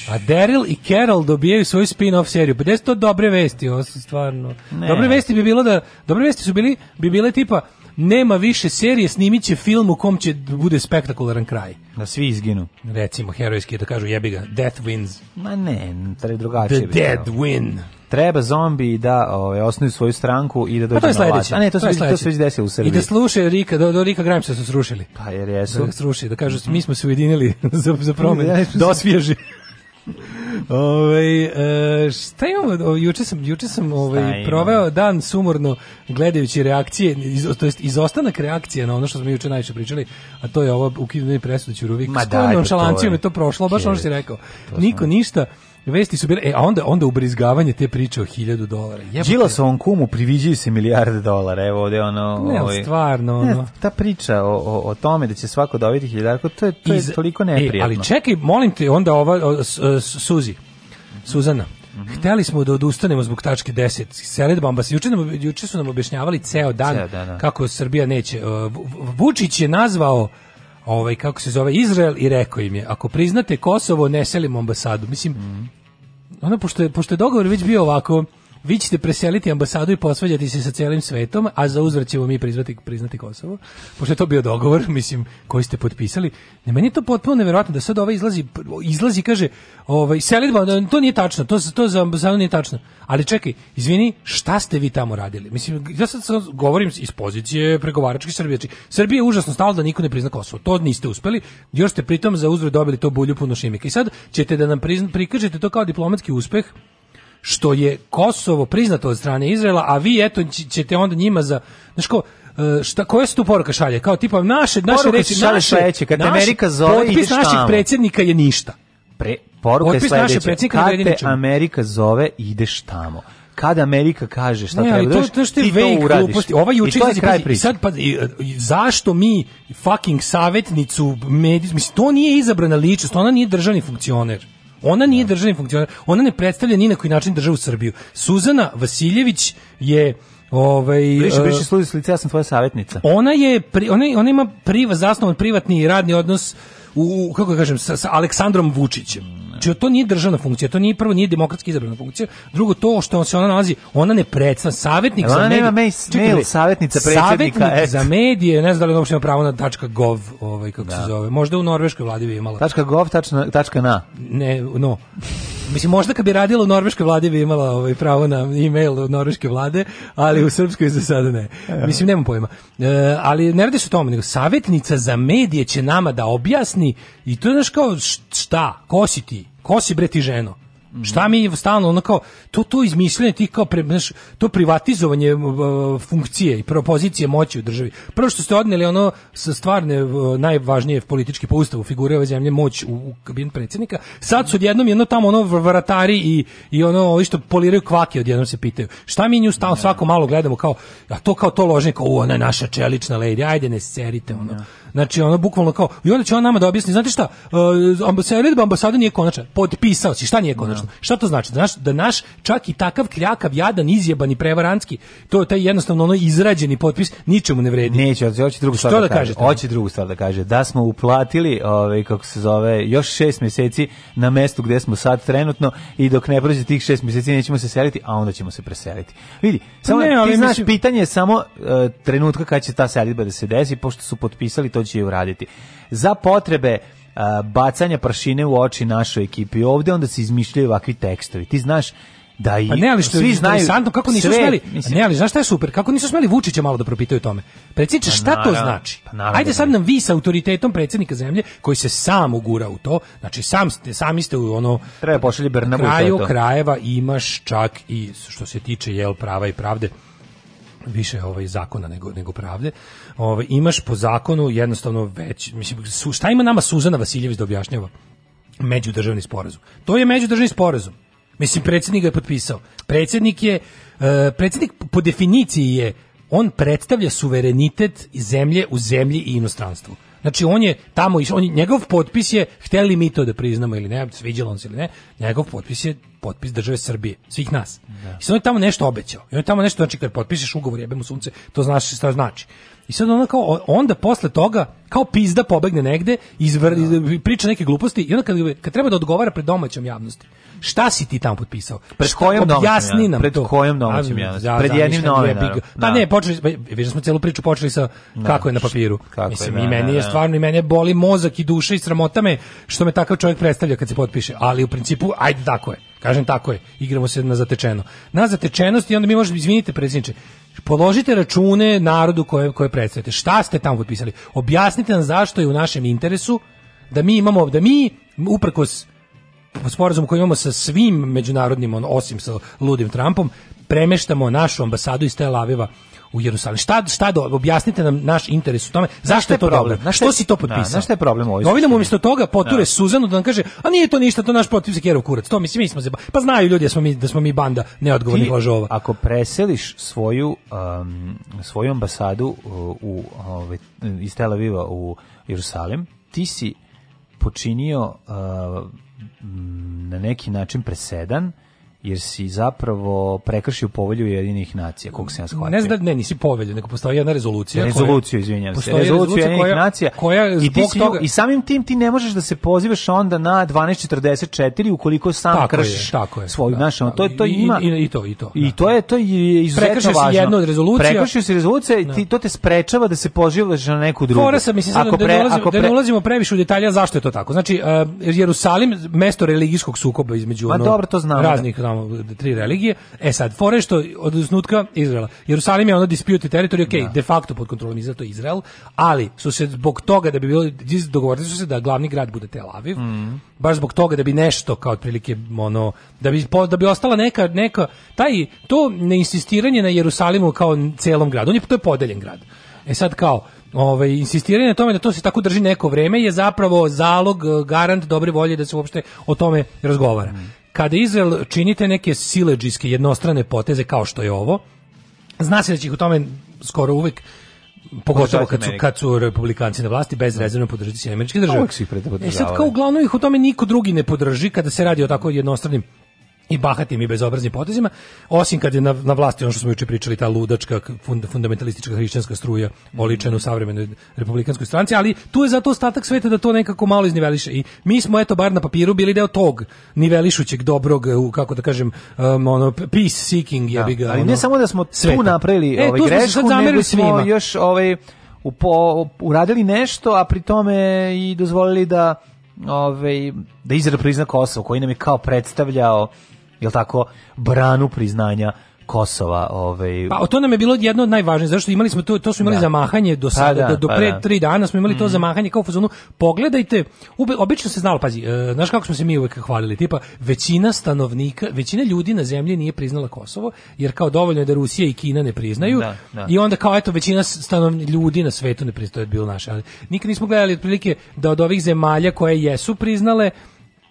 Speaker 8: A Daryl i Carol dobijaju svoju spin-off seriju. Pa gde su to dobre vesti, ovo su stvarno.
Speaker 7: Ne.
Speaker 8: Dobre vesti bi bilo da, dobre vesti su bili, bi bile tipa, nema više serije, snimit će film u kom će da bude spektakularan kraj.
Speaker 7: Da svi izginu.
Speaker 8: Recimo, herojski da kažu jebi ga, death wins,
Speaker 7: Ma ne, treba
Speaker 8: the
Speaker 7: drugačije. bi
Speaker 8: dead
Speaker 7: trebalo.
Speaker 8: win.
Speaker 7: Treba zombi da ove, osnuju svoju stranku i da
Speaker 8: Pa
Speaker 7: dođu
Speaker 8: to je
Speaker 7: na vlast.
Speaker 8: sledeće.
Speaker 7: A ne, to, se
Speaker 8: je
Speaker 7: vidi- to se već
Speaker 8: sledeće.
Speaker 7: desilo u Srbiji.
Speaker 8: I da slušaju Rika, do, do Rika Grimesa su srušili.
Speaker 7: Pa jer
Speaker 8: Da
Speaker 7: jesu.
Speaker 8: ga sruši, da kažu mi smo se ujedinili za, za promenu,
Speaker 7: Ja
Speaker 8: da osvježi. Ovaj e, šta imamo, o, juče sam, juče sam ovaj,
Speaker 7: imamo?
Speaker 8: proveo dan sumorno gledajući reakcije, iz, to jest izostanak reakcije na ono što smo juče najviše pričali, a to je ovo ukidanje presude Ćurovik.
Speaker 7: Ma
Speaker 8: Ma
Speaker 7: daj,
Speaker 8: da,
Speaker 7: pa to
Speaker 8: nonšalancijom
Speaker 7: je.
Speaker 8: je to prošlo, baš ono što si rekao.
Speaker 7: sam-
Speaker 8: Niko ništa, vesti su bile, e, a onda, onda ubrizgavanje te priče o hiljadu dolara. Jebote.
Speaker 7: Đilasovom kumu priviđaju se milijarde dolara. Evo ovde ono...
Speaker 8: Ne, ali
Speaker 7: ovaj,
Speaker 8: stvarno,
Speaker 7: Ne,
Speaker 8: ono.
Speaker 7: ta priča o, o, o tome da će svako dobiti hiljarku, to je, to je
Speaker 8: Iz-
Speaker 7: toliko
Speaker 8: E,
Speaker 7: neprijatno.
Speaker 8: ali čekaj, molim te, onda ova o, s- e, s- Suzi. Suzana.
Speaker 7: Mhm.
Speaker 8: Hteli smo da odustanemo zbog tačke 10. Seledbamba se juče, nam, juče su nam objašnjavali ceo dan
Speaker 7: Ceo dan, da.
Speaker 8: kako Srbija neće. e, Vu- Vu- Vučić je nazvao ovaj kako se zove Izrael i rekao im je ako priznate Kosovo ne selimo ambasadu. Mislim ono pošto je, pošto je dogovor već bio ovako vi ćete preseliti ambasadu i posvađati se sa celim svetom, a za uzvrat ćemo mi priznati, priznati Kosovo, pošto je to bio dogovor, mislim, koji ste potpisali. Ne, meni je to potpuno neverovatno da sad ovaj izlazi, izlazi i kaže, ovaj, selitba, to nije tačno, to, to za ambasadu nije tačno. Ali čekaj, izvini, šta ste vi tamo radili? Mislim, ja sad sad govorim iz pozicije pregovaračke Srbije. Znači, Srbije je užasno stalo da niko ne prizna Kosovo. To niste uspeli. Još ste pritom za uzvrat dobili to bulju puno šimika. I sad ćete da nam prizna, prikažete to kao diplomatski uspeh što je Kosovo priznato od strane Izraela, a vi eto ć- ćete onda njima za znaš ko e, šta koje su tu poruka šalje kao tipa naše naše
Speaker 7: Poruka
Speaker 8: reči
Speaker 7: šalje
Speaker 8: naše
Speaker 7: sledeće, kad te Amerika zove, ideš
Speaker 8: potpis naših
Speaker 7: tamo.
Speaker 8: predsjednika je ništa
Speaker 7: Pre, poruka je
Speaker 8: Otpis naše
Speaker 7: sledeća.
Speaker 8: predsjednika
Speaker 7: Kad te
Speaker 8: Medvedinića.
Speaker 7: Amerika zove, ideš tamo. Kada Amerika kaže šta
Speaker 8: ne,
Speaker 7: treba
Speaker 8: ali
Speaker 7: da
Speaker 8: to,
Speaker 7: radiš,
Speaker 8: to što je
Speaker 7: ti
Speaker 8: vague
Speaker 7: to uradiš.
Speaker 8: gluposti. Ova juče
Speaker 7: I to je
Speaker 8: izlazi,
Speaker 7: kraj
Speaker 8: pazi, i
Speaker 7: priče.
Speaker 8: sad pa i, i, zašto mi fucking savetnicu medij, mislim to nije izabrana ličnost, ona nije državni funkcioner. Ona nije državni funkcioner, ona ne predstavlja ni na koji način državu Srbiju. Suzana Vasiljević je ovaj
Speaker 7: Briši,
Speaker 8: e,
Speaker 7: briši sluzi s lica, ja sam tvoja savjetnica.
Speaker 8: Ona je pri, ona, ona ima priva zasnovan privatni i radni odnos u, u kako ga kažem sa, sa Aleksandrom Vučićem. Znači to nije državna funkcija, to nije prvo nije demokratski izabrana funkcija. Drugo to što se ona nalazi, ona ne predstavlja savjetnik
Speaker 7: Jel
Speaker 8: za
Speaker 7: ona
Speaker 8: medije.
Speaker 7: nema mail- mail
Speaker 8: bre,
Speaker 7: savjetnica predsjednika,
Speaker 8: Savjetnik
Speaker 7: eto.
Speaker 8: za medije, ne znam da li ona uopšte ima pravo na tačka .gov, ovaj kako se zove. Možda u norveškoj vladi bi imala.
Speaker 7: Tačka gov, tačna, tačka na.
Speaker 8: Ne, no. Mislim, možda kad bi radila u norveškoj vladi bi imala ovaj, pravo na e-mail od norveške vlade, ali u srpskoj za sada ne. Mislim, nemam pojma. E, ali ne radi se o tome, nego savjetnica za medije će nama da objasni i to je, znaš, kao, š- šta, ko si ti? Ko si, bre, ti ženo? Šta mi je stalno ono kao to to izmišljanje ti kao pre, znaš, to privatizovanje m, v, funkcije i propozicije moći u državi. Prvo što ste odneli ono sa stvarne v, najvažnije politički po ustavu figure ove zemlje moć u, u kabin predsjednika. Sad su odjednom jedno tamo ono vr- vratari i i ono ovi što poliraju kvake odjednom se pitaju. Šta mi nju stalno svako malo gledamo kao a to kao to ložnje kao "U, ona je naša čelična lady. Ajde ne serite ono. Znaš, Znači, ono bukvalno kao, i onda će on nama da objasni, znate šta, uh, ambasada, ambasada nije konačna, potpisao si, šta nije konačno? Šta to znači? Da naš, da naš čak i takav kljakav, jadan, izjebani, prevarantski, to je taj jednostavno ono izrađeni potpis, ničemu ne vredi.
Speaker 7: Neće, hoće hoće drugu stvar
Speaker 8: Što
Speaker 7: da,
Speaker 8: da
Speaker 7: kaže.
Speaker 8: kažete?
Speaker 7: Hoće drugu stvar da kaže. Da smo uplatili, ovaj kako se zove, još šest mjeseci na mestu gdje smo sad trenutno i dok ne prođe tih šest mjeseci nećemo se seliti, a onda ćemo se preseliti. Vidi, samo
Speaker 8: Pa ne, ali
Speaker 7: ti znaš
Speaker 8: mislim-
Speaker 7: pitanje je samo e, trenutka kad će ta selidba da se desi, pošto su potpisali, to će i uraditi. Za potrebe e, bacanja prašine u oči našoj ekipi ovdje, onda se izmišljaju ovakvi tekstovi. Ti znaš da i
Speaker 8: Pa ne, ali što
Speaker 7: svi
Speaker 8: je
Speaker 7: znaju
Speaker 8: interesantno kako nisu
Speaker 7: sve,
Speaker 8: smeli.
Speaker 7: mislim,
Speaker 8: Ne, ali znaš šta je super? Kako nisu smeli Vučića malo da propitaju o tome. Predsjedniče, šta to
Speaker 7: naravno,
Speaker 8: znači?
Speaker 7: pa naravno
Speaker 8: Ajde
Speaker 7: da
Speaker 8: sad
Speaker 7: ne.
Speaker 8: nam vi sa autoritetom predsjednika zemlje koji se sam ugura u to, znači sam ste, sami ste u ono
Speaker 7: Treba pošalje Bernabu i to je
Speaker 8: kraju
Speaker 7: to.
Speaker 8: krajeva imaš čak i što se tiče jel prava i pravde više ovaj zakona nego nego pravde. Ovaj imaš po zakonu jednostavno već mislim su, šta ima nama Suzana Vasiljević da objašnjava međudržavni sporazum. To je međudržavni sporazum. Mislim predsjednik ga je potpisao. Predsjednik je e, predsjednik po definiciji je on predstavlja suverenitet zemlje u zemlji i inostranstvu. Znači on je tamo išao, on je- njegov potpis je hteli mi to da priznamo ili ne, sviđalo on se ili ne, njegov potpis je potpis države Srbije, svih nas. I sad on je tamo nešto obećao. I on je tamo nešto, znači kad potpišeš ugovor, jebe mu sunce, to znaš šta znači. I sad ona kao, onda posle toga, kao pizda pobegne negde, izvr- priča neke gluposti i onda kad, kad treba da odgovara pred domaćom javnosti, šta si ti tamo potpisao?
Speaker 7: Pred
Speaker 8: Šta-
Speaker 7: kojom domaćom
Speaker 8: objasni
Speaker 7: javnosti?
Speaker 8: nam
Speaker 7: Pred
Speaker 8: to.
Speaker 7: kojom domaćom
Speaker 8: A,
Speaker 7: javnosti?
Speaker 8: za-
Speaker 7: Pred jednim
Speaker 8: zamišljam,
Speaker 7: novinarom,
Speaker 8: jebi ga. Pa
Speaker 7: da.
Speaker 8: ne, počeli, pa, vidiš, smo celu priču počeli sa kako je na papiru.
Speaker 7: Kako
Speaker 8: Mislim,
Speaker 7: je, da,
Speaker 8: i meni
Speaker 7: da,
Speaker 8: je
Speaker 7: da.
Speaker 8: stvarno, i mene boli mozak i duša i sramota me što me takav čovjek predstavlja kad se potpiše. Ali u principu, ajde, tako je. Kažem, tako je. Igramo se na zatečeno. Na zatečenost i onda mi možemo, izvinite, predsjedniče, položite račune narodu koje, koje predstavljate. Šta ste tamo potpisali? Objasnite nam zašto je u našem interesu da mi imamo, da mi, uprkos sporazum koji imamo sa svim međunarodnim, on, osim sa ludim Trumpom, premeštamo našu ambasadu iz Tel Aviva u Jerusalim. Šta, šta do, objasnite nam naš interes u tome, zašto
Speaker 7: šta
Speaker 8: je
Speaker 7: je
Speaker 8: to
Speaker 7: problem?
Speaker 8: dobro?
Speaker 7: Znaš šta
Speaker 8: Što
Speaker 7: je-
Speaker 8: si to
Speaker 7: Da,
Speaker 8: potpisao?
Speaker 7: znaš šta je problem u ovoj
Speaker 8: Novinar mu
Speaker 7: suštini?
Speaker 8: umjesto toga poture Suzanu da nam kaže, a nije to ništa, to naš protiv se Kjerov kurac. To mislim, mi smo se, ba- pa znaju ljudi da smo mi, da smo mi banda neodgovornih
Speaker 7: Ti,
Speaker 8: lažova.
Speaker 7: Ako preseliš svoju um, svoju ambasadu u, u ovaj, iz Tel Aviva u Jerusalim, ti si počinio uh, m, na neki način presedan jer si zapravo prekršio povelju Jedinih nacija, koliko sam ja shvatio.
Speaker 8: Ne znam, da- ne, nisi povelju, nego postoji jedna rezolucija. koja-
Speaker 7: Rezoluciju, izvinjam se.
Speaker 8: Postoji
Speaker 7: Rezoluciju
Speaker 8: rezolucija
Speaker 7: Jedinih
Speaker 8: koja-
Speaker 7: nacija.
Speaker 8: Koja
Speaker 7: I, ti
Speaker 8: zbog
Speaker 7: si ju-
Speaker 8: toga...
Speaker 7: I samim tim ti ne možeš da se pozivaš onda na 1244 ukoliko sam
Speaker 8: Tako je,
Speaker 7: kršiš
Speaker 8: tako je,
Speaker 7: svoju
Speaker 8: da,
Speaker 7: naš, ono,
Speaker 8: da.
Speaker 7: to, to
Speaker 8: I-
Speaker 7: ima...
Speaker 8: i- i to, i to, da.
Speaker 7: to je, to je izuzetno
Speaker 8: Prekršio si
Speaker 7: važno.
Speaker 8: jednu od rezolucija.
Speaker 7: Prekršio si rezolucija i ti, to te sprečava da se pozivaš na neku drugu.
Speaker 8: Fora sam, mislim, sad da, ne ulazimo, da ne ulazimo previše u detalja zašto je to tako. Znači, e, Jerusalim, mesto religijskog sukoba između
Speaker 7: Ma
Speaker 8: ono,
Speaker 7: dobro, to znamo, da.
Speaker 8: raznih znamo, tri religije. E sad, fora je što od osnutka Izraela. Jerusalim je ono disputed territory, ok, de facto pod kontrolom Izraela, to je Izrael, ali su se zbog toga da bi bilo, dogovorili su se da glavni grad bude Tel Aviv,
Speaker 7: Mm.
Speaker 8: baš zbog toga da bi nešto kao otprilike ono da bi po- da bi ostala neka neka taj to neinsistiranje na Jerusalimu kao celom gradu on je to je podeljen grad E sad kao, ovaj, insistiranje na tome da to se tako drži neko vreme je zapravo zalog, e, garant dobre volje da se uopšte o tome razgovara.
Speaker 7: Mm.
Speaker 8: Kada Izrael činite neke sileđijske jednostrane poteze kao što je ovo, zna se da će ih u tome skoro uvek pogotovo
Speaker 7: Podržavati
Speaker 8: kad su,
Speaker 7: Amerika.
Speaker 8: kad su republikanci na vlasti bezrezervno podržati Sjedinjene američke države.
Speaker 7: Pa Uvek su ih podržavali.
Speaker 8: E sad kao uglavnom ih u tome niko drugi ne podrži kada se radi o tako jednostranim i bahatim i bezobraznim potezima, osim kad je na, na vlasti ono što smo juče pričali, ta ludačka fund, fundamentalistička hrišćanska struja oličena u savremenoj republikanskoj stranci, ali tu je zato ostatak sveta da to nekako malo izniveliše. I mi smo, eto, bar na papiru bili deo tog nivelišućeg dobrog, u, kako da kažem, um, ono, peace seeking, ja bi ga...
Speaker 7: Ali
Speaker 8: ono,
Speaker 7: ne samo da smo tu
Speaker 8: sveta.
Speaker 7: napravili
Speaker 8: E,
Speaker 7: ovaj
Speaker 8: tu smo se sad
Speaker 7: grešku, nego
Speaker 8: zamerili
Speaker 7: smo
Speaker 8: svima.
Speaker 7: još ovaj upo- uradili nešto, a pri tome i dozvolili da ovaj da Izrael prizna Kosovo, koji nam je kao predstavljao jel tako branu priznanja Kosova, ovaj
Speaker 8: Pa to nam je bilo jedno od najvažnijih, zašto imali smo to, to su imali
Speaker 7: Da.
Speaker 8: zamahanje do sada,
Speaker 7: da,
Speaker 8: do, do
Speaker 7: pa
Speaker 8: pre
Speaker 7: da. Mhm.
Speaker 8: tri dana smo imali to zamahanje kao u fazonu, pogledajte, ube- obično se znalo, pazi, e, znaš kako smo se mi uvek hvalili, tipa, većina stanovnika, većina ljudi na zemlji nije priznala Kosovo, jer kao dovoljno je da Rusija i Kina ne priznaju,
Speaker 7: Da, da.
Speaker 8: i onda kao eto, većina stanovni, ljudi na svetu ne priznaju, to je bilo naše, ali nikad nismo gledali otprilike da od ovih zemalja koje jesu priznale,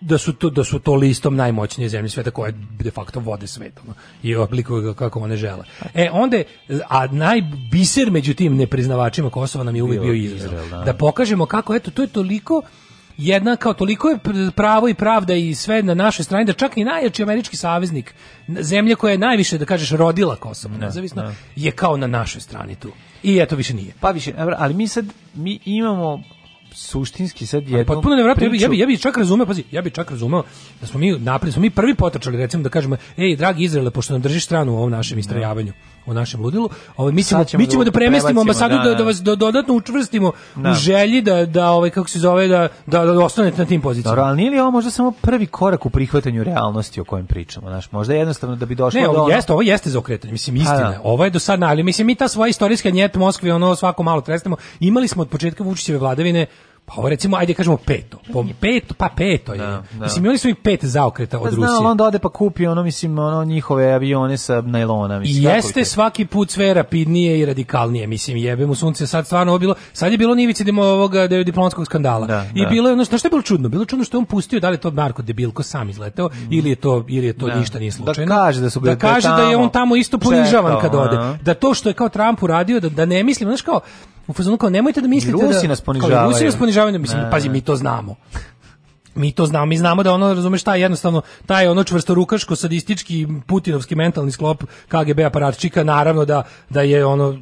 Speaker 8: da su to da su to listom najmoćnije zemlje sveta koje de facto vode svetom i oblikuju ga kako one žele. E onda je- a najbiser među tim nepriznavačima Kosova nam je uvijek bio
Speaker 7: Bio
Speaker 8: Izrael.
Speaker 7: Izrael, da.
Speaker 8: Da pokažemo kako eto to je toliko jedna kao toliko je pr- pravo i pravda i sve na našoj strani da čak i najjači američki saveznik n- zemlja koja je najviše da kažeš rodila Kosovo nezavisno je kao na našoj strani tu. I eto više nije. E,
Speaker 7: Pa više, dobro, ali mi sad, mi imamo suštinski sad jednu
Speaker 8: Pa potpuno nevjerojatno, ja bi,
Speaker 7: priču.
Speaker 8: ja bi, ja bi čak razumeo, pazi, ja bi čak razumeo da smo mi napred, smo mi prvi potrčali, recimo da kažemo, ej, dragi Izraele, pošto nam držiš stranu u ovom našem istrajavanju, u našem ludilu, ovaj, mi ćemo,
Speaker 7: Sad ćemo
Speaker 8: mi ćemo da
Speaker 7: da
Speaker 8: premestimo
Speaker 7: prebacimo,
Speaker 8: ambasadu, da,
Speaker 7: da,
Speaker 8: da,
Speaker 7: da.
Speaker 8: vas da dodatno učvrstimo u
Speaker 7: Da.
Speaker 8: želji da, da ovaj, kako se zove, da, da, da ostanete na tim pozicijama.
Speaker 7: Dobro, ali nije li ovo možda samo prvi korak u prihvatanju realnosti o kojem pričamo, znaš? Možda jednostavno da bi došlo
Speaker 8: Ne,
Speaker 7: do...
Speaker 8: ovo
Speaker 7: ono-
Speaker 8: jeste, ovo jeste za okretanje. Mislim istina.
Speaker 7: Pa
Speaker 8: je.
Speaker 7: da.
Speaker 8: Ovo je do sad, ali mislim mi ta svoja istorijska njet Moskvi ono svako malo trestemo. Imali smo od početka Vučićeve vladavine pa ovo recimo ajde kažemo peto. Po peto, pa peto je.
Speaker 7: Da, da.
Speaker 8: Mislim imali smo i pet zaokreta
Speaker 7: Pa
Speaker 8: od
Speaker 7: zna,
Speaker 8: Rusije.
Speaker 7: ali onda ode pa kupi ono, mislim, ono, njihove avione sa najlona.
Speaker 8: I
Speaker 7: Mislim, kako bi
Speaker 8: jeste
Speaker 7: to-
Speaker 8: svaki put sve rapidnije i radikalnije, mislim, jebe mu sunce, sad stvarno ovo bilo, sad je bilo nivici demo ovoga de- diplomatskog skandala.
Speaker 7: Da,
Speaker 8: I
Speaker 7: da.
Speaker 8: bilo je ono, znaš šta je bilo čudno? Bilo je čudno što je on pustio, da li je to Marko Debilko sam izleteo, ili je to, ili je to
Speaker 7: Mhm. Da.
Speaker 8: ništa nije
Speaker 7: Da
Speaker 8: slučajno.
Speaker 7: kaže da su bili-
Speaker 8: da kaže
Speaker 7: da je
Speaker 8: da je on
Speaker 7: tamo
Speaker 8: tamo isto ponižavan
Speaker 7: čekao,
Speaker 8: kad ode.
Speaker 7: aha.
Speaker 8: Da to što je kao Trump uradio, da, da ne mislim, znaš kao, u fazonu kao nemojte da mislite da...
Speaker 7: Rusi nas
Speaker 8: kao,
Speaker 7: ponižavaju.
Speaker 8: Rusi nas ponižavaju, mislim,
Speaker 7: Da,
Speaker 8: pazi,
Speaker 7: da.
Speaker 8: mi to znamo mi to znamo, mi znamo da ono, razumeš, taj jednostavno, taj ono čvrstorukaško, sadistički, putinovski mentalni sklop KGB aparatčika, naravno da, da je ono,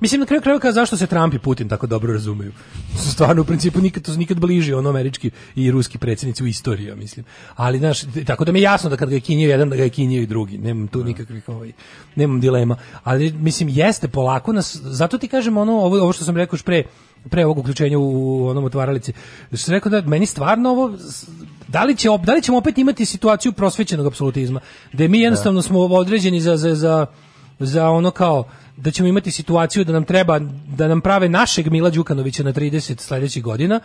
Speaker 8: Mislim, na kraju krajeva kao zašto se Trump i Putin tako dobro razumeju. Su stvarno, u principu, nikad, to su nikad bliži ono američki i ruski predsjednici u istoriji, ja mislim. Ali, znaš, t- tako da mi je jasno da kad ga je kinio jedan, da ga je kinio i drugi. Nemam tu nikakvih, ovaj, nemam dilema. Ali, mislim, jeste polako nas, zato ti kažem ono, ovo, ovo što sam rekao još pre, pre ovog uključenja u onom otvaralici. Što sam rekao da meni stvarno ovo s- da li, će, op- da li ćemo opet imati situaciju prosvećenog apsolutizma, gde mi jednostavno smo određeni za, za, za, za ono kao da ćemo imati situaciju da nam treba da nam prave našeg Mila Đukanovića na 30 sledećih godina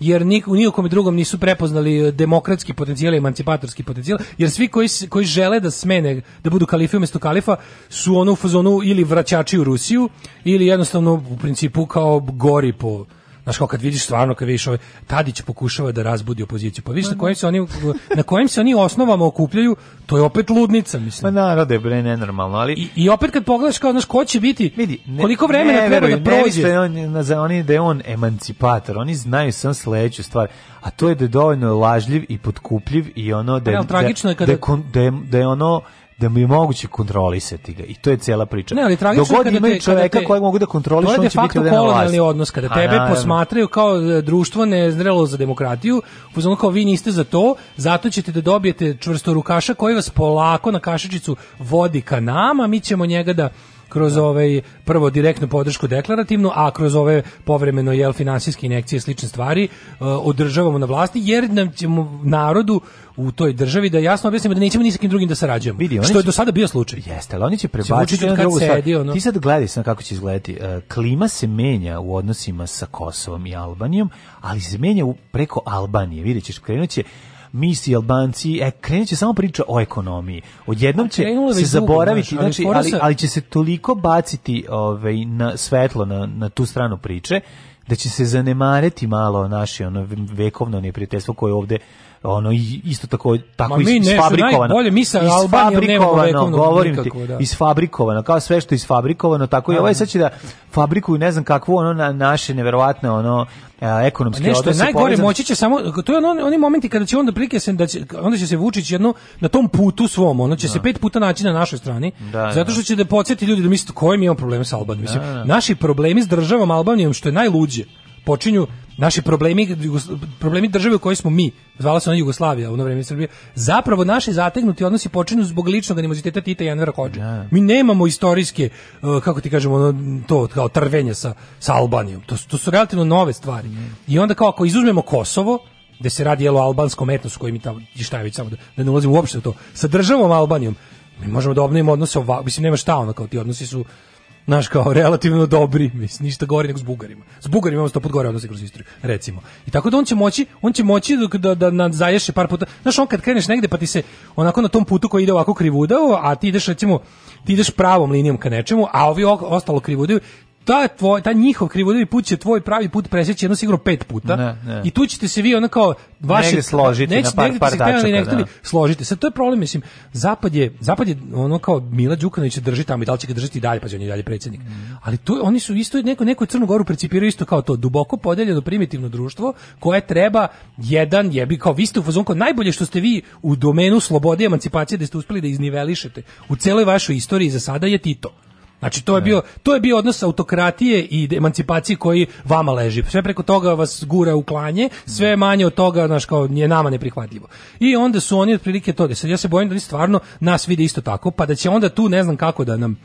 Speaker 8: jer nik, u nikom drugom nisu prepoznali eh, demokratski potencijal i emancipatorski potencijal jer svi koji, s- koji žele da smene da budu kalifi umesto kalifa su ono u fazonu ili vraćači u Rusiju ili jednostavno u principu kao gori po Znaš, kao kad vidiš stvarno, kad vidiš ove, Tadić pokušava da razbudi opoziciju. Pa vidiš na kojim se oni, na kojim se oni osnovama okupljaju, to je opet ludnica, mislim.
Speaker 7: Ma narode, bre, nenormalno, ali...
Speaker 8: I, I opet kad pogledaš kao znaš ko će biti,
Speaker 7: Vidi, ne-
Speaker 8: koliko vremena
Speaker 7: ne
Speaker 8: treba
Speaker 7: veruj,
Speaker 8: da
Speaker 7: Ne
Speaker 8: prođe.
Speaker 7: misle on, na- za oni da je on emancipator, oni znaju samo sledeću stvar, a to je da je dovoljno lažljiv i potkupljiv i ono da
Speaker 8: Pa Ne,
Speaker 7: je,
Speaker 8: ali tragično
Speaker 7: da,
Speaker 8: je kada-
Speaker 7: da, je kon- da, je, da je ono da mi je moguće kontrolisati ga i to je cijela priča.
Speaker 8: Ne, ali tragično
Speaker 7: Dok god
Speaker 8: je kada
Speaker 7: imaju
Speaker 8: te-
Speaker 7: čoveka
Speaker 8: kada te-
Speaker 7: kojeg mogu da kontrolišu,
Speaker 8: to je
Speaker 7: on
Speaker 8: de
Speaker 7: će biti
Speaker 8: facto
Speaker 7: ovde na vlasti.
Speaker 8: kolonijalni odnos kada
Speaker 7: A,
Speaker 8: tebe
Speaker 7: naravno.
Speaker 8: posmatraju kao e, društvo nezrelo za demokratiju, uzmano kao vi niste za to, zato ćete da dobijete čvrstorukaša koji vas polako na kašičicu vodi ka nama, mi ćemo njega da kroz ovaj prvo direktnu podršku deklarativnu, a kroz ove povremeno jel finansijske injekcije i slične stvari e, održavamo na vlasti jer nam ćemo narodu u toj državi da jasno objasnimo da nećemo ni sa kim drugim da sarađujemo.
Speaker 7: Vidi, oni
Speaker 8: što je
Speaker 7: će-
Speaker 8: do sada bio slučaj.
Speaker 7: Jeste, ali oni će
Speaker 8: Vučić od
Speaker 7: prebaciti na
Speaker 8: kad
Speaker 7: drugu stvar.
Speaker 8: sedi, ono.
Speaker 7: Ti sad gledaj sam kako će izgledati. E, Klima se menja u odnosima sa Kosovom i Albanijom, ali se menja u, preko Albanije. Vidjet ćeš, krenut će mi si Albanci, e, krenut će samo priča o ekonomiji. Odjednom će
Speaker 8: krenulo je
Speaker 7: se
Speaker 8: već dugo,
Speaker 7: zaboraviti,
Speaker 8: znaš, ali
Speaker 7: znači,
Speaker 8: fora
Speaker 7: ali,
Speaker 8: sa-
Speaker 7: ali će se toliko baciti ovaj, na svetlo na, na tu stranu priče, da će se zanemariti malo naše ono vekovno neprijateljstvo koje je ovde ono i- isto tako tako
Speaker 8: Ma mi nešto
Speaker 7: isfabrikovano.
Speaker 8: najbolje, mi sa Albanijom nemamo
Speaker 7: Isfabrikovano,
Speaker 8: vekovnog
Speaker 7: govorim ti,
Speaker 8: nikakvo, da.
Speaker 7: isfabrikovano, kao sve što je isfabrikovano, tako i ovaj sad će da fabrikuju ne znam kakvu ono na, naše neverovatne ono a, ekonomske
Speaker 8: Ne, što je
Speaker 7: odnose
Speaker 8: Pa najgore,
Speaker 7: povezane-
Speaker 8: moći će samo, to je ono, oni momenti kada će onda prilike se, da će, onda će se Vučić jedno, na tom putu svom, ono će se pet puta naći na našoj strani,
Speaker 7: Da,
Speaker 8: zato što će da podsjeti ljudi da misle koji mi imamo probleme sa Albanijom. Mislim, naši problemi s državom Albanijom, što je najluđe, počinju naši problemi, Jugos- problemi države u kojoj smo mi, zvala se ona Jugoslavija, u ono vreme Srbije, zapravo naši zategnuti odnosi počinju zbog ličnog animoziteta Tita i Anvera Hođe. Mi nemamo istorijske, uh, kako ti kažemo, ono, to kao trvenje sa, sa Albanijom. To, su- to su relativno nove stvari. I onda kao ako izuzmemo Kosovo, gde se radi jelo o albanskom etnosu koji mi tamo, i šta je već samo da, da ne ulazim uopšte u to, sa državom Albanijom, mi možemo da obnovimo odnose ovako, mislim nema šta ono kao ti odnosi su Naš kao relativno dobri, mislim, ništa gori nego s Bugarima. S Bugarima imamo sto put gore odnose kroz istoriju, recimo. I tako da on će moći, on će moći dok- da, da, da zaješe par puta. Znaš, on kad kreneš negde pa ti se onako na tom putu koji ide ovako krivudao, a ti ideš recimo, ti ideš pravom linijom ka nečemu, a ovi ok- ostalo krivudaju, ta tvoj, ta njihov krivodevi put će tvoj pravi put preseći jedno sigurno pet puta.
Speaker 7: Ne, ne.
Speaker 8: I tu ćete se vi ona kao vaše
Speaker 7: Negde složiti
Speaker 8: neće-
Speaker 7: na par-
Speaker 8: negde
Speaker 7: par
Speaker 8: se hteli,
Speaker 7: tačaka,
Speaker 8: negde hteli,
Speaker 7: da.
Speaker 8: složiti. Sad to je problem, mislim, zapad je, zapad je ono kao Mila Đukanović će drži tamo i da li će ga držati i dalje, pa će on je i dalje predsjednik.
Speaker 7: Mm.
Speaker 8: Ali tu oni su isto neko neko je Crnu Goru precipiraju isto kao to duboko podeljeno primitivno društvo koje treba jedan jebi kao vi ste u fazonu kao najbolje što ste vi u domenu slobode i emancipacije da ste uspeli da iznivelišete u celoj vašoj istoriji za sada je Tito. Znači to je bio to je bio odnos autokratije i emancipacije koji vama leži. Sve preko toga vas gura u klanje, sve manje od toga znaš kao je nama neprihvatljivo. I onda su oni otprilike toga. Sad ja se bojim da oni stvarno nas vide isto tako, pa da će onda tu ne znam kako da nam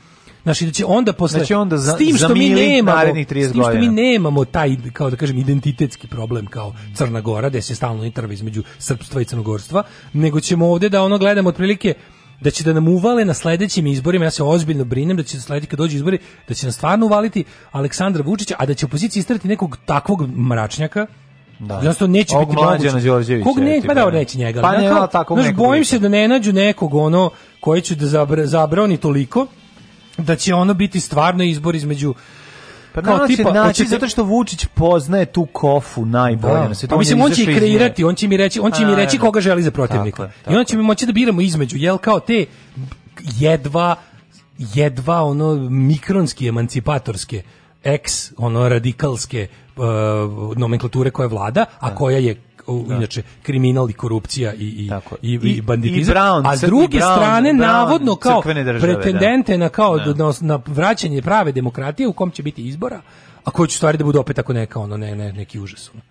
Speaker 8: Znači da će onda posle
Speaker 7: Da će onda za-
Speaker 8: s tim što mi
Speaker 7: zamili
Speaker 8: nemamo
Speaker 7: narednih 30
Speaker 8: s tim što mi
Speaker 7: godina.
Speaker 8: nemamo taj kao da kažem identitetski problem kao Crna Gora gde se stalno interva između srpstva i crnogorstva, nego ćemo ovdje da ono gledamo otprilike da će da nam uvale na sledećim izborima, ja se ozbiljno brinem da će sledeći kad dođu izbori, da će nam stvarno uvaliti Aleksandra Vučića, a da će opozicija istrati nekog takvog mračnjaka, Da. Jednostavno neće
Speaker 7: Ovog
Speaker 8: biti moguće.
Speaker 7: Mlađana Đorđevića,
Speaker 8: Kog ne, pa
Speaker 7: recimo,
Speaker 8: da,
Speaker 7: ne.
Speaker 8: neće njega.
Speaker 7: Pa
Speaker 8: ali
Speaker 7: ne,
Speaker 8: onako,
Speaker 7: ali takvog
Speaker 8: znaš,
Speaker 7: nekog
Speaker 8: bojim
Speaker 7: lica.
Speaker 8: se da ne nađu nekog ono koji će da zabra, zabrani toliko da će ono biti stvarno izbor između
Speaker 7: Pa
Speaker 8: Kao
Speaker 7: naći,
Speaker 8: tipa,
Speaker 7: naći,
Speaker 8: hoćete-
Speaker 7: zato što Vučić poznaje tu kofu najbolje. ono na svetu,
Speaker 8: Pa
Speaker 7: on je
Speaker 8: mislim on će
Speaker 7: izašao
Speaker 8: i
Speaker 7: iz nje.
Speaker 8: kreirati, on će mi reći, on će mi
Speaker 7: A,
Speaker 8: reći
Speaker 7: naravno.
Speaker 8: koga želi za protivnika.
Speaker 7: Tako je,
Speaker 8: I
Speaker 7: tako
Speaker 8: onda će mi moći da biramo između jel kao te jedva jedva ono mikronski emancipatorske ex ono radikalske uh, nomenklature koja vlada, a koja je u- inače kriminal i korupcija i i
Speaker 7: Tako
Speaker 8: i,
Speaker 7: je.
Speaker 8: i
Speaker 7: I-
Speaker 8: banditizam.
Speaker 7: i Brown,
Speaker 8: a s
Speaker 7: crkvi
Speaker 8: druge
Speaker 7: Brown,
Speaker 8: strane
Speaker 7: Brown
Speaker 8: navodno kao
Speaker 7: crkvene države, da.
Speaker 8: pretendente na kao na, na vraćanje prave demokratije u kom će biti izbora, a koje će stvari da budu opet tako neka ono ne, ne neki užas. ono.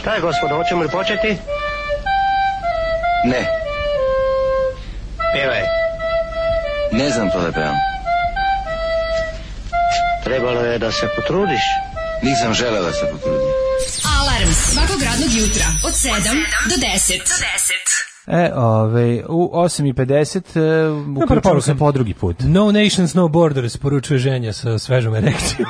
Speaker 11: Šta je, gospodo, hoćemo li početi?
Speaker 12: Ne,
Speaker 11: Pevaj.
Speaker 12: ne znam to da pevam.
Speaker 11: Trebalo je da se potrudiš.
Speaker 12: Nisam želeo da se potrudim.
Speaker 5: Alarm svakog radnog jutra od 7 do 10.
Speaker 7: E, ove, u 8.50 e, uključujem se po drugi put.
Speaker 8: No Nations, No Borders, poručuje ženja sa svežom erekcijom.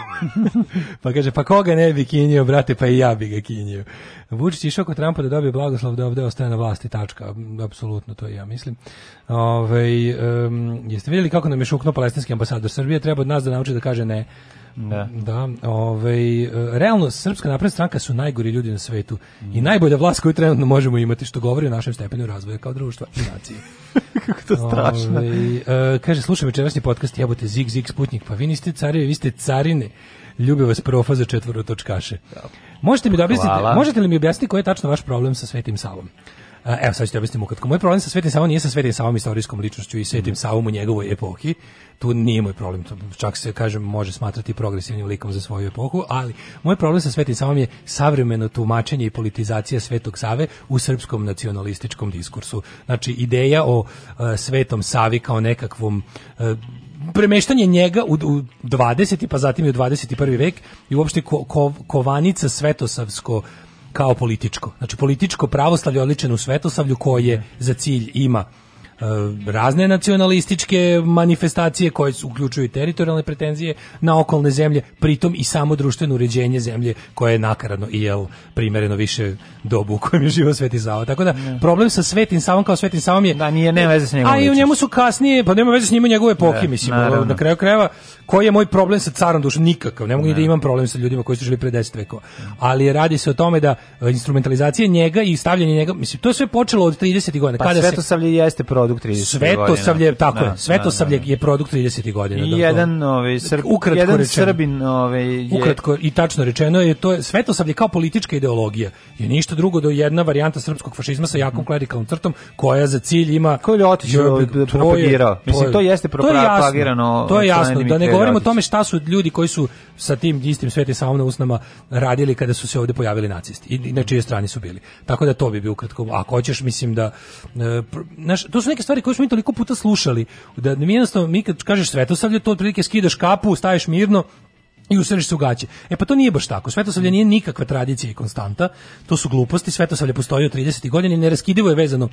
Speaker 8: pa kaže, pa koga ne bi kinio, brate, pa i ja bi ga kinio. Vučić je išao kod Trumpa da dobije blagoslov da ovde ostaje na vlasti, tačka. Apsolutno, to i ja mislim. Ove, jeste vidjeli kako nam je šukno palestinski ambasador Srbije? Treba od nas da nauči da kaže ne.
Speaker 7: Da.
Speaker 8: Da, ovaj, e, realno Srpska napredna stranka su najgori ljudi na svetu i najbolja vlast koju trenutno možemo imati što govori o našem stepenu razvoja kao društva i nacije. Kako to strašno. Ovaj, e, kaže, slušam večerašnji podcast, jebote Zig Zig Sputnik, pa vi niste carevi, vi ste carine. Ljube vas profa za četvorotočkaše. Možete mi da objasnite,
Speaker 7: Hvala.
Speaker 8: možete li mi objasniti koji je tačno vaš problem sa Svetim Savom? A, Evo sad ću ti objasniti ukratko. Moj problem sa Svetim Savom nije sa Svetim Savom istorijskom ličnošću i Svetim Savom u njegovoj epohi. Tu nije moj problem. To čak se, kažem, može smatrati progresivnim likom za svoju epohu, ali moj problem sa Svetim Savom je savremeno tumačenje i politizacija Svetog Save u srpskom nacionalističkom diskursu. Znači, ideja o e, Svetom Savi kao nekakvom e, premeštanje njega u, u 20. pa zatim i u 21. vek i uopšte ko, ko- kovanica svetosavsko kao političko. Znači političko pravoslavlje odličeno u svetosavlju koje za cilj ima e, razne nacionalističke manifestacije koje su- uključuju i teritorijalne pretenzije na okolne zemlje, pritom i samo društveno uređenje zemlje koje je nakaradno i jel primereno više dobu u kojem je živio Sveti Sava. Tako da problem sa Svetim Savom kao Svetim Savom je
Speaker 7: Da, nije, nema veze s njegovom
Speaker 8: a i u
Speaker 7: ličnošću.
Speaker 8: njemu su kasnije, pa nema veze s njima njegove epohi,
Speaker 7: Ne,
Speaker 8: mislim, ono,
Speaker 7: naravno.
Speaker 8: na kraju krajeva, koji je moj problem sa carom dušom? Nikakav, ne mogu ni da imam problem sa ljudima koji su žili pre 10 vekova. Ali radi se o tome da e, instrumentalizacija njega i stavljanje njega, mislim, to je sve počelo od 30. godina.
Speaker 7: Pa
Speaker 8: kada se
Speaker 7: Svetosavlje jeste produkt 30
Speaker 8: Svetosavlje,
Speaker 7: godina.
Speaker 8: tako
Speaker 7: Da,
Speaker 8: je, Svetosavlje
Speaker 7: da, da.
Speaker 8: je produkt 30. godina. da,
Speaker 7: I
Speaker 8: to-
Speaker 7: jedan, ovaj, srb,
Speaker 8: Ukratko
Speaker 7: jedan
Speaker 8: rečeno.
Speaker 7: srbin ovaj, je...
Speaker 8: Ukratko i tačno rečeno je to je svetosavlje kao politička ideologija. Je ništa drugo do jedna varijanta srpskog fašizma sa jakom klerikalnom crtom koja za cilj ima
Speaker 7: Koju Mhm. je Ljotić
Speaker 8: Jo,
Speaker 7: pro- propagirao.
Speaker 8: je-
Speaker 7: Mislim, to jeste
Speaker 8: je jasno.
Speaker 7: propagirano
Speaker 8: To je
Speaker 7: od
Speaker 8: jasno,
Speaker 7: strane
Speaker 8: da ne
Speaker 7: Dimitrija
Speaker 8: govorimo o
Speaker 7: Ljotića.
Speaker 8: tome šta su ljudi koji su sa tim istim svetim savom na usnama radili kada su se ovdje pojavili nacisti i na čijoj strani su bili. Tako da to bi bio ukratko. Ako hoćeš, mislim da e, pr- znaš, to su neke stvari koje smo mi toliko puta slušali da mi jednostavno mi kad kažeš svetosavlje, to otprilike skidaš kapu, staješ mirno i usreš se u gaće. E pa to nije baš tako. Svetosavlje nije nikakva tradicija i konstanta. To su gluposti. Svetosavlje postoji od 30. godina i neraskidivo je vezano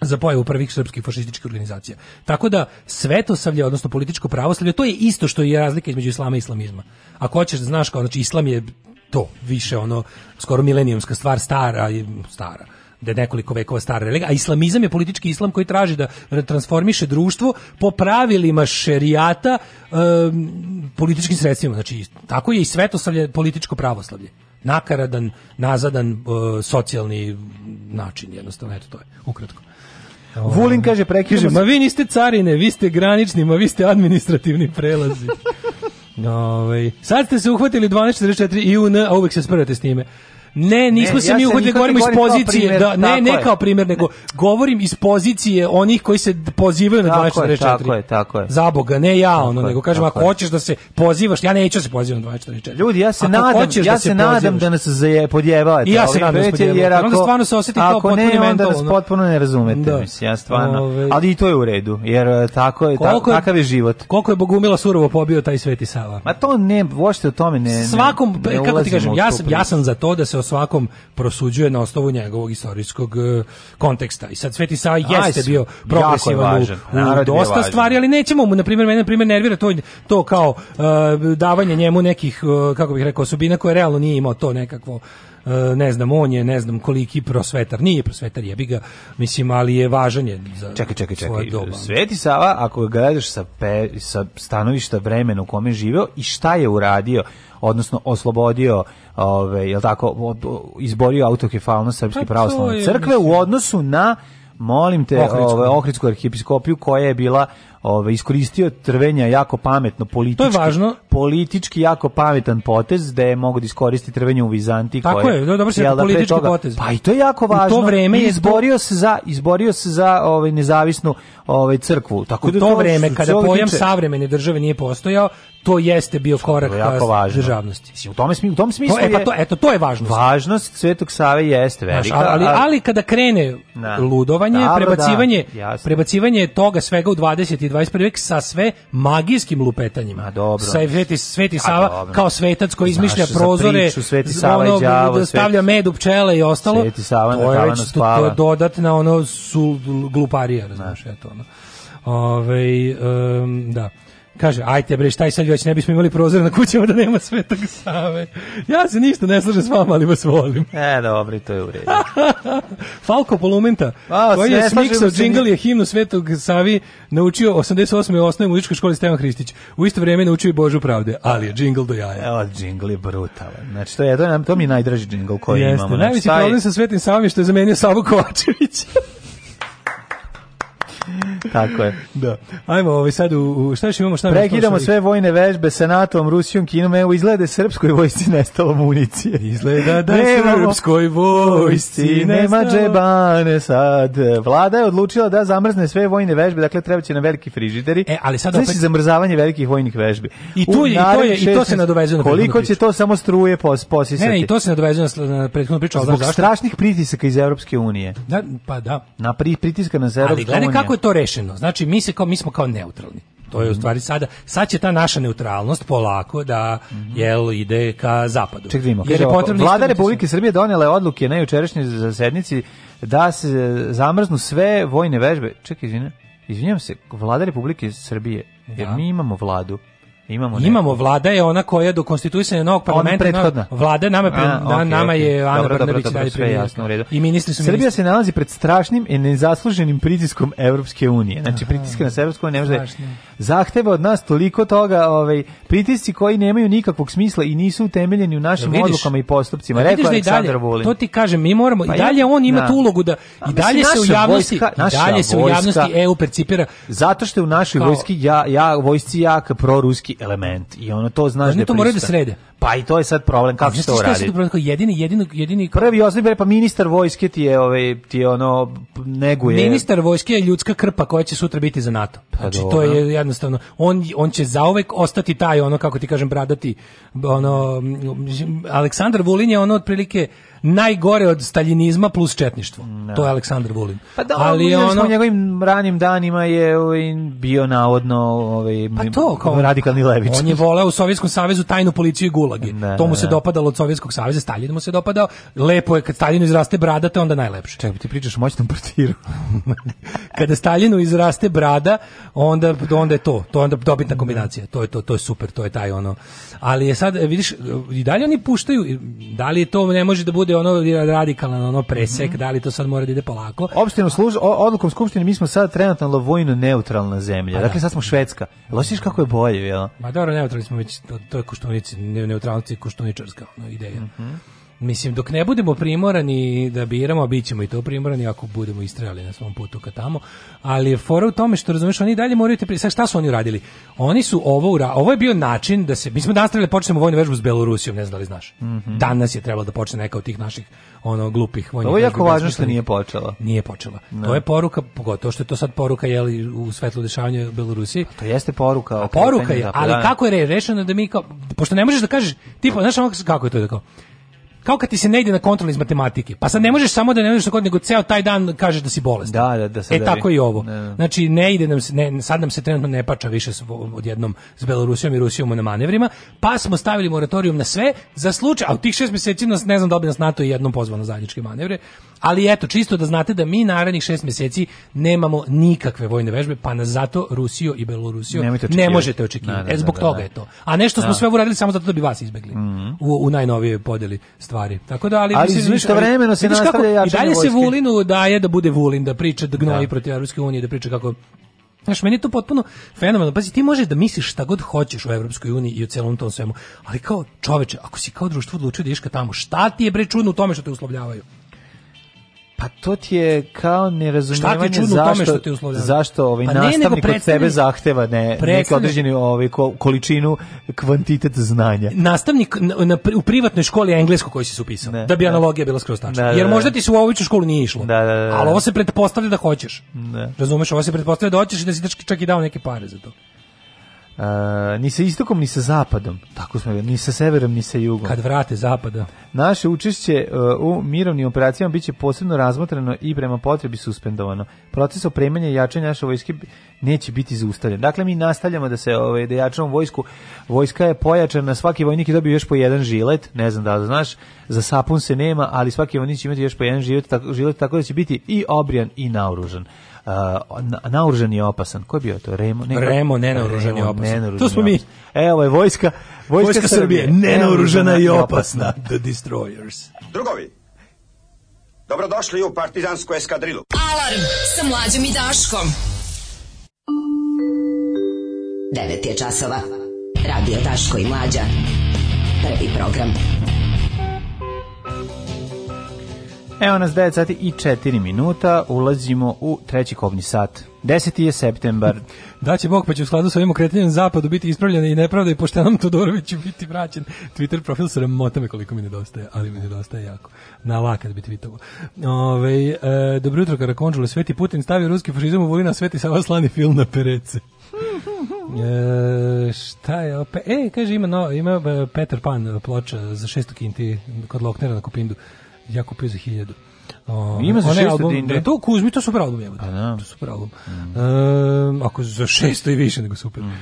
Speaker 8: za pojavu prvih srpskih fašističkih organizacija. Tako da svetosavlje, odnosno političko pravoslavlje, to je isto što je razlika između islama i islamizma. Ako hoćeš da znaš kao, znači islam je to, više ono, skoro milenijumska stvar, stara, je- stara da je nekoliko vekova stara religija, a islamizam je politički islam koji traži da transformiše društvo po pravilima šerijata em, političkim sredstvima. Znači, tako je i svetoslavlje političko pravoslavlje. Nakaradan, nazadan, e, socijalni način, jednostavno, eto to je, ukratko.
Speaker 7: Vulin ovaj, kaže, prekižemo
Speaker 8: Kaže,
Speaker 7: se.
Speaker 8: ma vi niste carine, vi ste granični, ma vi ste administrativni prelazi. Ovaj, sad ste se uhvatili 1244 IUN, a uvek se sprvate s time. Ne, nismo
Speaker 7: Ne,
Speaker 8: se
Speaker 7: ja
Speaker 8: mi
Speaker 7: se
Speaker 8: uhvatili,
Speaker 7: nikad
Speaker 8: govorimo
Speaker 7: ne
Speaker 8: iz
Speaker 7: govorim kao
Speaker 8: pozicije,
Speaker 7: primer,
Speaker 8: da, ne,
Speaker 7: tako
Speaker 8: ne
Speaker 7: je.
Speaker 8: kao primjer, nego govorim iz pozicije onih koji se d- pozivaju na
Speaker 7: Tako je,
Speaker 8: 1244.
Speaker 7: tako je, tako je.
Speaker 8: Za Boga, ne ja, ono,
Speaker 7: je,
Speaker 8: nego kažem,
Speaker 7: tako
Speaker 8: ako
Speaker 7: je.
Speaker 8: hoćeš da se pozivaš, ja neću da se pozivam na 1244.
Speaker 7: Ljudi, ja se
Speaker 8: Ako
Speaker 7: nadam,
Speaker 8: hoćeš
Speaker 7: ja
Speaker 8: da
Speaker 7: se nadam
Speaker 8: pozivaš-
Speaker 7: da nas zaje, podjevate.
Speaker 8: I ja se
Speaker 7: ovim
Speaker 8: nadam da nas
Speaker 7: vreće, jer
Speaker 8: podjevate.
Speaker 7: ako-
Speaker 8: Onda stvarno se osjeti kao
Speaker 7: ako
Speaker 8: potpuni
Speaker 7: ne, onda
Speaker 8: mental,
Speaker 7: nas
Speaker 8: ono.
Speaker 7: potpuno ne razumete,
Speaker 8: Da.
Speaker 7: mislim, ja stvarno.
Speaker 8: Ove-
Speaker 7: Ali i to je u redu, jer e, tako je, ta,
Speaker 8: Koliko je-
Speaker 7: takav je život.
Speaker 8: Koliko je Bogumila surovo pobio taj Sveti Sava?
Speaker 7: Ma to ne, uopšte o tome ne... ne-
Speaker 8: svakom e,
Speaker 7: ne
Speaker 8: kako ti
Speaker 7: ulazimo
Speaker 8: kažem
Speaker 7: u
Speaker 8: ja
Speaker 7: tu
Speaker 8: sam
Speaker 7: priču.
Speaker 8: ja sam za to da se o svakom prosuđuje na osnovu njegovog istorijskog e, konteksta i sad Sveti Sava jeste
Speaker 7: s-
Speaker 8: bio
Speaker 7: jako je
Speaker 8: progresivan u-
Speaker 7: važan.
Speaker 8: u,
Speaker 7: Narod je
Speaker 8: dosta
Speaker 7: važan.
Speaker 8: stvari ali nećemo mu na primjer mene na primjer nervira to to kao e, davanje njemu nekih e, kako bih rekao osobina koje realno nije imao to nekakvo e, ne znam, on je, ne znam koliki prosvetar, nije prosvetar, jebi ga, mislim, ali je važan je za
Speaker 7: Čekaj, čekaj, čekaj.
Speaker 8: svoje doba.
Speaker 7: Sveti Sava, ako ga gledaš sa, pe, sa stanovišta vremena u kome je živeo i šta je uradio, odnosno oslobodio, ove, jel tako, od- izborio autokefalnost
Speaker 8: Pa
Speaker 7: Srpske
Speaker 8: to
Speaker 7: pravoslavne
Speaker 8: je,
Speaker 7: crkve u odnosu na molim te,
Speaker 8: Ohridsku.
Speaker 7: ove, Ohridsku arhijepiskopiju koja je bila ove, iskoristio trvenja jako pametno politički,
Speaker 8: važno.
Speaker 7: politički jako pametan potez da je mogao da iskoristi trvenje u Vizantiji
Speaker 8: Tako
Speaker 7: koje,
Speaker 8: je, da, dobro si rekao,
Speaker 7: jel da, pre
Speaker 8: politički
Speaker 7: toga-
Speaker 8: potez.
Speaker 7: Pa i to je jako
Speaker 8: U to
Speaker 7: važno.
Speaker 8: vreme
Speaker 7: I
Speaker 8: je to-
Speaker 7: izborio se za izborio se za ovaj nezavisnu ovaj crkvu. Tako
Speaker 8: u
Speaker 7: da
Speaker 8: to vreme kada
Speaker 7: što se
Speaker 8: pojam
Speaker 7: tiče-
Speaker 8: savremene države nije postojao, to jeste bio korak
Speaker 7: To
Speaker 8: ka
Speaker 7: je jako važno.
Speaker 8: državnosti.
Speaker 7: Mislim, u tome smi- u tom smislu
Speaker 8: To, e, pa
Speaker 7: je-
Speaker 8: to, eto, to je važnost.
Speaker 7: važnost Svetog Save jeste velika.
Speaker 8: Znaš, ali,
Speaker 7: a-
Speaker 8: ali kada krene
Speaker 7: Da.
Speaker 8: ludovanje,
Speaker 7: Dobro,
Speaker 8: prebacivanje,
Speaker 7: da, jasno.
Speaker 8: prebacivanje toga svega u 20. i 21. vek sa sve magijskim lupetanjima.
Speaker 7: A, dobro.
Speaker 8: Sa Sveti, Sveti
Speaker 7: A,
Speaker 8: Sava
Speaker 7: dobro.
Speaker 8: kao svetac koji
Speaker 7: Znaš,
Speaker 8: izmišlja
Speaker 7: za
Speaker 8: prozore,
Speaker 7: priču Sveti Sava i
Speaker 8: ono,
Speaker 7: đavo,
Speaker 8: da stavlja
Speaker 7: Sveti-
Speaker 8: med u pčele i ostalo.
Speaker 7: Sveti Sava na
Speaker 8: to je
Speaker 7: tavanu
Speaker 8: već to, to
Speaker 7: spava.
Speaker 8: je dodatna ono su gluparija, razumiješ, eto ono. Ove, em, da. Kaže, ajte bre, šta je sad već, ne bismo imali prozore na kućama da nema svetog Save. Ja se ništa ne slažem s vama, ali vas volim.
Speaker 7: E, dobro, i to je u redu.
Speaker 8: Falko Polumenta,
Speaker 7: A,
Speaker 8: koji
Speaker 7: sve
Speaker 8: je
Speaker 7: slažemo
Speaker 8: smiksao
Speaker 7: se mi.
Speaker 8: džingl je himnu Svetog Savi naučio 88. u osnovnoj muzičkoj školi Stevan Hristić. U isto vrijeme naučio i Božu pravde, ali je džingl do jaja.
Speaker 7: Evo, džingl je brutalan. Znači, to, je, to, je nam- to mi je najdraži džingl koji
Speaker 8: Jeste,
Speaker 7: imamo. Znači,
Speaker 8: najveći
Speaker 7: taj-
Speaker 8: problem sa Svetim Savom je što je zamenio Savu Kovačevića.
Speaker 7: Tako je.
Speaker 8: da. Ajmo ovaj sad u, u šta još imamo, šta
Speaker 7: Prekidamo
Speaker 8: još
Speaker 7: sve vojne vežbe sa NATO-om, Rusijom, Kinom. Evo, izgleda je srpskoj vojsci nestalo municije.
Speaker 8: Izgleda da
Speaker 7: Nemamo-
Speaker 8: srpskoj vojsci
Speaker 7: Vojsci nema
Speaker 8: nestalo.
Speaker 7: džebane sad. Vlada je odlučila da zamrzne sve vojne vežbe, dakle treba će na veliki frižideri.
Speaker 8: E, ali sad
Speaker 7: Znaš
Speaker 8: opet-
Speaker 7: si zamrzavanje velikih vojnih vežbi.
Speaker 8: I tu
Speaker 7: U
Speaker 8: je- i to je-
Speaker 7: narednih
Speaker 8: i to se
Speaker 7: šest mjeseci-
Speaker 8: nadovezuje na
Speaker 7: Koliko
Speaker 8: prethodnu
Speaker 7: će to samo struje pos, posisati?
Speaker 8: Ne, ne, i to se nadovezuje na, sl- na prethodnu priču, ali znaš
Speaker 7: Zbog
Speaker 8: zašto?
Speaker 7: strašnih pritisaka iz Europske unije.
Speaker 8: Da, pa da.
Speaker 7: Na pri, pritiska na Europske
Speaker 8: Ali
Speaker 7: unije.
Speaker 8: gledaj kako je to rešeno. Znači mi se kao mi smo kao neutralni. To je u stvari sada sad će ta naša neutralnost polako da jel ide ka zapadu.
Speaker 7: Ček da vidimo,
Speaker 8: Jer je
Speaker 7: kaže ovako,
Speaker 8: potrebno
Speaker 7: Vlada
Speaker 8: istrgnuti
Speaker 7: Republike Srbije donela je odluke na jučerašnjoj zasednici da se zamrznu sve vojne vežbe. Čekaj, izvinjam. Izvinjam se, Vlada Republike Srbije, jer
Speaker 8: Da.
Speaker 7: mi imamo vladu. Imamo
Speaker 8: sve.
Speaker 7: neku.
Speaker 8: Imamo vlada je ona koja do konstituisanja novog parlamenta na-
Speaker 7: prethodna.
Speaker 8: vlada nama je pre-
Speaker 7: A,
Speaker 8: na-
Speaker 7: okej,
Speaker 8: nama
Speaker 7: okej.
Speaker 8: je Ana
Speaker 7: Dobro, dobro,
Speaker 8: Brnabić i
Speaker 7: dobro,
Speaker 8: dalje
Speaker 7: sve
Speaker 8: premijerka.
Speaker 7: jasno, u redu.
Speaker 8: I ministri su
Speaker 7: Srbija
Speaker 8: ministri.
Speaker 7: se nalazi pred strašnim i nezasluženim pritiskom Evropske unije. Znači, pritiske na Evropsku uniju ne može...
Speaker 8: strašno.
Speaker 7: Zahteva od nas toliko toga, ovaj, pritisci koji nemaju nikakvog smisla i nisu utemeljeni u našim
Speaker 8: Vidiš?
Speaker 7: odlukama i postupcima.
Speaker 8: Da
Speaker 7: Rekao
Speaker 8: vidiš
Speaker 7: je
Speaker 8: da i dalje,
Speaker 7: Aleksandar Vulin.
Speaker 8: To ti kažem, mi moramo
Speaker 7: Pa
Speaker 8: i
Speaker 7: ja-
Speaker 8: dalje on ima
Speaker 7: da.
Speaker 8: tu ulogu da
Speaker 7: A
Speaker 8: i
Speaker 7: mislim,
Speaker 8: dalje se u
Speaker 7: naša
Speaker 8: javnosti,
Speaker 7: vojska-
Speaker 8: i dalje
Speaker 7: naša
Speaker 8: se u javnosti
Speaker 7: vojska-
Speaker 8: EU percipira
Speaker 7: Zato što je u našoj
Speaker 8: Kao-
Speaker 7: vojski ja, ja, vojsci jak proruski element i ono to znaš
Speaker 8: Oni
Speaker 7: da je
Speaker 8: to moraju da
Speaker 7: prisutan.
Speaker 8: srede.
Speaker 7: Pa i to je sad problem, kako
Speaker 8: Znaš
Speaker 7: se
Speaker 8: ti
Speaker 7: to
Speaker 8: šta je sad
Speaker 7: radi?
Speaker 8: problem? Kao jedini jedini jedini
Speaker 7: Prvi osnovi, pa ministar vojske ti je, ovaj, ti je ono, p- neguje.
Speaker 8: Ministar vojske je ljudska krpa koja će sutra biti za NATO. Znači to
Speaker 7: Pa dobro.
Speaker 8: je jednostavno on on će zauvek ostati taj ono kako ti kažem bradati ono m, Aleksandar Vulin je ono otprilike najgore od staljinizma plus četništvo. To je Aleksandar Vulin.
Speaker 7: Pa da, ali ono... u njegovim ranim danima je ovaj, bio navodno ovaj,
Speaker 8: Pa to, kao
Speaker 7: radikalni levič.
Speaker 8: On je voleo u Sovjetskom savezu tajnu policiju i gulage.
Speaker 7: Da,
Speaker 8: to mu
Speaker 7: da,
Speaker 8: se
Speaker 7: da.
Speaker 8: dopadalo od Sovjetskog saveza, Staljinu mu se dopadao. Lepo je kad Staljinu izraste brada, to je onda najlepše.
Speaker 7: Čekaj, ti pričaš o moćnom portiru.
Speaker 8: Kada Staljinu izraste brada, onda onda je to, to je onda dobitna kombinacija. To je to, to je super, to je taj ono. Ali je sad e, vidiš e, i dalje oni puštaju i da li je to ne može da bude je ono radikalan ono presek, da li to sad mora da ide polako.
Speaker 7: Opštinu služ, o- odlukom skupštine mi smo sad trenutno vojno neutralna zemlja. Dakle, sad smo Švedska. Jel osjećaš kako je bolje, jel?
Speaker 8: Ma dobro, neutralni smo već, to, to je koštunici, ne- neutralnost je koštuničarska ono, ideja.
Speaker 7: Mhm.
Speaker 8: Mislim, dok ne budemo primorani da biramo, a bit ćemo i to primorani ako budemo istrajali na svom putu ka tamo, ali je fora u tome što, razumeš, oni i dalje moraju te... pri- Sad, šta su oni uradili? Oni su ovo ura... Ovo je bio način da se... Mi smo danas trebali da počnemo vojnu vežbu s Belorusijom, ne znam da li znaš. Danas je trebalo da počne neka od tih naših ono glupih vojnih
Speaker 7: Mhm. Ovo je
Speaker 8: vežbi
Speaker 7: jako važno što
Speaker 8: besmislenih.
Speaker 7: nije počela.
Speaker 8: Nije počela.
Speaker 7: Ne.
Speaker 8: To je poruka, pogotovo što je to sad poruka jeli, u svetlu dešavanja u Belorusiji.
Speaker 7: To jeste poruka.
Speaker 8: A poruka je, ali kako je re- rešeno da mi kao, pošto ne možeš da kažeš, tipa, znaš ono kako je to da kao, kao kad ti se ne ide na kontrol iz matematike, pa sad ne možeš samo da ne možeš tako, nego ceo taj dan kažeš da si bolestan.
Speaker 7: Da, da, da sad
Speaker 8: E tako
Speaker 7: bi-
Speaker 8: i ovo.
Speaker 7: Ne, ne.
Speaker 8: Znači ne ide nam se ne, sad nam se trenutno ne pača više s, odjednom s Belorusijom i Rusijom na manevrima, pa smo stavili moratorijum na sve za slučaj, a u tih šest mjeseci nas ne znam da li bi nas NATO i jednom pozvao na zajedničke manevre, ali eto čisto da znate da mi narednih šest mjeseci nemamo nikakve vojne vežbe, pa nas zato Rusiju i Belorusiju
Speaker 7: Nemojte
Speaker 8: ne
Speaker 7: očekivati.
Speaker 8: možete očekivati.
Speaker 7: Da, da,
Speaker 8: E, zbog
Speaker 7: da, da,
Speaker 8: toga
Speaker 7: da.
Speaker 8: je to. A nešto smo
Speaker 7: Da. Mhm.
Speaker 8: sve uradili samo zato da bi vas izbegli u, u najnovijoj podeli stvari. Tako da ali,
Speaker 7: Ali
Speaker 8: mislim, znaš,
Speaker 7: istovremeno se
Speaker 8: vidiš kako,
Speaker 7: nastavlja
Speaker 8: I
Speaker 7: jačanje
Speaker 8: dalje se
Speaker 7: vojske.
Speaker 8: Vulinu daje da bude Vulin, da priča, da gnoji protiv Europske unije, da priča kako Znaš, meni je to potpuno fenomenalno. Pazi, ti možeš da misliš šta god hoćeš u Evropskoj uniji i u celom tom svemu, ali kao čoveče, ako si kao društvo odlučio da iška tamo, šta ti je bre čudno u tome što te uslovljavaju?
Speaker 7: Pa to ti je kao
Speaker 8: Šta ti je
Speaker 7: nerazumijevanje
Speaker 8: čudno u tome što
Speaker 7: zašto,
Speaker 8: te uslovljavaju?
Speaker 7: zašto ovaj
Speaker 8: Pa ne, nego
Speaker 7: nastavnik od
Speaker 8: predstavnik-
Speaker 7: sebe zahteva ne, neku
Speaker 8: predstavnik-
Speaker 7: određenu ovaj, ko- količinu, kvantitet znanja.
Speaker 8: nastavnik na, na- u privatnoj školi engleskog koji si se upisao.
Speaker 7: Ne,
Speaker 8: da bi
Speaker 7: da.
Speaker 8: analogija bila skroz tačna.
Speaker 7: Da, da,
Speaker 8: Jer
Speaker 7: da.
Speaker 8: možda ti se u ovu školu nije išlo.
Speaker 7: Da, da, da.
Speaker 8: Ali ovo se pretpostavlja da hoćeš.
Speaker 7: Da.
Speaker 8: Razumeš, ovo se pretpostavlja da hoćeš i da si čak- čak i dao neke pare za to.
Speaker 7: E, ni sa istokom, ni sa zapadom. Tako smo, ni sa severom, ni sa jugom.
Speaker 8: Kad vrate zapada.
Speaker 7: Naše učešće e, u mirovnim operacijama biće posebno razmotreno i prema potrebi suspendovano. Proces opremanja i jačanja naše vojske bi- neće biti zaustavljen. Dakle, mi nastavljamo da se ovaj, da jačamo vojsku. Vojska je pojačana, svaki vojnik je dobio još po jedan žilet, ne znam da li znaš, za sapun se nema, ali svaki vojnik će imati još po jedan žilet, tako, žilet, tako da će biti i obrijan i naoružan. E, na, naoružan je opasan. Ko je bio to? Remo? Ne,
Speaker 8: Remo, nenaoružan je
Speaker 7: Remo,
Speaker 8: opasan.
Speaker 7: nenaoružan
Speaker 8: To smo
Speaker 7: je
Speaker 8: mi.
Speaker 7: opasan. Evo je vojska, vojska,
Speaker 8: Vojska Srbije, nenaoružana i opasna. The Destroyers.
Speaker 13: Drugovi, dobrodošli u partizansku eskadrilu.
Speaker 10: Alarm sa mlađom i Daškom. 9 je časova. Radio Daško i Mlađa. Prvi program.
Speaker 7: Evo nas 9 sati i 4 minuta, ulazimo u treći kobni sat. 10. je septembar.
Speaker 8: Da će Bog, pa će u skladu sa ovim okretanjem zapadu biti ispravljena i nepravda i poštenom Todoroviću biti vraćen. Twitter profil sramota me koliko mi nedostaje, ali mi nedostaje jako. Na lakat bi tweetovo. Ove, e, dobro jutro, Karakonđule, Sveti Putin stavio ruski fašizam u Vulina, Sveti Sava slani film na perece. E, šta je opet? E, kaže, ima, no, ima e, Peter Pan e, ploča za 600 kinti kod Loknera na Kupindu. Ja kupio za 1000. O,
Speaker 7: Ima za
Speaker 8: onaj
Speaker 7: 600
Speaker 8: album-
Speaker 7: dinara.
Speaker 8: Da, To Kuzmi, to super album, jebote. To super album. Ehm, ako za 600 i više nego super.
Speaker 7: Mhm.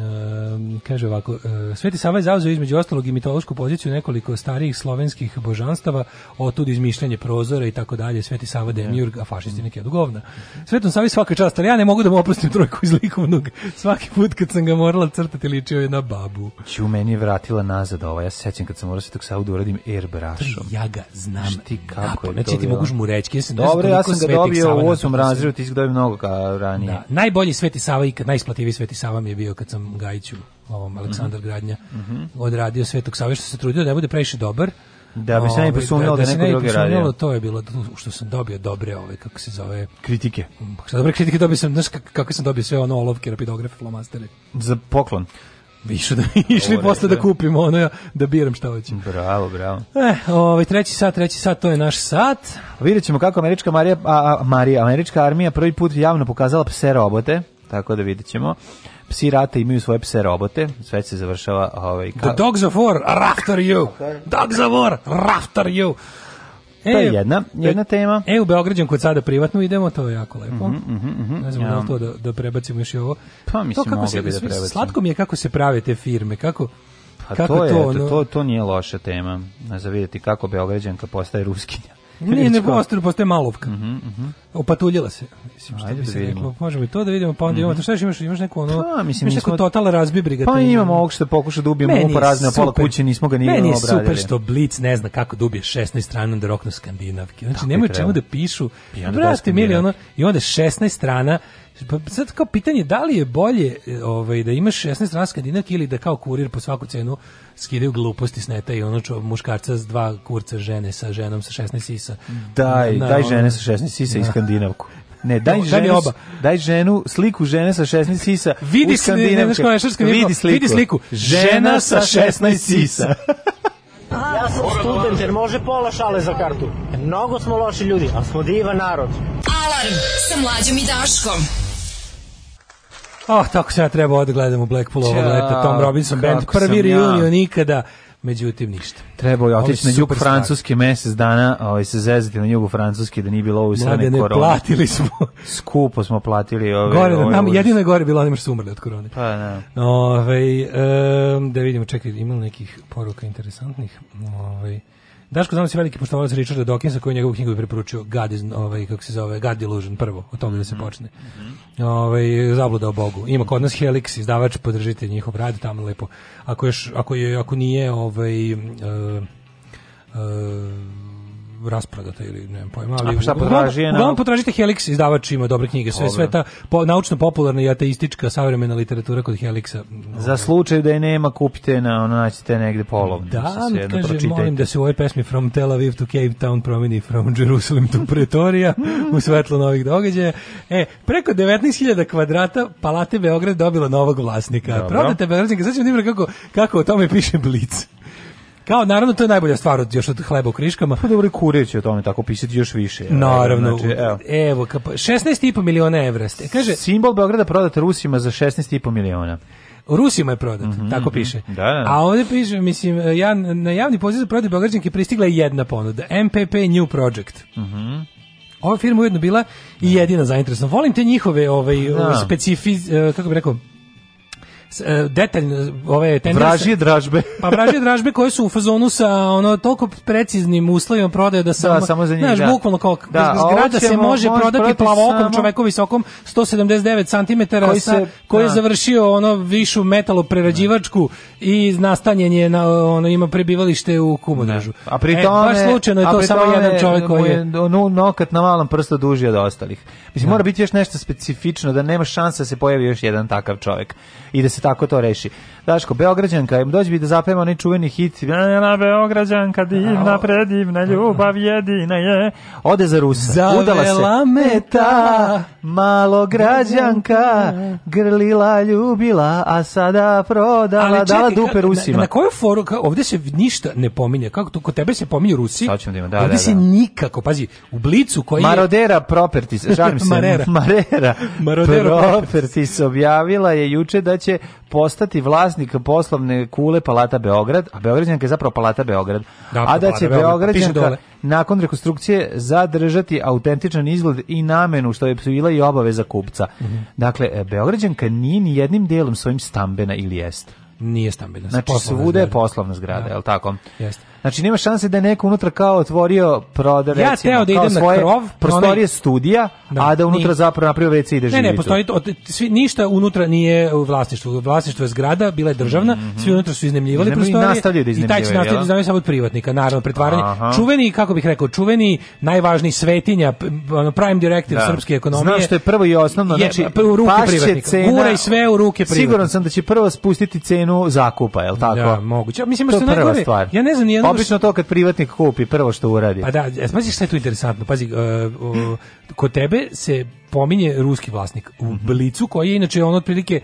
Speaker 8: Ehm, kaže ovako, e, Sveti Sava je zauzeo između ostalog i mitološku poziciju nekoliko starijih slovenskih božanstava, otud izmišljanje prozora i tako dalje, Sveti Sava Demiurg, a
Speaker 7: Mhm.
Speaker 8: fašisti neki govna. Svetom Savi svaka čast, ali ja ne mogu da mu oprostim trojku iz likovnog. Svaki put kad sam ga morala crtati, ličio je na babu.
Speaker 7: Ću meni je vratila nazad ova, ja se sećam kad sam morao Svetog Savu da uradim airbrushom.
Speaker 8: Ja ga znam.
Speaker 7: Šti kako je
Speaker 8: napamet,
Speaker 7: to
Speaker 8: Znači, ti
Speaker 7: bilo.
Speaker 8: moguš mu reći, ja sam- ne znam
Speaker 7: Dobro, ja
Speaker 8: koliko
Speaker 7: sam ga
Speaker 8: Svetih
Speaker 7: dobio
Speaker 8: Sava na
Speaker 7: u
Speaker 8: to
Speaker 7: osmom
Speaker 8: postoji.
Speaker 7: razredu, ti si ga dobio mnogo ka- ranije.
Speaker 8: Da, najbolji Sveti Sava ikad, najisplativiji Sveti Sava mi je bio kad sam Gajiću, ovom Aleksandar Gradnja,
Speaker 7: Mhm.
Speaker 8: odradio Svetog Sava, što se trudio da ne bude previše dobar.
Speaker 7: Da bi se ne
Speaker 8: Ovaj,
Speaker 7: bi posumnjalo da
Speaker 8: se
Speaker 7: neko
Speaker 8: ne bi
Speaker 7: drugi
Speaker 8: posumnjalo,
Speaker 7: radio.
Speaker 8: To je bilo što sam dobio dobre ove, kako se zove,
Speaker 7: Kritike.
Speaker 8: Šta dobre kritike dobio sam, znaš kak- kako sam dobio sve ono olovke, rapidografe, flomastere.
Speaker 7: Za poklon.
Speaker 8: Više da Išli posle da kupimo ono, ja, da biram šta hoćem.
Speaker 7: Bravo, bravo.
Speaker 8: Eh, ovaj, treći sat, treći sat, to je naš sat.
Speaker 7: Vidjet ćemo kako američka Marija, a, a, Marija, američka armija prvi put javno pokazala pse robote, tako da vidjet ćemo. Psi rata imaju svoje pse robote, sve se završava ovaj,
Speaker 8: The
Speaker 7: ka,
Speaker 8: dogs of war are after you. Dogs of war are after you.
Speaker 7: To je jedna- jedna tema.
Speaker 8: E, u Beograđan kod sada privatno idemo, to je jako lepo. Ne znam da li
Speaker 7: Mhm, Ja.
Speaker 8: to da, da prebacimo još i ovo.
Speaker 7: Pa,
Speaker 8: to
Speaker 7: mislim,
Speaker 8: kako
Speaker 7: mogli
Speaker 8: se,
Speaker 7: bi da
Speaker 8: sve-
Speaker 7: prebacimo.
Speaker 8: Slatko mi je kako se prave te firme, kako...
Speaker 7: Pa
Speaker 8: kako
Speaker 7: to je, to,
Speaker 8: ono-
Speaker 7: to, to nije loša tema, za vidjeti kako Beograđanka postaje ruskinja.
Speaker 8: Nije, ne postoje, postoje malovka. opatuljila se. Mislim, što
Speaker 7: Mhm, Ajde
Speaker 8: bi
Speaker 7: da
Speaker 8: se
Speaker 7: vidimo. Mhm.
Speaker 8: reklo, možemo i to da vidimo, pa onda imamo, šta još imaš, imaš neku ono,
Speaker 7: Pa, mislim,
Speaker 8: imaš neku
Speaker 7: nismo-
Speaker 8: total razbibriga.
Speaker 7: Pa imamo ovog što pokuša da ubijemo
Speaker 8: Meni
Speaker 7: upa
Speaker 8: je
Speaker 7: razne pola
Speaker 8: super.
Speaker 7: kuće, nismo ga ni
Speaker 8: Meni je
Speaker 7: obradili.
Speaker 8: super što Blitz ne zna kako da ubije 16 strana da roknu skandinavke. Znači,
Speaker 7: Tako
Speaker 8: nemaju
Speaker 7: i
Speaker 8: čemu
Speaker 7: treba.
Speaker 8: da pišu.
Speaker 7: I onda
Speaker 8: Brate,
Speaker 7: dosta
Speaker 8: mili, ono,
Speaker 7: Skandinavke.
Speaker 8: i onda 16 strana Pa sad kao pitanje da li je bolje e, ovaj da imaš 16 strana skandinavke ili da kao kurir po svaku cenu skidaju gluposti s neta i ono čo, muškarca s dva kurca žene sa ženom sa 16 sisa.
Speaker 7: Mm. Daj,
Speaker 8: Na-
Speaker 7: daj
Speaker 8: ono-
Speaker 7: žene sa 16 sisa i
Speaker 8: Da.
Speaker 7: skandinavku. Ne, daj,
Speaker 8: Daj mi
Speaker 7: ženu,
Speaker 8: oba.
Speaker 7: daj ženu, sliku žene sa 16 sisa.
Speaker 8: Vidi
Speaker 7: u
Speaker 8: sli- ne,
Speaker 7: skandinavke.
Speaker 8: znaš kako je šrpska
Speaker 7: vidi
Speaker 8: vidi
Speaker 7: sliku.
Speaker 8: sliku.
Speaker 7: Žena sa 16 sisa.
Speaker 14: Ja sam student jer može pola šale za kartu. Mnogo smo loši ljudi, ali smo divan narod.
Speaker 5: Alarm sa mlađom i Daškom.
Speaker 8: Oh, tako sam ja trebao odgledam u Blackpool ovog
Speaker 7: Ćao,
Speaker 8: leta, Tom Robinson Band,
Speaker 7: kako
Speaker 8: prvi
Speaker 7: sam ja.
Speaker 8: reunion nikada, međutim ništa.
Speaker 7: Trebao je
Speaker 8: Ovo je
Speaker 7: otići na
Speaker 8: super
Speaker 7: jug
Speaker 8: stvar.
Speaker 7: Francuske mesec dana, ovaj, se zezati na jugu Francuske da nije bilo ovo srane
Speaker 8: Mladene,
Speaker 7: korone.
Speaker 8: platili smo.
Speaker 7: Skupo smo platili ove.
Speaker 8: Gore,
Speaker 7: ove
Speaker 8: nam,
Speaker 7: užas.
Speaker 8: jedino je gore bilo onima što su umrli od korone.
Speaker 7: Pa, da.
Speaker 8: Ovaj, em, da vidimo, čekaj, ima li nekih poruka interesantnih? Ovaj, Daško Zanos je veliki poštovalac Richarda Dawkinsa koji je njegovu knjigu preporučio God is, ovaj, kako se zove, God Delusion prvo, o tome da se počne. Ovaj, zabluda o Bogu. Ima kod nas Helix, izdavač, podržite njihov rad, tamo lepo. Ako, još, ako, je, ako nije ovaj, e, e, rasprodata ili nemam pojma, ali
Speaker 7: Ako šta
Speaker 8: uglavnom-
Speaker 7: potraži je na-
Speaker 8: uglavnom potražite Helix, izdavač ima dobre knjige, sve
Speaker 7: Dobro.
Speaker 8: sve ta po, naučno popularna i ateistička savremena literatura kod Helixa.
Speaker 7: Za slučaj da je nema, kupite na, ono, naćete negde polovno.
Speaker 8: Da,
Speaker 7: Sve jedno
Speaker 8: kaže,
Speaker 7: pročitajte.
Speaker 8: molim da se u ovoj pesmi From Tel Aviv to Cape Town promeni From Jerusalem to Pretoria u svetlu novih događaja. E, preko 19.000 kvadrata Palate Beograd dobila novog vlasnika.
Speaker 7: Dobro.
Speaker 8: Prodate Beogradnika, sad ćemo da vidimo kako, kako o tome piše Blic. Kao, naravno, to je najbolja stvar od, još od hleba u kriškama.
Speaker 7: Pa dobro, i kurir će o tome tako pisati još više.
Speaker 8: Naravno,
Speaker 7: Znači, evo.
Speaker 8: evo, kap- 16,5 miliona evra. ste. Kaže,
Speaker 7: Simbol Beograda prodat Rusima za 16,5 miliona.
Speaker 8: Rusima je prodat, tako
Speaker 7: mhm.
Speaker 8: piše.
Speaker 7: Da, da.
Speaker 8: A ovdje piše, mislim, e, ja, na javni poziv za prodaju Beograđanke pristigla je jedna ponuda, MPP New Project.
Speaker 7: Mhm.
Speaker 8: Ova firma ujedno bila i jedina zainteresovana. Volim te njihove ovaj,
Speaker 7: Da.
Speaker 8: specifi- eh, kako bi rekao, s- eh, detaljno ove tendere-
Speaker 7: Vražije dražbe.
Speaker 8: pa vražije dražbe koje su u fazonu sa ono toliko preciznim uslovima prodaje da samo,
Speaker 7: samo za njih,
Speaker 8: znaš,
Speaker 7: da.
Speaker 8: bukvalno kao
Speaker 7: Da,
Speaker 8: da,
Speaker 7: a ovo
Speaker 8: zgrada se
Speaker 7: ćemo-
Speaker 8: može
Speaker 7: može
Speaker 8: prodati
Speaker 7: prodati
Speaker 8: plavokom
Speaker 7: samo-
Speaker 8: čoveku visokom 179 cm koji,
Speaker 7: Koji
Speaker 8: sa,
Speaker 7: se-
Speaker 8: koji je
Speaker 7: da.
Speaker 8: završio ono višu metaloprerađivačku i nastanjen je na ono ima prebivalište u Kumodražu.
Speaker 7: A pri
Speaker 8: E,
Speaker 7: tome,
Speaker 8: baš slučajno je
Speaker 7: a
Speaker 8: to
Speaker 7: pri
Speaker 8: samo
Speaker 7: tome
Speaker 8: jedan čovjek koji
Speaker 7: mu
Speaker 8: je
Speaker 7: No, nokat na malom prstu duži od ostalih. Mislim, mora biti još nešto specifično, da nema šansa da se pojavi još jedan takav čovjek i da se tako to reši. Daško, Beograđanka, im dođe bi da zapeva onaj čuveni hit Ljena Beograđanka, divna, predivna, ljubav jedina je. Ode za Rusa, udala se.
Speaker 8: Zavela me ta
Speaker 7: malo građanka, grlila, ljubila, a sada prodala,
Speaker 8: Ali čekaj,
Speaker 7: dala
Speaker 8: ka-
Speaker 7: dupe Rusima.
Speaker 8: Na, na koju foru, ka, ovde se ništa ne pominje, kako to, kod tebe se pominju Rusi,
Speaker 7: Sad ćemo da ima, da,
Speaker 8: ovde
Speaker 7: da,
Speaker 8: se
Speaker 7: da.
Speaker 8: nikako, pazi, u blicu koji je...
Speaker 7: Marodera Properties, žalim se,
Speaker 8: Marera.
Speaker 7: Marera,
Speaker 8: Marodera
Speaker 7: Properties objavila je juče da će postati vlasnik poslovne kule Palata Beograd, a Beograđanka je zapravo Palata Beograd,
Speaker 8: Da,
Speaker 7: a da
Speaker 8: Palata
Speaker 7: će
Speaker 8: Beograd, pa piše
Speaker 7: Beograđanka
Speaker 8: dole.
Speaker 7: nakon rekonstrukcije zadržati autentičan izgled i namenu što je bila i obaveza kupca.
Speaker 8: Mhm.
Speaker 7: Dakle, e, Beograđanka nije ni jednim delom svojim stambena ili jest.
Speaker 8: Nije stambena.
Speaker 7: Znači,
Speaker 8: poslovna
Speaker 7: svuda je
Speaker 8: zgrada.
Speaker 7: poslovna zgrada,
Speaker 8: Da.
Speaker 7: je li tako?
Speaker 8: Jeste.
Speaker 7: Znači nema šanse da je neko unutra kao otvorio proda
Speaker 8: Ja
Speaker 7: recimo,
Speaker 8: teo da
Speaker 7: kao
Speaker 8: idem na
Speaker 7: svoje
Speaker 8: krov,
Speaker 7: prostorije
Speaker 8: onaj-
Speaker 7: studija,
Speaker 8: Da,
Speaker 7: a da unutra
Speaker 8: nije.
Speaker 7: zapravo napravio WC i da
Speaker 8: Ne,
Speaker 7: živi
Speaker 8: ne,
Speaker 7: tu.
Speaker 8: postoji to, od- svi, ništa unutra nije u vlasništvu. Vlasništvo je zgrada, bila je državna,
Speaker 7: Mhm,
Speaker 8: svi unutra su iznemljivali
Speaker 7: Iznemljuju i
Speaker 8: prostorije.
Speaker 7: nastavljaju da
Speaker 8: I taj će
Speaker 7: iznemljivaju,
Speaker 8: nastaviti da
Speaker 7: jel?
Speaker 8: iznajmljuje samo od privatnika, naravno, pretvaranje.
Speaker 7: Aha.
Speaker 8: Čuveni, kako bih rekao, čuveni, najvažniji svetinja, p- ono, prime directive
Speaker 7: Da.
Speaker 8: srpske ekonomije.
Speaker 7: Znam što je prvo i osnovno,
Speaker 8: je,
Speaker 7: znači
Speaker 8: pa, u ruke
Speaker 7: pašće
Speaker 8: privatnika.
Speaker 7: cena-
Speaker 8: Guraj sve u ruke privatnika.
Speaker 7: Siguran sam da će prvo spustiti cenu zakupa, je li tako?
Speaker 8: Da, moguće. Ja Mislim,
Speaker 7: to
Speaker 8: što
Speaker 7: je
Speaker 8: je
Speaker 7: prva
Speaker 8: najgore,
Speaker 7: stvar.
Speaker 8: ja ne znam nijednu...
Speaker 7: Obično to kad privatnik kupi, prvo što uradi.
Speaker 8: Pa da, e, pazi šta je tu interesantno. Pazi, e, o, kod tebe se pominje ruski vlasnik u
Speaker 7: Mhm.
Speaker 8: Blicu, koji je inače on otprilike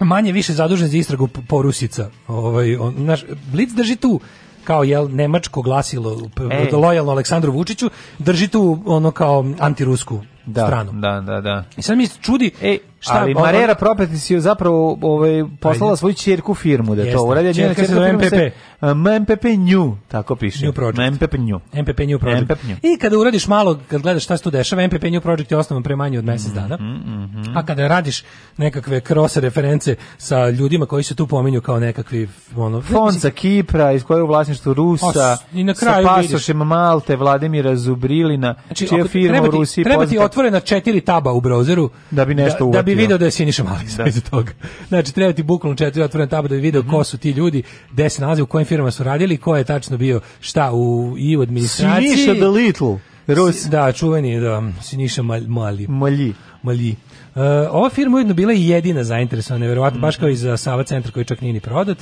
Speaker 8: manje više zadužen za istragu p- porusica. Ovaj, on, naš, Blic drži tu kao jel nemačko glasilo p-
Speaker 7: Ej.
Speaker 8: lojalno Aleksandru Vučiću drži tu ono kao antirusku
Speaker 7: Da,
Speaker 8: stranu.
Speaker 7: Da, da, da.
Speaker 8: I sad mi se čudi e, šta...
Speaker 7: Ali
Speaker 8: ovo-
Speaker 7: Marera Properties je zapravo ovaj, poslala svoju čerku firmu da
Speaker 8: Jeste.
Speaker 7: to uradi. a njena
Speaker 8: Ćerka se
Speaker 7: ćerka
Speaker 8: zove
Speaker 7: firma
Speaker 8: MPP.
Speaker 7: a, MPP New, tako piše.
Speaker 8: New Project. E,
Speaker 7: MPP New.
Speaker 8: MPP New Project.
Speaker 7: MPP New.
Speaker 8: I kada uradiš malo, kad gledaš šta se tu dešava, MPP New Project je osnovan pre manje od mesec dana.
Speaker 7: Mhm,
Speaker 8: A kada radiš nekakve cross reference sa ljudima koji se tu pominju kao nekakvi ono
Speaker 7: Fond sa Kipra, iz koje je u vlasništvu Rusa,
Speaker 8: Os- i na kraju
Speaker 7: sa
Speaker 8: vidiš.
Speaker 7: pasošem Malte, Vladimira Zubrilina, znači, čija
Speaker 8: ako-
Speaker 7: firma
Speaker 8: treba
Speaker 7: u
Speaker 8: ti-
Speaker 7: Rusiji
Speaker 8: treba ti
Speaker 7: poznata-
Speaker 8: otvorena četiri taba u browseru
Speaker 7: Da bi nešto
Speaker 8: da, da bi
Speaker 7: uvatio.
Speaker 8: video da je Siniša Mali
Speaker 7: Da. Mhm.
Speaker 8: iza toga. Znači treba ti bukvalno četiri otvorena taba da bi video ko su ti ljudi, gde se nalaze, u kojim firmama su radili, ko je tačno bio šta u i u administraciji.
Speaker 7: Siniša Znači, the Little, Rus.
Speaker 8: Znači- Si- Da, čuveni, da, Siniša Mal- Mali.
Speaker 7: Malji.
Speaker 8: Malji. E, ova firma ujedno bila i jedina zainteresovana, verovatno, baš kao i za Sava centar koji čak nije ni prodat.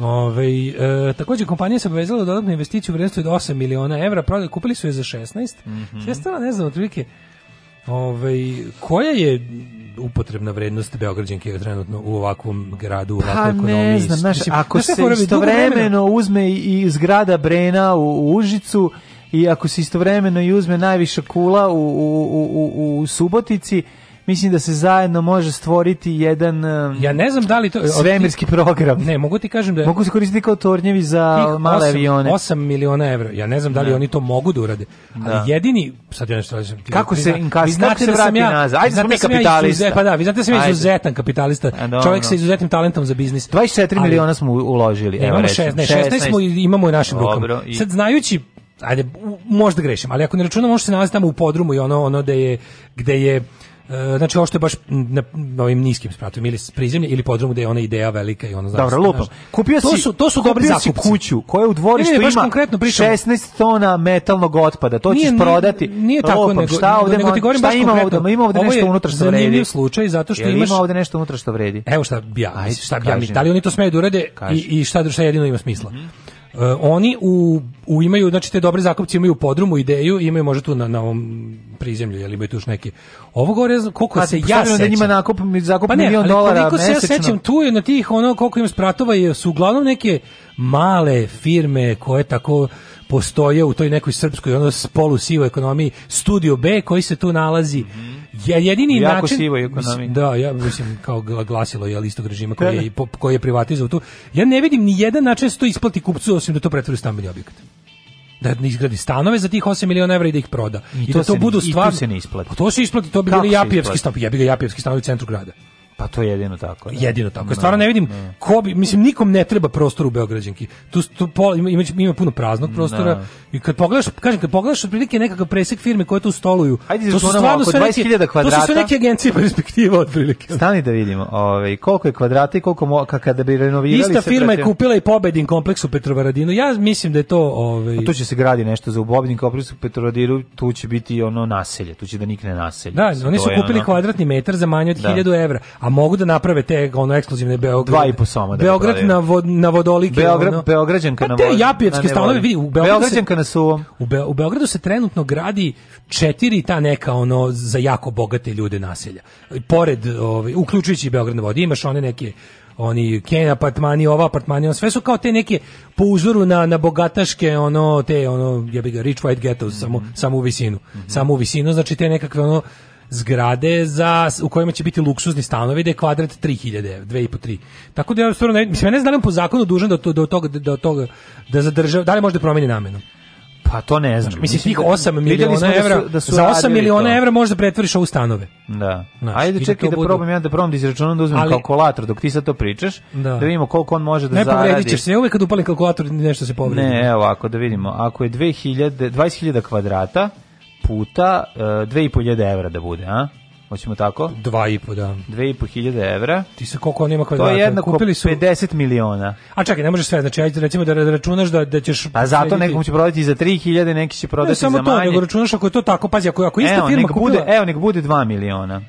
Speaker 8: Ove, e, takođe kompanija se obavezala da dodatnu investiciju u vrednosti od 8 miliona evra, prodali, kupili su je za 16.
Speaker 7: Mhm.
Speaker 8: Mm Sve stvarno ne znam, otprilike, ovaj, koja je upotrebna vrednost Beograđanke trenutno u ovakvom gradu, u ovakvoj
Speaker 7: Pa
Speaker 8: ekonomiji?
Speaker 7: ne znam,
Speaker 8: Dakle,
Speaker 7: znaš,
Speaker 8: Mislim,
Speaker 7: ako
Speaker 8: znaš šta
Speaker 7: se
Speaker 8: je fora? Dugo vremena-
Speaker 7: istovremeno uzme i i zgrada Brena u, u Užicu i ako se istovremeno i uzme najviša kula u, u, u, u, u Subotici, mislim da se zajedno može stvoriti jedan em,
Speaker 8: Ja ne znam da li to...
Speaker 7: svemirski program.
Speaker 8: Ne, mogu ti kažem da je...
Speaker 7: Mogu se koristiti kao tornjevi za
Speaker 8: tih
Speaker 7: male
Speaker 8: osam-
Speaker 7: avione.
Speaker 8: 8 miliona evra. Ja ne znam da li
Speaker 7: Da.
Speaker 8: oni to mogu da urade.
Speaker 7: Da.
Speaker 8: Ali jedini sad ja nešto kažem, ti-
Speaker 7: Kako
Speaker 8: ti
Speaker 7: se
Speaker 8: zna-
Speaker 7: inkas-
Speaker 8: vi znate
Speaker 7: kako se
Speaker 8: da sam
Speaker 7: vrati
Speaker 8: ja-
Speaker 7: nazad? Ajde,
Speaker 8: vi znate
Speaker 7: mi
Speaker 8: da sam ja
Speaker 7: kapitalista.
Speaker 8: izuzet- pa da, vi znate da sam ja
Speaker 7: Ajde.
Speaker 8: izuzetan kapitalista.
Speaker 7: A, dobro.
Speaker 8: Čovjek sa izuzetnim talentom za biznis.
Speaker 7: 24
Speaker 8: Ali-
Speaker 7: miliona smo u- uložili.
Speaker 8: Ne,
Speaker 7: evo
Speaker 8: imamo
Speaker 7: recimo.
Speaker 8: 16, ne, 16 smo i imamo u našim
Speaker 7: Dobro,
Speaker 8: rukama.
Speaker 7: i-
Speaker 8: Sad znajući ajde u- možda grešim, ali ako ne računamo ono što se nalazi tamo u podrumu i ono ono da je gde je e, znači ovo što je baš na, na ovim niskim spratovima ili s prizemlje ili podrumu gde je ona ideja velika i ono znaš.
Speaker 7: Dobro, lupam.
Speaker 8: znaš.
Speaker 7: Kupio si,
Speaker 8: to su, to su
Speaker 7: kupio
Speaker 8: dobri
Speaker 7: si
Speaker 8: zakupci.
Speaker 7: kuću koja u dvorištu
Speaker 8: Ne, ne, baš
Speaker 7: ima
Speaker 8: konkretno pričam.
Speaker 7: 16 tona metalnog otpada. To ćeš prodati.
Speaker 8: Nije tako,
Speaker 7: Lupam,
Speaker 8: nego,
Speaker 7: šta ovde,
Speaker 8: nego ti
Speaker 7: mo-
Speaker 8: govorim
Speaker 7: šta
Speaker 8: baš
Speaker 7: ima
Speaker 8: konkretno.
Speaker 7: ovde? Ima ovde
Speaker 8: Ovo
Speaker 7: nešto
Speaker 8: je
Speaker 7: unutra što
Speaker 8: zanimljiv
Speaker 7: vredi.
Speaker 8: slučaj zato što
Speaker 7: Jel
Speaker 8: imaš... E,
Speaker 7: ima ovde nešto unutra što vredi?
Speaker 8: Evo šta bi ja,
Speaker 7: Ajde,
Speaker 8: mislim, šta bi ja
Speaker 7: kaži
Speaker 8: mislim.
Speaker 7: mi.
Speaker 8: Da li oni to smeju da urade i,
Speaker 7: Kaži. Mhm.
Speaker 8: i šta, šta jedino ima smisla? E, oni u, u imaju, znači te dobre zakupci imaju podrumu, ideju, imaju možda tu na, na ovom prizemlju, jel imaju tu još neki. Ovo govore, ja znam koliko
Speaker 7: Pa,
Speaker 8: se ja
Speaker 7: stavljeno
Speaker 8: sećam.
Speaker 7: da njima nakup, zakup
Speaker 8: Pa ne,
Speaker 7: milion
Speaker 8: ali
Speaker 7: dolara
Speaker 8: koliko se ja
Speaker 7: mesečno.
Speaker 8: sećam, tu je na tih ono koliko im spratova je, su uglavnom neke male firme koje tako postoje u toj nekoj srpskoj ono polu sivoj ekonomiji Studio B koji se tu nalazi je jedini
Speaker 7: Mhm. U jako
Speaker 8: način
Speaker 7: sivoj ekonomiji.
Speaker 8: Mislim, da ja mislim kao gla- glasilo je istog režima koji
Speaker 7: Da,
Speaker 8: je
Speaker 7: da.
Speaker 8: po- koji je privatizovao tu ja ne vidim ni jedan način da se to isplati kupcu osim da to pretvori u stambeni objekat da ne izgradi stanove za tih 8 miliona evra i da ih proda. I,
Speaker 7: to
Speaker 8: da to
Speaker 7: se-
Speaker 8: budu
Speaker 7: i tu
Speaker 8: stvarno
Speaker 7: se ne isplati.
Speaker 8: Pa to se isplati, to bi
Speaker 7: Kako
Speaker 8: bili
Speaker 7: se
Speaker 8: Japijevski
Speaker 7: isplati?
Speaker 8: stanovi, ja bi ga Japijevski stanovi u centru grada.
Speaker 7: Pa to je jedino tako. da.
Speaker 8: Jedino tako.
Speaker 7: Da.
Speaker 8: Stvarno ne vidim ko bi, mislim nikom ne treba prostor u Beograđanki. Tu tu pol, ima, ima, ima puno praznog prostora
Speaker 7: Da.
Speaker 8: i kad pogledaš, kažem kad pogledaš otprilike nekakav presek firme koje tu stoluju.
Speaker 7: Ajde,
Speaker 8: to su
Speaker 7: izračunamo
Speaker 8: stvarno
Speaker 7: oko
Speaker 8: sve neke
Speaker 7: 20.000
Speaker 8: To su sve
Speaker 7: kvadrata.
Speaker 8: neke agencije perspektiva otprilike.
Speaker 7: Stani da vidimo, ovaj koliko je kvadrata i koliko mo, ka- kada bi renovirali
Speaker 8: Ista
Speaker 7: se
Speaker 8: firma je
Speaker 7: pretio-
Speaker 8: kupila i Pobedin kompleks u Petrovaradinu. Ja mislim da je to ovaj
Speaker 7: A tu će se gradi nešto za ubobnik, oprisu Petrodiru, tu će biti ono naselje, tu će da nikne naselje.
Speaker 8: Da, oni
Speaker 7: To
Speaker 8: su
Speaker 7: je
Speaker 8: kupili
Speaker 7: ono-
Speaker 8: kvadratni metar za manje od
Speaker 7: Da.
Speaker 8: 1000 evra, a mogu da naprave te ono ekskluzivne Beograd.
Speaker 7: Dva i po soma da
Speaker 8: Beograd
Speaker 7: naprave.
Speaker 8: na, vod, na vodolike.
Speaker 7: Beograd,
Speaker 8: ono.
Speaker 7: Beograđanka
Speaker 8: Pa
Speaker 7: na
Speaker 8: te
Speaker 7: vodi.
Speaker 8: japijevske
Speaker 7: na ne
Speaker 8: stanove,
Speaker 7: vodi.
Speaker 8: vidi, u Beogradu se-
Speaker 7: Beograđanka na suvom.
Speaker 8: U, Be u Beogradu se trenutno gradi četiri ta neka ono za jako bogate ljude naselja. I Pored, ovaj, uključujući i Beograd na vodi, imaš one neke oni Ken apartmani, ova apartmani, ono, sve su kao te neke po uzoru na, na bogataške, ono, te, ono, ja bih ga, rich white ghettos, samo, samo u visinu. Samo u visinu, znači te nekakve, ono, zgrade za, u kojima će biti luksuzni stanovi da je kvadrat 3000, 2,5-3. Tako da ja stvarno ne, mislim, ja ne znam da li on po zakonu dužan da, to, da, od toga, da, od toga, da zadržava, da li može da promeni namenu?
Speaker 7: Pa to ne znam.
Speaker 8: Mislim, tih
Speaker 7: da-
Speaker 8: 8
Speaker 7: vidjeli smo
Speaker 8: miliona
Speaker 7: da su-
Speaker 8: evra,
Speaker 7: da su
Speaker 8: za 8
Speaker 7: radili
Speaker 8: miliona
Speaker 7: to.
Speaker 8: evra možda pretvoriš ovu stanove.
Speaker 7: Da.
Speaker 8: Znaš, i
Speaker 7: Ajde
Speaker 8: da
Speaker 7: čekaj
Speaker 8: to
Speaker 7: da
Speaker 8: budu-
Speaker 7: probam ja da probam da izračunam da uzmem
Speaker 8: Ali-
Speaker 7: kalkulator dok ti sad to pričaš,
Speaker 8: Da.
Speaker 7: da, vidimo koliko on može da
Speaker 8: ne
Speaker 7: zaradi.
Speaker 8: povredit ćeš se, ja uvek kad upalim kalkulator nešto se povredi.
Speaker 7: Ne, evo, ako da vidimo. Ako je 2000, 20.000 kvadrata puta uh, 2.500 evra da bude, a? Hoćemo tako?
Speaker 8: Dva i po, da.
Speaker 7: 2.500 evra.
Speaker 8: Ti se koliko on ima
Speaker 7: To
Speaker 8: kvadrata?
Speaker 7: je jednako
Speaker 8: Dakle, Kupili su...
Speaker 7: 50 miliona.
Speaker 8: A čekaj, ne možeš sve, znači ajde recimo da, da računaš da, da ćeš...
Speaker 7: A Pa zato
Speaker 8: proslediti-
Speaker 7: nekom će prodati i za 3.000, neki će
Speaker 8: Ne
Speaker 7: prodati
Speaker 8: samo
Speaker 7: za
Speaker 8: to,
Speaker 7: manje.
Speaker 8: nego računaš ako je to tako, pazi, ako, ako ista
Speaker 7: evo,
Speaker 8: Pa firma
Speaker 7: nek
Speaker 8: kupila... E,
Speaker 7: bude, e, evo, nek bude 2 miliona.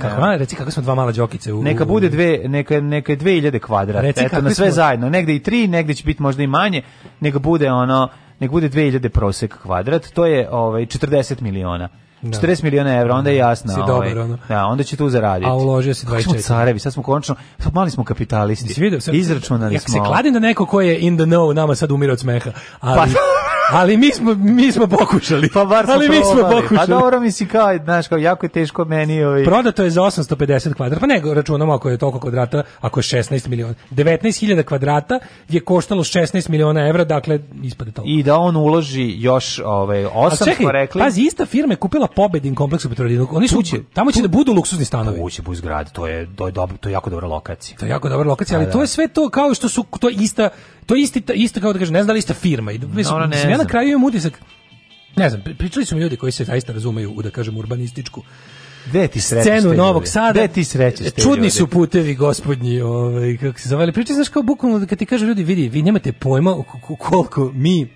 Speaker 8: kako, a, reci kako smo dva mala džokice u...
Speaker 7: Neka bude dve, neka, neka je 2000 kvadrata,
Speaker 8: Reci
Speaker 7: eto, na
Speaker 8: kakvi
Speaker 7: sve
Speaker 8: smo-
Speaker 7: zajedno, negde i tri, negde će biti možda i manje, neka bude ono, nek bude 2000 prosek kvadrat, to je ovaj, 40 miliona. 40 miliona evra, onda je jasno.
Speaker 8: Si
Speaker 7: ovaj,
Speaker 8: dobar, ono.
Speaker 7: Da, onda će tu zaraditi.
Speaker 8: A uložio si
Speaker 7: Kako smo
Speaker 8: 24.
Speaker 7: carevi, sad smo konačno, sad mali smo kapitalisti.
Speaker 8: Jesi vidio? Sad-
Speaker 7: Izračunali
Speaker 8: ja
Speaker 7: smo.
Speaker 8: se kladim da neko ko je in the know nama sad umire od smeha. Ali, Ali mi smo, mi smo pokušali.
Speaker 7: Pa bar smo
Speaker 8: Ali mi smo
Speaker 7: probali.
Speaker 8: pokušali.
Speaker 7: Pa dobro mi si kao, znaš, kao jako je teško meni. Ovaj.
Speaker 8: Prodato je za 850 kvadrata. Pa ne, računamo ako je toliko kvadrata, ako je 16 miliona. 19.000 kvadrata je koštalo 16 miliona evra, dakle ispade toliko.
Speaker 7: I da on uloži još ovaj,
Speaker 8: A
Speaker 7: osam,
Speaker 8: čekaj,
Speaker 7: smo rekli.
Speaker 8: pazi, ista firma je kupila Pobedin kompleks u Petrovaradinu. Oni su, tamo će da budu luksuzni stanovi.
Speaker 7: Ući bu zgradi, to je, to je, dobro, to je jako dobra lokacija.
Speaker 8: To je jako dobra lokacija, ali
Speaker 7: Pa da.
Speaker 8: to je sve to kao što su to je ista to je isti isto kao da kažem, ne znam da li ista firma. I mislim,
Speaker 7: Dobro, ne
Speaker 8: mislim, ja na
Speaker 7: znam.
Speaker 8: kraju imam utisak ne znam, pri- pričali su mi ljudi koji se zaista razumeju u da kažem urbanističku
Speaker 7: Gde ti srećeš te
Speaker 8: scenu
Speaker 7: ljude?
Speaker 8: Novog Sada.
Speaker 7: Gde ti srećeš te
Speaker 8: Čudni
Speaker 7: ljude?
Speaker 8: su putevi, gospodnji, ovaj kako se zove, ali pričaš znaš kao bukvalno kad ti kažu ljudi, vidi, vi nemate pojma o k- koliko mi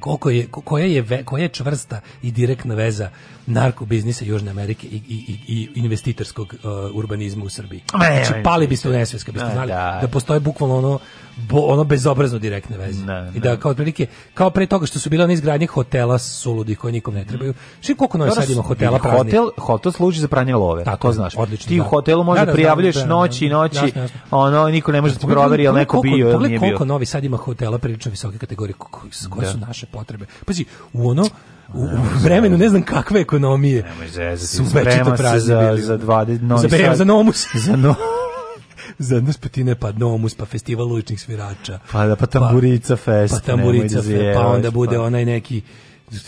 Speaker 8: koliko je, ko- koja, je, ve- koja je čvrsta i direktna veza narkobiznisa Južne Amerike i, i, i- i investitorskog uh, urbanizma u Srbiji.
Speaker 7: Ma, ne,
Speaker 8: znači,
Speaker 7: ne,
Speaker 8: pali biste u nesvijest kad biste
Speaker 7: Ma,
Speaker 8: znali
Speaker 7: da.
Speaker 8: da postoje bukvalno ono, bo- ono bezobrazno direktne veze. I da kao otprilike, kao pre toga što su bile one izgradnje hotela suludi koji nikom ne trebaju. Šim koliko Novi
Speaker 7: Dobro,
Speaker 8: Sad ima hotela praznih?
Speaker 7: hotel, hotel služi za pranje love, to znaš.
Speaker 8: odlično,
Speaker 7: Ti u
Speaker 8: da.
Speaker 7: hotelu možda
Speaker 8: Da, da,
Speaker 7: prijavljuješ
Speaker 8: znam, da, da,
Speaker 7: noći i
Speaker 8: da,
Speaker 7: noći,
Speaker 8: jasno, jasno.
Speaker 7: ono, niko ne može da ti
Speaker 8: Pogledaj-
Speaker 7: proveri, jel
Speaker 8: pogledaj
Speaker 7: neko
Speaker 8: koliko-
Speaker 7: bio ili
Speaker 8: pogledaj
Speaker 7: nije
Speaker 8: koliko
Speaker 7: bio.
Speaker 8: Novi Sad ima hotela prilično visoke kategorije, ko- koji su- koje
Speaker 7: Da.
Speaker 8: su naše potrebe. Pazi, u ono, u, u vremenu ne znam kakve ekonomije
Speaker 7: zezati,
Speaker 8: su
Speaker 7: sprema
Speaker 8: večito
Speaker 7: se
Speaker 8: prazni
Speaker 7: za-
Speaker 8: bili.
Speaker 7: za 20 Novi
Speaker 8: za,
Speaker 7: Sad.
Speaker 8: za nomus.
Speaker 7: Za no-
Speaker 8: za naspetine, pa nomus, pa festival uličnih svirača.
Speaker 7: Pa da, pa tamburica fest,
Speaker 8: Pa tamburica
Speaker 7: nemoj da
Speaker 8: fest, pa
Speaker 7: zjebaš,
Speaker 8: onda bude
Speaker 7: pa.
Speaker 8: onaj neki...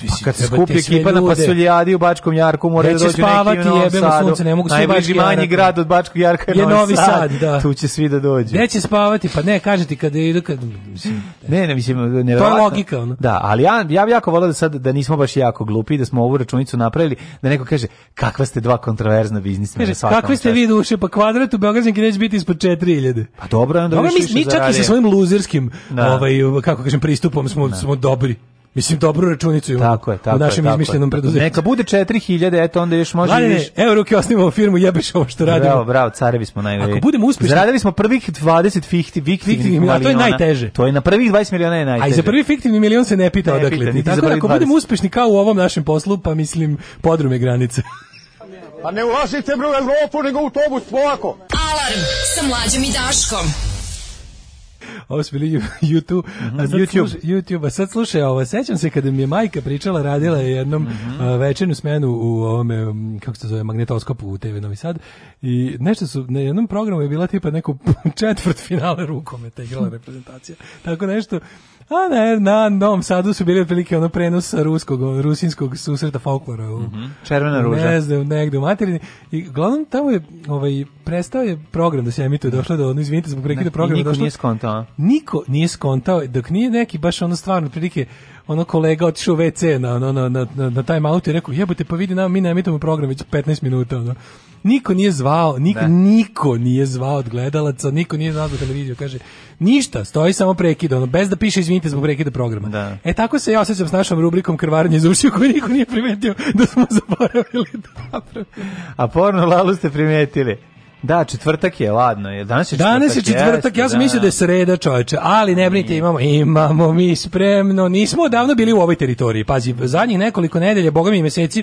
Speaker 7: Pa kad se skupi ekipa na Pasuljadi u Bačkom Jarku, mora da
Speaker 8: Neće
Speaker 7: dođu neki u Novom
Speaker 8: spavati,
Speaker 7: Sadu.
Speaker 8: jebemo sunce, ne mogu svi u
Speaker 7: Najbliži
Speaker 8: Bački Jarak.
Speaker 7: manji grad od Bačkog Jarka
Speaker 8: Je Novi Sad, da.
Speaker 7: Tu će svi da dođu.
Speaker 8: Neće spavati, pa ne, kažete ti kada idu, kad, mislim,
Speaker 7: Ne, ne, mislim, nevjerovatno.
Speaker 8: logika, ono.
Speaker 7: Da, ali ja, ja bi jako volao da sad, da nismo baš jako glupi, da smo ovu računicu napravili, da neko kaže, kakva ste dva kontraverzna biznismena.
Speaker 8: Kaže,
Speaker 7: svaka vam
Speaker 8: kakvi ste
Speaker 7: čast.
Speaker 8: vi duše, pa kvadrat u Beograđanki neće biti ispod 4000.
Speaker 7: Pa dobro, onda
Speaker 8: Dobro,
Speaker 7: više
Speaker 8: mi, mi
Speaker 7: više
Speaker 8: čak i sa
Speaker 7: zaradim.
Speaker 8: svojim luzerskim,
Speaker 7: Da.
Speaker 8: ovaj, kako kažem, pristupom smo, smo dobri. Mislim, dobru računicu imamo
Speaker 7: Tako je, tako
Speaker 8: u našem
Speaker 7: je, tako
Speaker 8: izmišljenom
Speaker 7: je.
Speaker 8: preduzeću.
Speaker 7: Neka bude 4000, eto onda još može i
Speaker 8: Mladene,
Speaker 7: više.
Speaker 8: evo ruke osnivamo firmu, jebeš ovo što radimo.
Speaker 7: Bravo, bravo, carevi smo najbolji.
Speaker 8: Ako budemo uspješni-
Speaker 7: Zaradili smo prvih 20 fikti, fiktivnih
Speaker 8: Fiktivnih miliona, to je
Speaker 7: miliona.
Speaker 8: najteže.
Speaker 7: To je na prvih 20 miliona je najteže.
Speaker 8: A i za prvi fiktivni milion se ne pita
Speaker 7: Ne
Speaker 8: odakle
Speaker 7: pita,
Speaker 8: ti.
Speaker 7: niti za
Speaker 8: Tako da
Speaker 7: prvih
Speaker 8: ako budemo
Speaker 7: 20.
Speaker 8: uspešni kao u ovom našem poslu, pa mislim, podrume granice.
Speaker 15: Pa ne ulazite bre u Evropu, nego u autobus polako.
Speaker 5: Alarm sa mlađom i Daškom.
Speaker 8: Ovo su bili YouTube. A sad
Speaker 7: YouTube.
Speaker 8: Slušaj, YouTube. A sad slušaj ovo, sećam se kada mi je majka pričala, radila je jednom
Speaker 7: Mhm.
Speaker 8: a, večernju smenu u ovome, m, kako se zove, magnetoskopu u TV Novi Sad. I nešto su, na jednom programu je bila tipa neko četvrt finale rukometa igrala reprezentacija. Tako nešto. A ne, na Novom Sadu su bili otprilike ono prenos sa ruskog, ono, rusinskog susreta folklora u,
Speaker 7: Červena Mhm. ruža.
Speaker 8: ne znam, negde u materini. I uglavnom tamo je, ovaj, prestao je program da se emituje, došlo do, ono, izvinite, zbog prekida
Speaker 7: Ne,
Speaker 8: programa.
Speaker 7: I niko
Speaker 8: došlo-
Speaker 7: nije skontao. a?
Speaker 8: niko nije skontao dok nije neki baš ono stvarno prilike ono kolega otišao u WC na ono na na na, na time out i rekao jebote pa vidi nam mi ne emitujemo program već 15 minuta ono. Niko nije zvao, niko,
Speaker 7: Da.
Speaker 8: niko nije zvao od gledalaca, niko nije nazvao televiziju, kaže ništa, stoji samo prekid, ono, bez da piše izvinite zbog prekida programa. E tako se ja osjećam s našom rubrikom krvarenje iz ušiju koju niko nije primetio da smo zaboravili da napravimo.
Speaker 7: A porno lalu ste primetili. Da, četvrtak je, ladno je. Danas je četvrtak.
Speaker 8: Danas je četvrtak,
Speaker 7: jeste,
Speaker 8: ja sam mislio da je sreda, čoveče, ali ne brinite, imamo, imamo mi spremno, nismo odavno bili u ovoj teritoriji, pazi, zadnjih nekoliko nedelja, boga mi i meseci,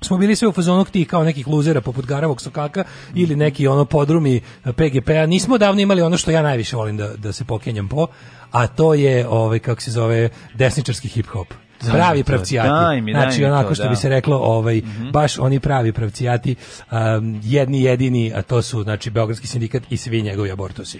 Speaker 8: smo bili sve u fazonu tih kao nekih luzera poput Garavog Sokaka ili neki ono podrumi PGP-a. Nismo davno imali ono što ja najviše volim da, da se pokenjam po, a to je ovaj kako se zove desničarski hip hop.
Speaker 7: Daj mi
Speaker 8: Pravi
Speaker 7: to,
Speaker 8: pravcijati.
Speaker 7: daj mi, daj
Speaker 8: znači
Speaker 7: mi
Speaker 8: onako
Speaker 7: to,
Speaker 8: što
Speaker 7: da. Mhm.
Speaker 8: bi se reklo, ovaj baš oni pravi pravcijati, um, jedni jedini, a to su znači Beogradski sindikat i svi njegovi abortusi.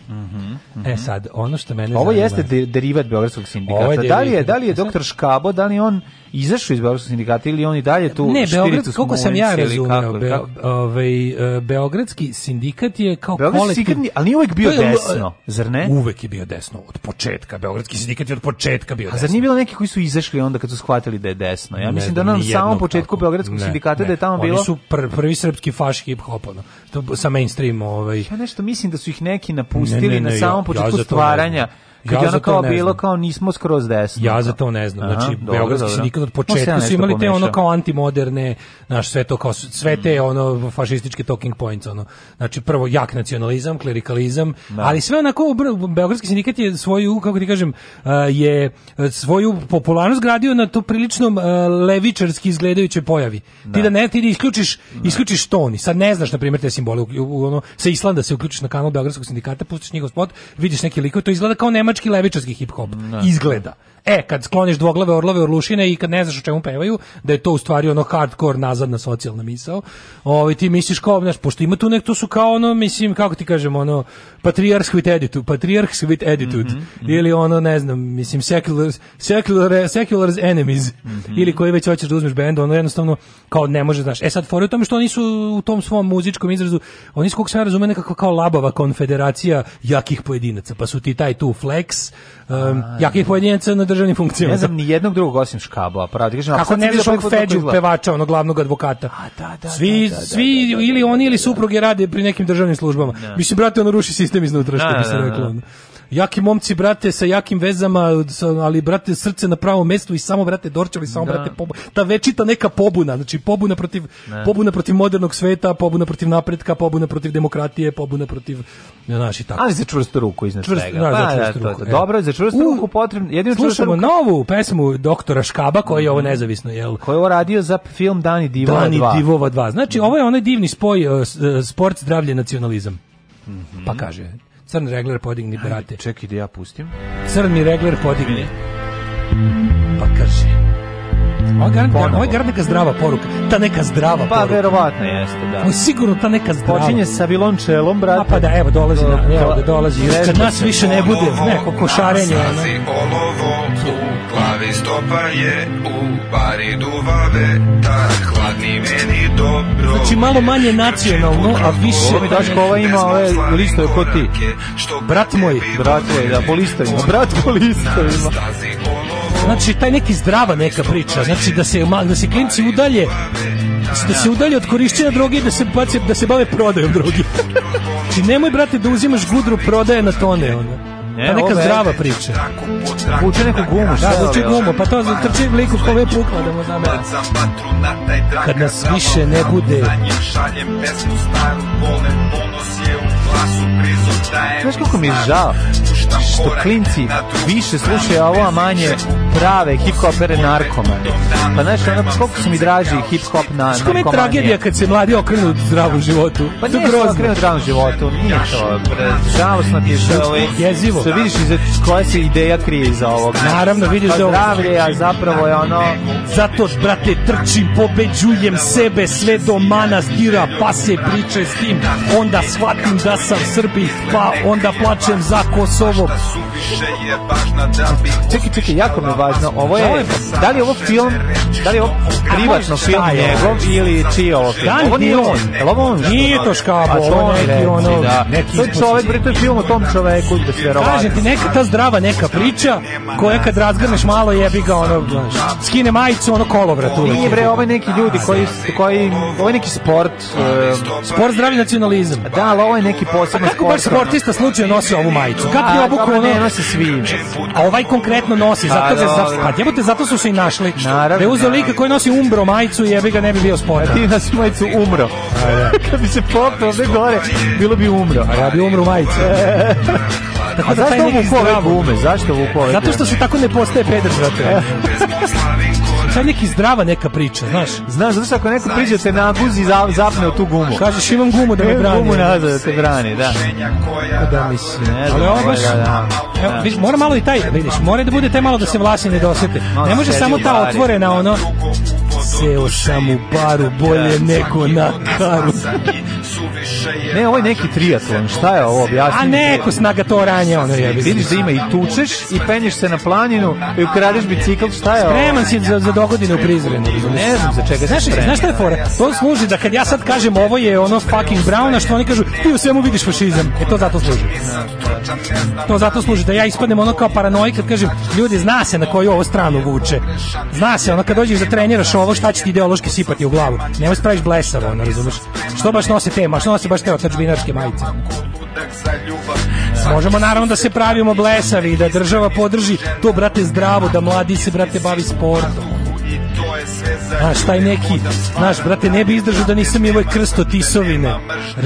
Speaker 8: E sad, ono što mene
Speaker 7: Mhm, Ovo
Speaker 8: zanima-
Speaker 7: jeste de- derivat Beogradskog sindikata.
Speaker 8: Ovo je
Speaker 7: da li je,
Speaker 8: derivat.
Speaker 7: da li je doktor Škabo, da li je on izašao iz Beogradskog sindikata ili je on i dalje tu
Speaker 8: Ne, Beograd,
Speaker 7: štiricus
Speaker 8: koliko sam ja
Speaker 7: Mulinica ili
Speaker 8: razumeo,
Speaker 7: kako-
Speaker 8: Be-
Speaker 7: kako-
Speaker 8: ovaj, e, Beogradski sindikat je kao
Speaker 7: Beogradski
Speaker 8: kolektiv...
Speaker 7: sindikat nije- ali nije uvek bio
Speaker 8: To je- ono-
Speaker 7: desno, zar ne?
Speaker 8: Uvek je bio desno, od početka. Beogradski sindikat je od početka bio
Speaker 7: A
Speaker 8: desno.
Speaker 7: zar nije bilo neki koji su izašli onda kad su shvatili da je desno? Ja
Speaker 8: Ne
Speaker 7: mislim da
Speaker 8: znam
Speaker 7: na
Speaker 8: nijednog
Speaker 7: samom početku
Speaker 8: takvog.
Speaker 7: Beogradskog
Speaker 8: Ne,
Speaker 7: sindikata
Speaker 8: ne.
Speaker 7: da je tamo
Speaker 8: Oni
Speaker 7: bilo...
Speaker 8: su pr- prvi srpski faš hip hop ono, to- sa mainstream ovaj.
Speaker 7: Ja nešto mislim da su ih neki napustili
Speaker 8: Ne, ne, ne,
Speaker 7: na
Speaker 8: ja-
Speaker 7: samom
Speaker 8: ja za
Speaker 7: početku
Speaker 8: to ne znam.
Speaker 7: stvaranja. Kad
Speaker 8: Ja
Speaker 7: je ono
Speaker 8: za to
Speaker 7: kao
Speaker 8: ne
Speaker 7: bilo
Speaker 8: znam.
Speaker 7: kao nismo skroz desno.
Speaker 8: Ja za to ne znam.
Speaker 7: Aha,
Speaker 8: Znači,
Speaker 7: dobro,
Speaker 8: Beogradski
Speaker 7: dobro.
Speaker 8: sindikat od
Speaker 7: Možda sam ja
Speaker 8: početka su
Speaker 7: nešto
Speaker 8: imali te ono
Speaker 7: pomešao.
Speaker 8: kao antimoderne, znaš, sve to kao, sve te
Speaker 7: Mm.
Speaker 8: ono fašističke talking points, ono. Znači, prvo jak nacionalizam, klerikalizam, ali sve onako, obr- Beogradski sindikat je svoju, kako ti kažem, a, je e, svoju popularnost gradio na to priličnom e, levičarski izgledajućoj pojavi. Ti da ne, ti da isključiš, isključiš toni. Sad ne znaš, na primjer, te simbole. U, u- ono, sa Islanda se uključiš na kanal Beogradskog sindikata, pustiš njihov spot, vidiš neki likove, to izgleda kao nemački levičarski hip-hop. Izgleda. E, kad skloniš dvoglave orlove orlušine i kad ne znaš o čemu pevaju, da je to u stvari ono hardcore nazadna socijalna misao. Ovaj ti misliš kao, znaš, pošto ima tu nek to su kao ono, mislim, kako ti kažem, ono patrijarh with attitude, patrijarh with attitude ili ono, ne znam, mislim secular secular secular's enemies
Speaker 7: Mhm.
Speaker 8: ili koji već hoćeš da uzmeš bend, ono jednostavno kao ne može, znaš. E sad fora je u tome što oni su u tom svom muzičkom izrazu, oni su kako se ja razumem nekako kao labava konfederacija jakih pojedinaca, pa su ti taj tu flex, um, jakih pojedinaca na državnim funkcijama.
Speaker 7: Ne znam ni jednog drugog osim Škabova, pravo ti kažem.
Speaker 8: Kako
Speaker 7: ako
Speaker 8: ne
Speaker 7: vidiš
Speaker 8: znaš ovog
Speaker 7: ovog
Speaker 8: Feđu,
Speaker 7: kako izgleda.
Speaker 8: pevača, onog glavnog advokata? svi,
Speaker 7: da, da,
Speaker 8: svi ili oni ili supruge rade pri nekim državnim službama. Mislim, brate, ono ruši sistem iznutra, što
Speaker 7: Da,
Speaker 8: bi se
Speaker 7: da, da,
Speaker 8: reklo.
Speaker 7: da.
Speaker 8: ono. Jaki momci, brate, sa jakim vezama, sa- ali, brate, srce na pravom mestu i samo, brate, dorčali, samo,
Speaker 7: Da.
Speaker 8: brate, pobu- ta večita neka pobuna, znači pobuna protiv,
Speaker 7: Da.
Speaker 8: pobuna protiv modernog sveta, pobuna protiv napretka, pobuna protiv demokratije, pobuna protiv, ne znaš, i tako.
Speaker 7: Ali za čvrstu ruku iznad
Speaker 8: Čvrst-
Speaker 7: svega.
Speaker 8: da, za
Speaker 7: Pa, da,
Speaker 8: čvrstu
Speaker 7: to-
Speaker 8: ruku,
Speaker 7: to-
Speaker 8: e.
Speaker 7: Dobro, za čvrstu
Speaker 8: U,
Speaker 7: ruku potrebno, jedino čvrstu
Speaker 8: Slušamo
Speaker 7: ruku
Speaker 8: novu pesmu doktora Škaba koji je ovo nezavisno jel
Speaker 7: koji je ovo radio za film Dani Divova
Speaker 8: Dani
Speaker 7: 2.
Speaker 8: Divova 2. Znači ovo je onaj divni spoj e, s- e, sport, zdravlje, nacionalizam. Pa kaže Crn regler podigni, brate.
Speaker 7: Mhm. E, Čekaj da ja pustim.
Speaker 8: Crni regler podigni. Pa kaže. Ovo je garant-
Speaker 7: Ponovo.
Speaker 8: ovo je garant neka zdrava poruka. Ta neka zdrava
Speaker 7: Pa
Speaker 8: poruka.
Speaker 7: verovatno jeste, da.
Speaker 8: Ovo je sigurno ta neka zdrava.
Speaker 7: Počinje sa vilončelom, brate.
Speaker 8: A pa da, evo, dolazi, na,
Speaker 7: Do-
Speaker 8: evo da dolazi.
Speaker 7: Režimo
Speaker 8: Kad nas
Speaker 7: se.
Speaker 8: više
Speaker 16: Ono
Speaker 8: ne bude, neko košarenje. ono.
Speaker 16: Snazi olovo, u glavi stopa je, u bari duvave, da hladni meni dobro.
Speaker 8: Znači malo manje nacionalno, a više...
Speaker 7: Ovo mi Daško, ova ima ove listove ko ti.
Speaker 8: Brat moj.
Speaker 7: Brat moj, da, po listovima.
Speaker 16: Ono
Speaker 7: Brat po listovima.
Speaker 8: Znači taj neki zdrava neka priča, znači da se ma- da se klinci udalje da se udalje od korišćenja droge i da se bace, da se bave prodajom droge. Znači nemoj brate da uzimaš gudru prodaje na tone ona.
Speaker 7: Ne,
Speaker 8: Ta neka
Speaker 7: E, ovo je-
Speaker 8: zdrava priča.
Speaker 7: Vuče neku gumu, šta
Speaker 8: Da,
Speaker 7: je ovo,
Speaker 8: zvuči
Speaker 7: jel?
Speaker 8: gumo, pa to trči liku kome je pukla da mu znamo. Kad nas više ne bude,
Speaker 16: Šaljem pesmu staru, volen ponos je u glasu, prizor daje
Speaker 7: Znaš kako mi je žao što klinci više slušaju ovo, a manje prave hip-hopere narkomane. Pa znaš, ono, koliko su mi draži hip-hop na,
Speaker 8: Znaš kome
Speaker 7: narkomanije.
Speaker 8: je tragedija kad se mladi okrenu zdravom životu?
Speaker 7: Pa
Speaker 8: to
Speaker 7: nije
Speaker 8: je
Speaker 7: što
Speaker 8: grozno.
Speaker 7: okrenu dravom životu, nije to. bre, Žalosno ti je što ovaj,
Speaker 8: Jezivo.
Speaker 7: što vidiš iza koja se ideja krije iza ovog.
Speaker 8: Naravno, vidiš
Speaker 7: Pa
Speaker 8: da ovo-
Speaker 7: zdravlje, a zapravo je ono...
Speaker 8: Zato, brate, trčim, pobeđujem sebe, sve do manastira, pa se priče s tim. Onda shvatim da sam Srbi, pa onda plačem za Kosovo.
Speaker 16: više Pa je važna da bi
Speaker 7: Čekaj, čekaj, jako mi je važno. Ovo je, da li je ovo film, da li je ovo privatno
Speaker 8: Šta
Speaker 7: film
Speaker 8: je ovo?
Speaker 7: njegov ili čiji je ovo film?
Speaker 8: Da li
Speaker 7: ovo nije
Speaker 8: nije
Speaker 7: on.
Speaker 8: on?
Speaker 7: Jel ovo on?
Speaker 8: Nije to Škabo,
Speaker 7: A to
Speaker 8: ovo
Speaker 7: on
Speaker 8: neki
Speaker 7: reci,
Speaker 8: ono,
Speaker 7: da.
Speaker 8: neki
Speaker 7: To je čovek, bre, to je film o tom čoveku, da se verovatno.
Speaker 8: Kažem ti, neka ta zdrava neka priča, koja kad razgrneš malo jebi ga, ono, znaš, skine majicu, ono kolovrat uvek.
Speaker 7: Nije bre, ovo je neki ljudi koji, koji, ovo je neki sport.
Speaker 16: pa
Speaker 7: e,
Speaker 8: Sport zdravi nacionalizam.
Speaker 7: Pa Da, ali ovo je neki posebno
Speaker 8: Kako baš sportista slučajno nosi ovu majicu? Kako je
Speaker 7: A, dobro,
Speaker 8: obuku
Speaker 7: ne
Speaker 8: ono?
Speaker 7: nosi svi.
Speaker 8: A ovaj konkretno nosi, zato
Speaker 7: Pa,
Speaker 8: se za,
Speaker 7: dobro.
Speaker 8: pa jebote, zato su se i našli.
Speaker 7: Naravno,
Speaker 8: da je uzeo
Speaker 7: naravno.
Speaker 8: lika koji nosi umbro majicu, jebi ga ne bi bio sport.
Speaker 7: Ti na smajicu umro. Kad bi se popio ovde gore, bilo bi umro.
Speaker 8: A ja bi umro u majicu. Tako
Speaker 7: A
Speaker 8: da taj
Speaker 7: zašto
Speaker 8: neki
Speaker 7: vuku ove
Speaker 8: zdrav-
Speaker 7: gume? Zašto vuku ove
Speaker 8: Zato što
Speaker 7: gume?
Speaker 8: se tako ne postaje peder,
Speaker 7: E.
Speaker 8: brate. Sad neki zdrava neka priča, znaš.
Speaker 7: Znaš, zato što ako neko priđe te naguzi i za- zapne u tu gumu.
Speaker 8: Kažeš imam gumu da me
Speaker 7: Evo
Speaker 8: brani.
Speaker 7: Gumu nazad da te brani, da. Pa
Speaker 8: Da, mislim.
Speaker 7: Ne znam,
Speaker 8: Ali ovo
Speaker 7: ovo
Speaker 8: baš...
Speaker 7: je, da, da.
Speaker 8: Evo,
Speaker 7: Da.
Speaker 8: vidiš, mora malo i taj, vidiš, mora da bude taj malo da se vlasi ne dosete.
Speaker 7: Malo
Speaker 8: Ne može
Speaker 7: sedi
Speaker 8: samo
Speaker 7: u
Speaker 8: ta
Speaker 7: bari.
Speaker 8: otvorena ono... Seo sam u paru bolje
Speaker 7: Da.
Speaker 8: nego na karu.
Speaker 7: Ne, ovo je neki triatlon, šta je ovo, objasni.
Speaker 8: A
Speaker 7: mi.
Speaker 8: neko snaga to ranje ono je.
Speaker 7: Vidiš da ima i tučeš i penješ se na planinu i ukradeš bicikl, šta je ovo?
Speaker 8: Spreman si za, za dogodine u Prizrenu.
Speaker 7: ovaj, Ne znam za čega
Speaker 8: Znaš,
Speaker 7: si spreman.
Speaker 8: znaš šta je fora? To služi da kad ja sad kažem ovo je ono fucking brown, a što oni kažu ti u svemu vidiš fašizam. E to zato služi. To zato služi da ja ispadnem ono kao paranoji kad kažem ljudi zna se na koju ovo stranu vuče. Zna se ono kad dođeš da treniraš ovo šta će ti ideološki sipati u glavu. Nemoj spraviš blesavo ono razumeš. Što baš nose te, ma što nose baš te otačbinarske majice. Možemo naravno da se pravimo blesavi i da država podrži to brate zdravo, da mladi se brate bavi sportom.
Speaker 16: I to je
Speaker 8: Znaš, taj neki, znaš, brate, ne bi izdržao da nisam imao krsto tisovine.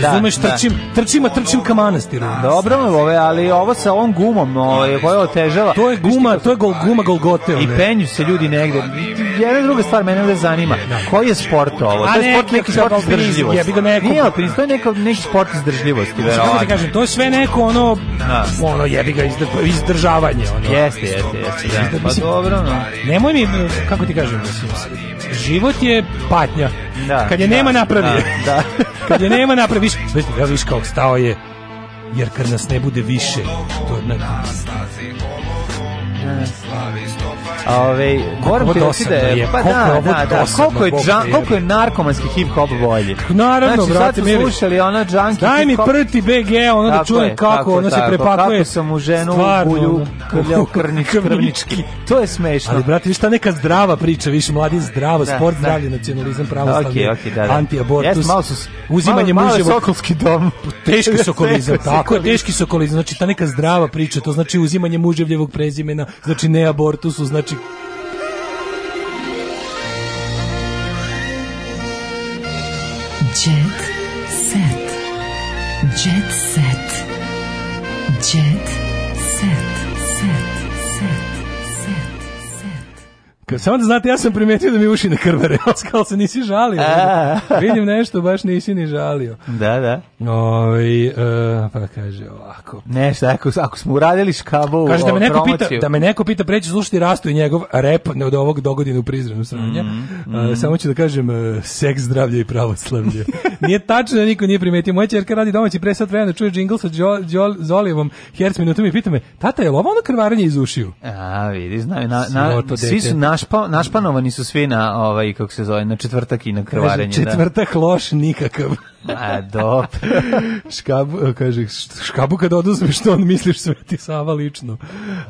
Speaker 8: Razumeš,
Speaker 7: da.
Speaker 8: trčim, trčim, a trečim ka manastiru.
Speaker 7: Dobro me ove, ali ovo sa ovom gumom ovaj, koja otežava. To
Speaker 8: je guma, to je gol, guma Golgote. ono.
Speaker 7: I penju se ljudi negde. Jedna i druga stvar, mene ovde zanima. Koji je sport ovo?
Speaker 8: A
Speaker 7: To je sport,
Speaker 8: neki
Speaker 7: neki
Speaker 8: sport
Speaker 7: sport
Speaker 8: alpinizam,
Speaker 7: izdržljivosti.
Speaker 8: jebi ga, neko-
Speaker 7: Nije alpinizam, to je neka- neki sport izdržljivosti,
Speaker 8: Kako ti
Speaker 7: verovatno.
Speaker 8: kažem, to je sve neko ono,
Speaker 7: Da.
Speaker 8: ono jebi ga izdr, izdržavanje. Ono.
Speaker 7: Jeste, jeste, jeste, da. Pa
Speaker 8: Mislim,
Speaker 7: dobro, no.
Speaker 8: Nemoj mi, kako ti kažem, mislim, život je patnja.
Speaker 7: Da,
Speaker 8: Kad je
Speaker 7: da,
Speaker 8: nema napravi. je.
Speaker 7: da, da.
Speaker 8: Kad je nema napravi, viš, viš, ja viš kako stao je. Jer kad nas ne bude više, to je na...
Speaker 7: A Ove, moram
Speaker 8: Koliko
Speaker 7: ti reći da
Speaker 8: dosadno
Speaker 7: je,
Speaker 8: je,
Speaker 7: pa
Speaker 8: koliko je
Speaker 7: da,
Speaker 8: ovo
Speaker 7: da, da,
Speaker 8: dosadno,
Speaker 7: koliko je,
Speaker 8: Bog
Speaker 7: džan,
Speaker 8: te
Speaker 7: koliko je narkomanski hip-hop bolji.
Speaker 8: Naravno,
Speaker 7: znači, sad
Speaker 8: brate,
Speaker 7: smo
Speaker 8: mili.
Speaker 7: slušali ono džanki
Speaker 8: Daj mi
Speaker 7: hip-hop-
Speaker 8: prti BG, ono da
Speaker 7: Tako
Speaker 8: čujem
Speaker 7: je,
Speaker 8: kako,
Speaker 7: tako,
Speaker 8: ono se
Speaker 7: tako,
Speaker 8: prepakuje.
Speaker 7: kako sam u ženu
Speaker 8: Stvarno,
Speaker 7: ulju-
Speaker 8: ono.
Speaker 7: uljao krnič- krvnički. To je smešno.
Speaker 8: Ali, brate, viš ta neka zdrava priča, više mladi zdravo,
Speaker 7: Da,
Speaker 8: sport,
Speaker 7: da.
Speaker 8: zdravlje, nacionalizam, pravoslavlje,
Speaker 7: Okej, okej, da, da.
Speaker 8: antiabortus,
Speaker 7: Jes, malo su s-
Speaker 8: uzimanje
Speaker 7: malo- malo je
Speaker 8: muževog...
Speaker 7: sokolski dom.
Speaker 8: Teški
Speaker 7: Teško
Speaker 8: sokolizam, tako je,
Speaker 7: sokolizam.
Speaker 8: teški sokolizam, znači ta neka zdrava priča, to znači uzimanje muževljevog prezimena, znači ne abortusu, znači
Speaker 5: Jet set. Jet set. Jet set. Set. Set. Set.
Speaker 8: Ka- Samo da znate, ja sam primetio da mi uši ne krvare, ali se nisi žalio.
Speaker 7: A.
Speaker 8: Vidim nešto, baš nisi ni žalio.
Speaker 7: Da, da.
Speaker 8: Oj, e, pa kaže ovako.
Speaker 7: Nešto, ako, ako smo uradili škabu
Speaker 8: Kaže da me
Speaker 7: o,
Speaker 8: neko pita,
Speaker 7: promociju.
Speaker 8: da me neko pita preći slušati Rastu i njegov rep ne od ovog dogodine u Prizrenu sranja.
Speaker 7: Mhm,
Speaker 8: E, samo ću da kažem e, seks, zdravlje i pravoslavlje. nije tačno da niko nije primetio. Moja ćerka radi domaći pre sat vremena čuje džingl sa Đo- Đo- Zolijevom herc minutom i pita me: "Tata, je li ovo ono krvarenje iz ušiju?"
Speaker 7: A, vidi, znaju, na, na,
Speaker 8: Siroto
Speaker 7: svi
Speaker 8: dete.
Speaker 7: su našpa, našpanovani su svi na, ovaj, kako se zove, na četvrtak i na krvarenje.
Speaker 8: Kaže, četvrtak loš nikakav.
Speaker 7: Da. A, dobro.
Speaker 8: Škabu, kaže, š- škabu kad oduzmeš što on misliš Sveti Sava lično.